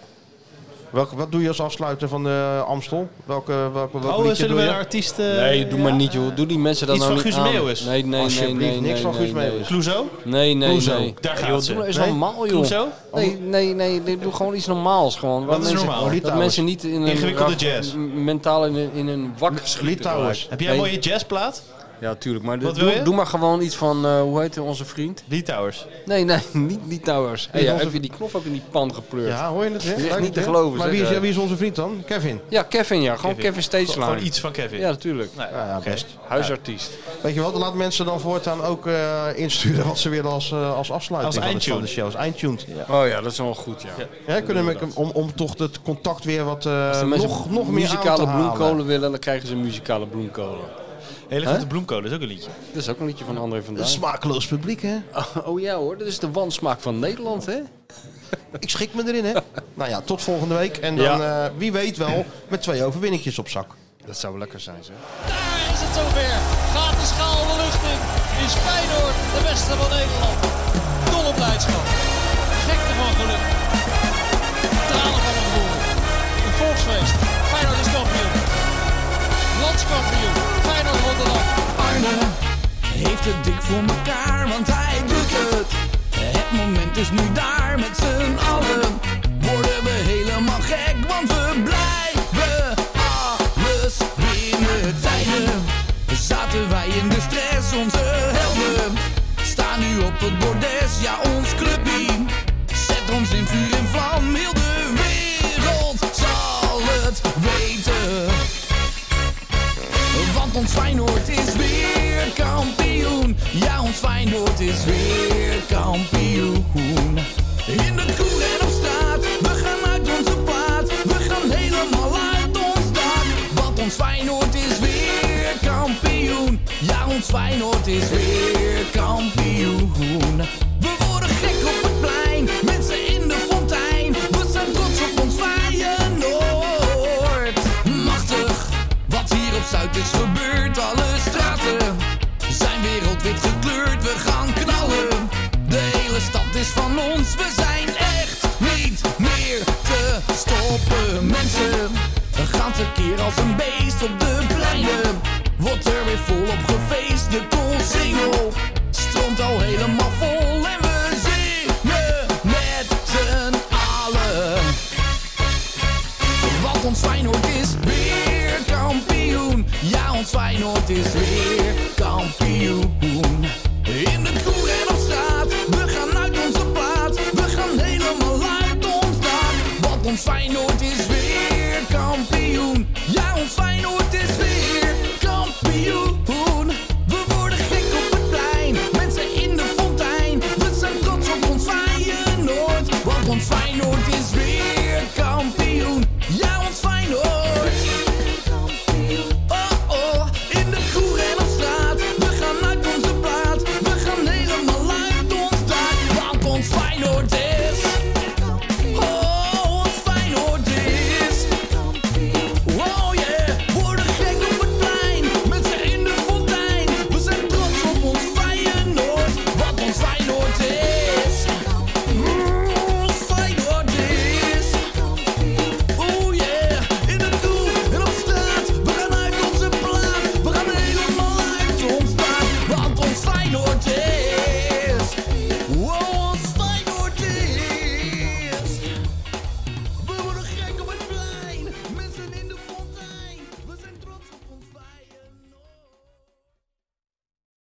[SPEAKER 2] Welke, wat doe je als afsluiter van de Amstel? Welke, welke, welk
[SPEAKER 5] Oh, eh,
[SPEAKER 2] liedje
[SPEAKER 5] zullen
[SPEAKER 2] doe
[SPEAKER 5] we
[SPEAKER 2] je?
[SPEAKER 5] een artiest... eh,
[SPEAKER 3] Nee, doe maar niet joh. Doe die mensen dat
[SPEAKER 5] Iets
[SPEAKER 3] nou
[SPEAKER 5] van
[SPEAKER 3] niet
[SPEAKER 5] Guus
[SPEAKER 3] aan.
[SPEAKER 5] Meeuwis?
[SPEAKER 3] Nee, nee, nee,
[SPEAKER 2] Alsjeblieft,
[SPEAKER 3] nee.
[SPEAKER 2] niks
[SPEAKER 3] nee,
[SPEAKER 2] van Guus
[SPEAKER 3] nee, nee.
[SPEAKER 2] Meeuwis.
[SPEAKER 5] Clouseau?
[SPEAKER 3] Nee, nee,
[SPEAKER 2] Hoezo?
[SPEAKER 3] nee.
[SPEAKER 5] Daar
[SPEAKER 3] Nee,
[SPEAKER 5] gaat
[SPEAKER 3] joh,
[SPEAKER 5] ze.
[SPEAKER 3] Doe nou eens
[SPEAKER 2] Nee?
[SPEAKER 3] normaal joh.
[SPEAKER 5] Clouseau?
[SPEAKER 3] Nee, nee, nee, nee, doe gewoon iets normaals. Gewoon.
[SPEAKER 5] Wat is
[SPEAKER 3] mensen,
[SPEAKER 5] normaal?
[SPEAKER 3] Dat
[SPEAKER 2] Litouwers.
[SPEAKER 3] mensen niet in een
[SPEAKER 5] Ingewikkelde
[SPEAKER 3] raf-
[SPEAKER 5] jazz.
[SPEAKER 3] m- mentaal in een, in een wak schieten.
[SPEAKER 2] Litouwers.
[SPEAKER 3] gelijk.
[SPEAKER 5] Heb jij een mooie jazzplaat?
[SPEAKER 3] Ja, tuurlijk. Maar
[SPEAKER 5] Wat
[SPEAKER 3] doe,
[SPEAKER 5] wil je?
[SPEAKER 3] doe maar gewoon iets van, eh, hoe heet onze vriend?
[SPEAKER 5] Die Towers.
[SPEAKER 3] Nee, nee, (laughs) niet Litouwers. Hey, ja,
[SPEAKER 2] onze-
[SPEAKER 3] heb je die knop ook in die pan gepleurd? Ja,
[SPEAKER 2] Ja, hoor je het? hè?
[SPEAKER 3] Echt
[SPEAKER 2] Leuk,
[SPEAKER 3] niet te
[SPEAKER 2] hè?
[SPEAKER 3] geloven,
[SPEAKER 2] Maar
[SPEAKER 3] zeg,
[SPEAKER 2] wie is,
[SPEAKER 3] hè.
[SPEAKER 2] wie is onze vriend dan? Kevin.
[SPEAKER 3] Kevin ja. Gewoon Kevin, Stage
[SPEAKER 5] Gewoon iets van Kevin.
[SPEAKER 3] Ja, natuurlijk.
[SPEAKER 5] Nou,
[SPEAKER 2] Ja, ja,
[SPEAKER 5] oké.
[SPEAKER 2] best.
[SPEAKER 3] Huisartiest.
[SPEAKER 2] Weet je wat, laat mensen dan voortaan ook eh, insturen wat ze willen als, eh, als afsluiting
[SPEAKER 5] Als
[SPEAKER 2] van, de,
[SPEAKER 5] eindtune.
[SPEAKER 2] van de show. Als eindtune. Ja.
[SPEAKER 3] Oh ja, dat is wel goed, ja.
[SPEAKER 2] kunnen we, om, om toch het contact weer wat eh,
[SPEAKER 3] Als de mensen
[SPEAKER 2] nog, nog meer aan te
[SPEAKER 3] muzikale
[SPEAKER 2] halen.
[SPEAKER 3] bloemkolen willen, dan krijgen ze muzikale bloemkolen.
[SPEAKER 5] Hele grote bloemkolen is ook een liedje.
[SPEAKER 3] Dat is ook een liedje van André van
[SPEAKER 2] Een (laughs)
[SPEAKER 3] Duin.
[SPEAKER 2] smakeloos publiek, hè?
[SPEAKER 3] Oh ja hoor, dat is de wansmaak van Nederland, hè?
[SPEAKER 2] Ik schik me
[SPEAKER 3] (laughs)
[SPEAKER 2] erin, hè? nou ja, tot volgende week. En dan, eh, wie weet wel, met twee overwinningjes op zak.
[SPEAKER 3] Dat zou lekker zijn, zeg.
[SPEAKER 11] Daar is het zover. Gaat de schaal de lucht in. Is Feyenoord de beste van Nederland. Dolle blijdschap. Gekte van geluk. Tranen van ontroering. Een volksfeest. Feyenoord is kampioen. Landskampioen. Feyenoord won de land.
[SPEAKER 1] Arne heeft het dik voor elkaar, want hij doet het. Het moment is nu daar met z'n allen. Worden we helemaal gek, want we blijven alles binnen tijden. Zaten wij in de stress, onze helden. Staan nu op het bordes, ja ons clubteam. Zet ons in vuur en vlam, heel de wereld zal het weten. Want ons Feyenoord is weer kampioen. Ja, ons Feyenoord is weer kampioen. In de koel en op straat, we gaan uit onze plaat. We gaan helemaal uit ons dak. Want ons Feyenoord is weer kampioen. Ja, ons Feyenoord is weer kampioen. We worden gek op het plein, mensen in de fontein. We zijn trots op ons Feyenoord. Machtig, wat hier op Zuid is gebeurd. Alle straten zijn wereldwit gekleurd. We gaan knallen, de hele stad is van ons. We zijn echt niet meer te stoppen. Mensen, we gaan tekeer als een beest. Roll. Oh, Oh, Mm,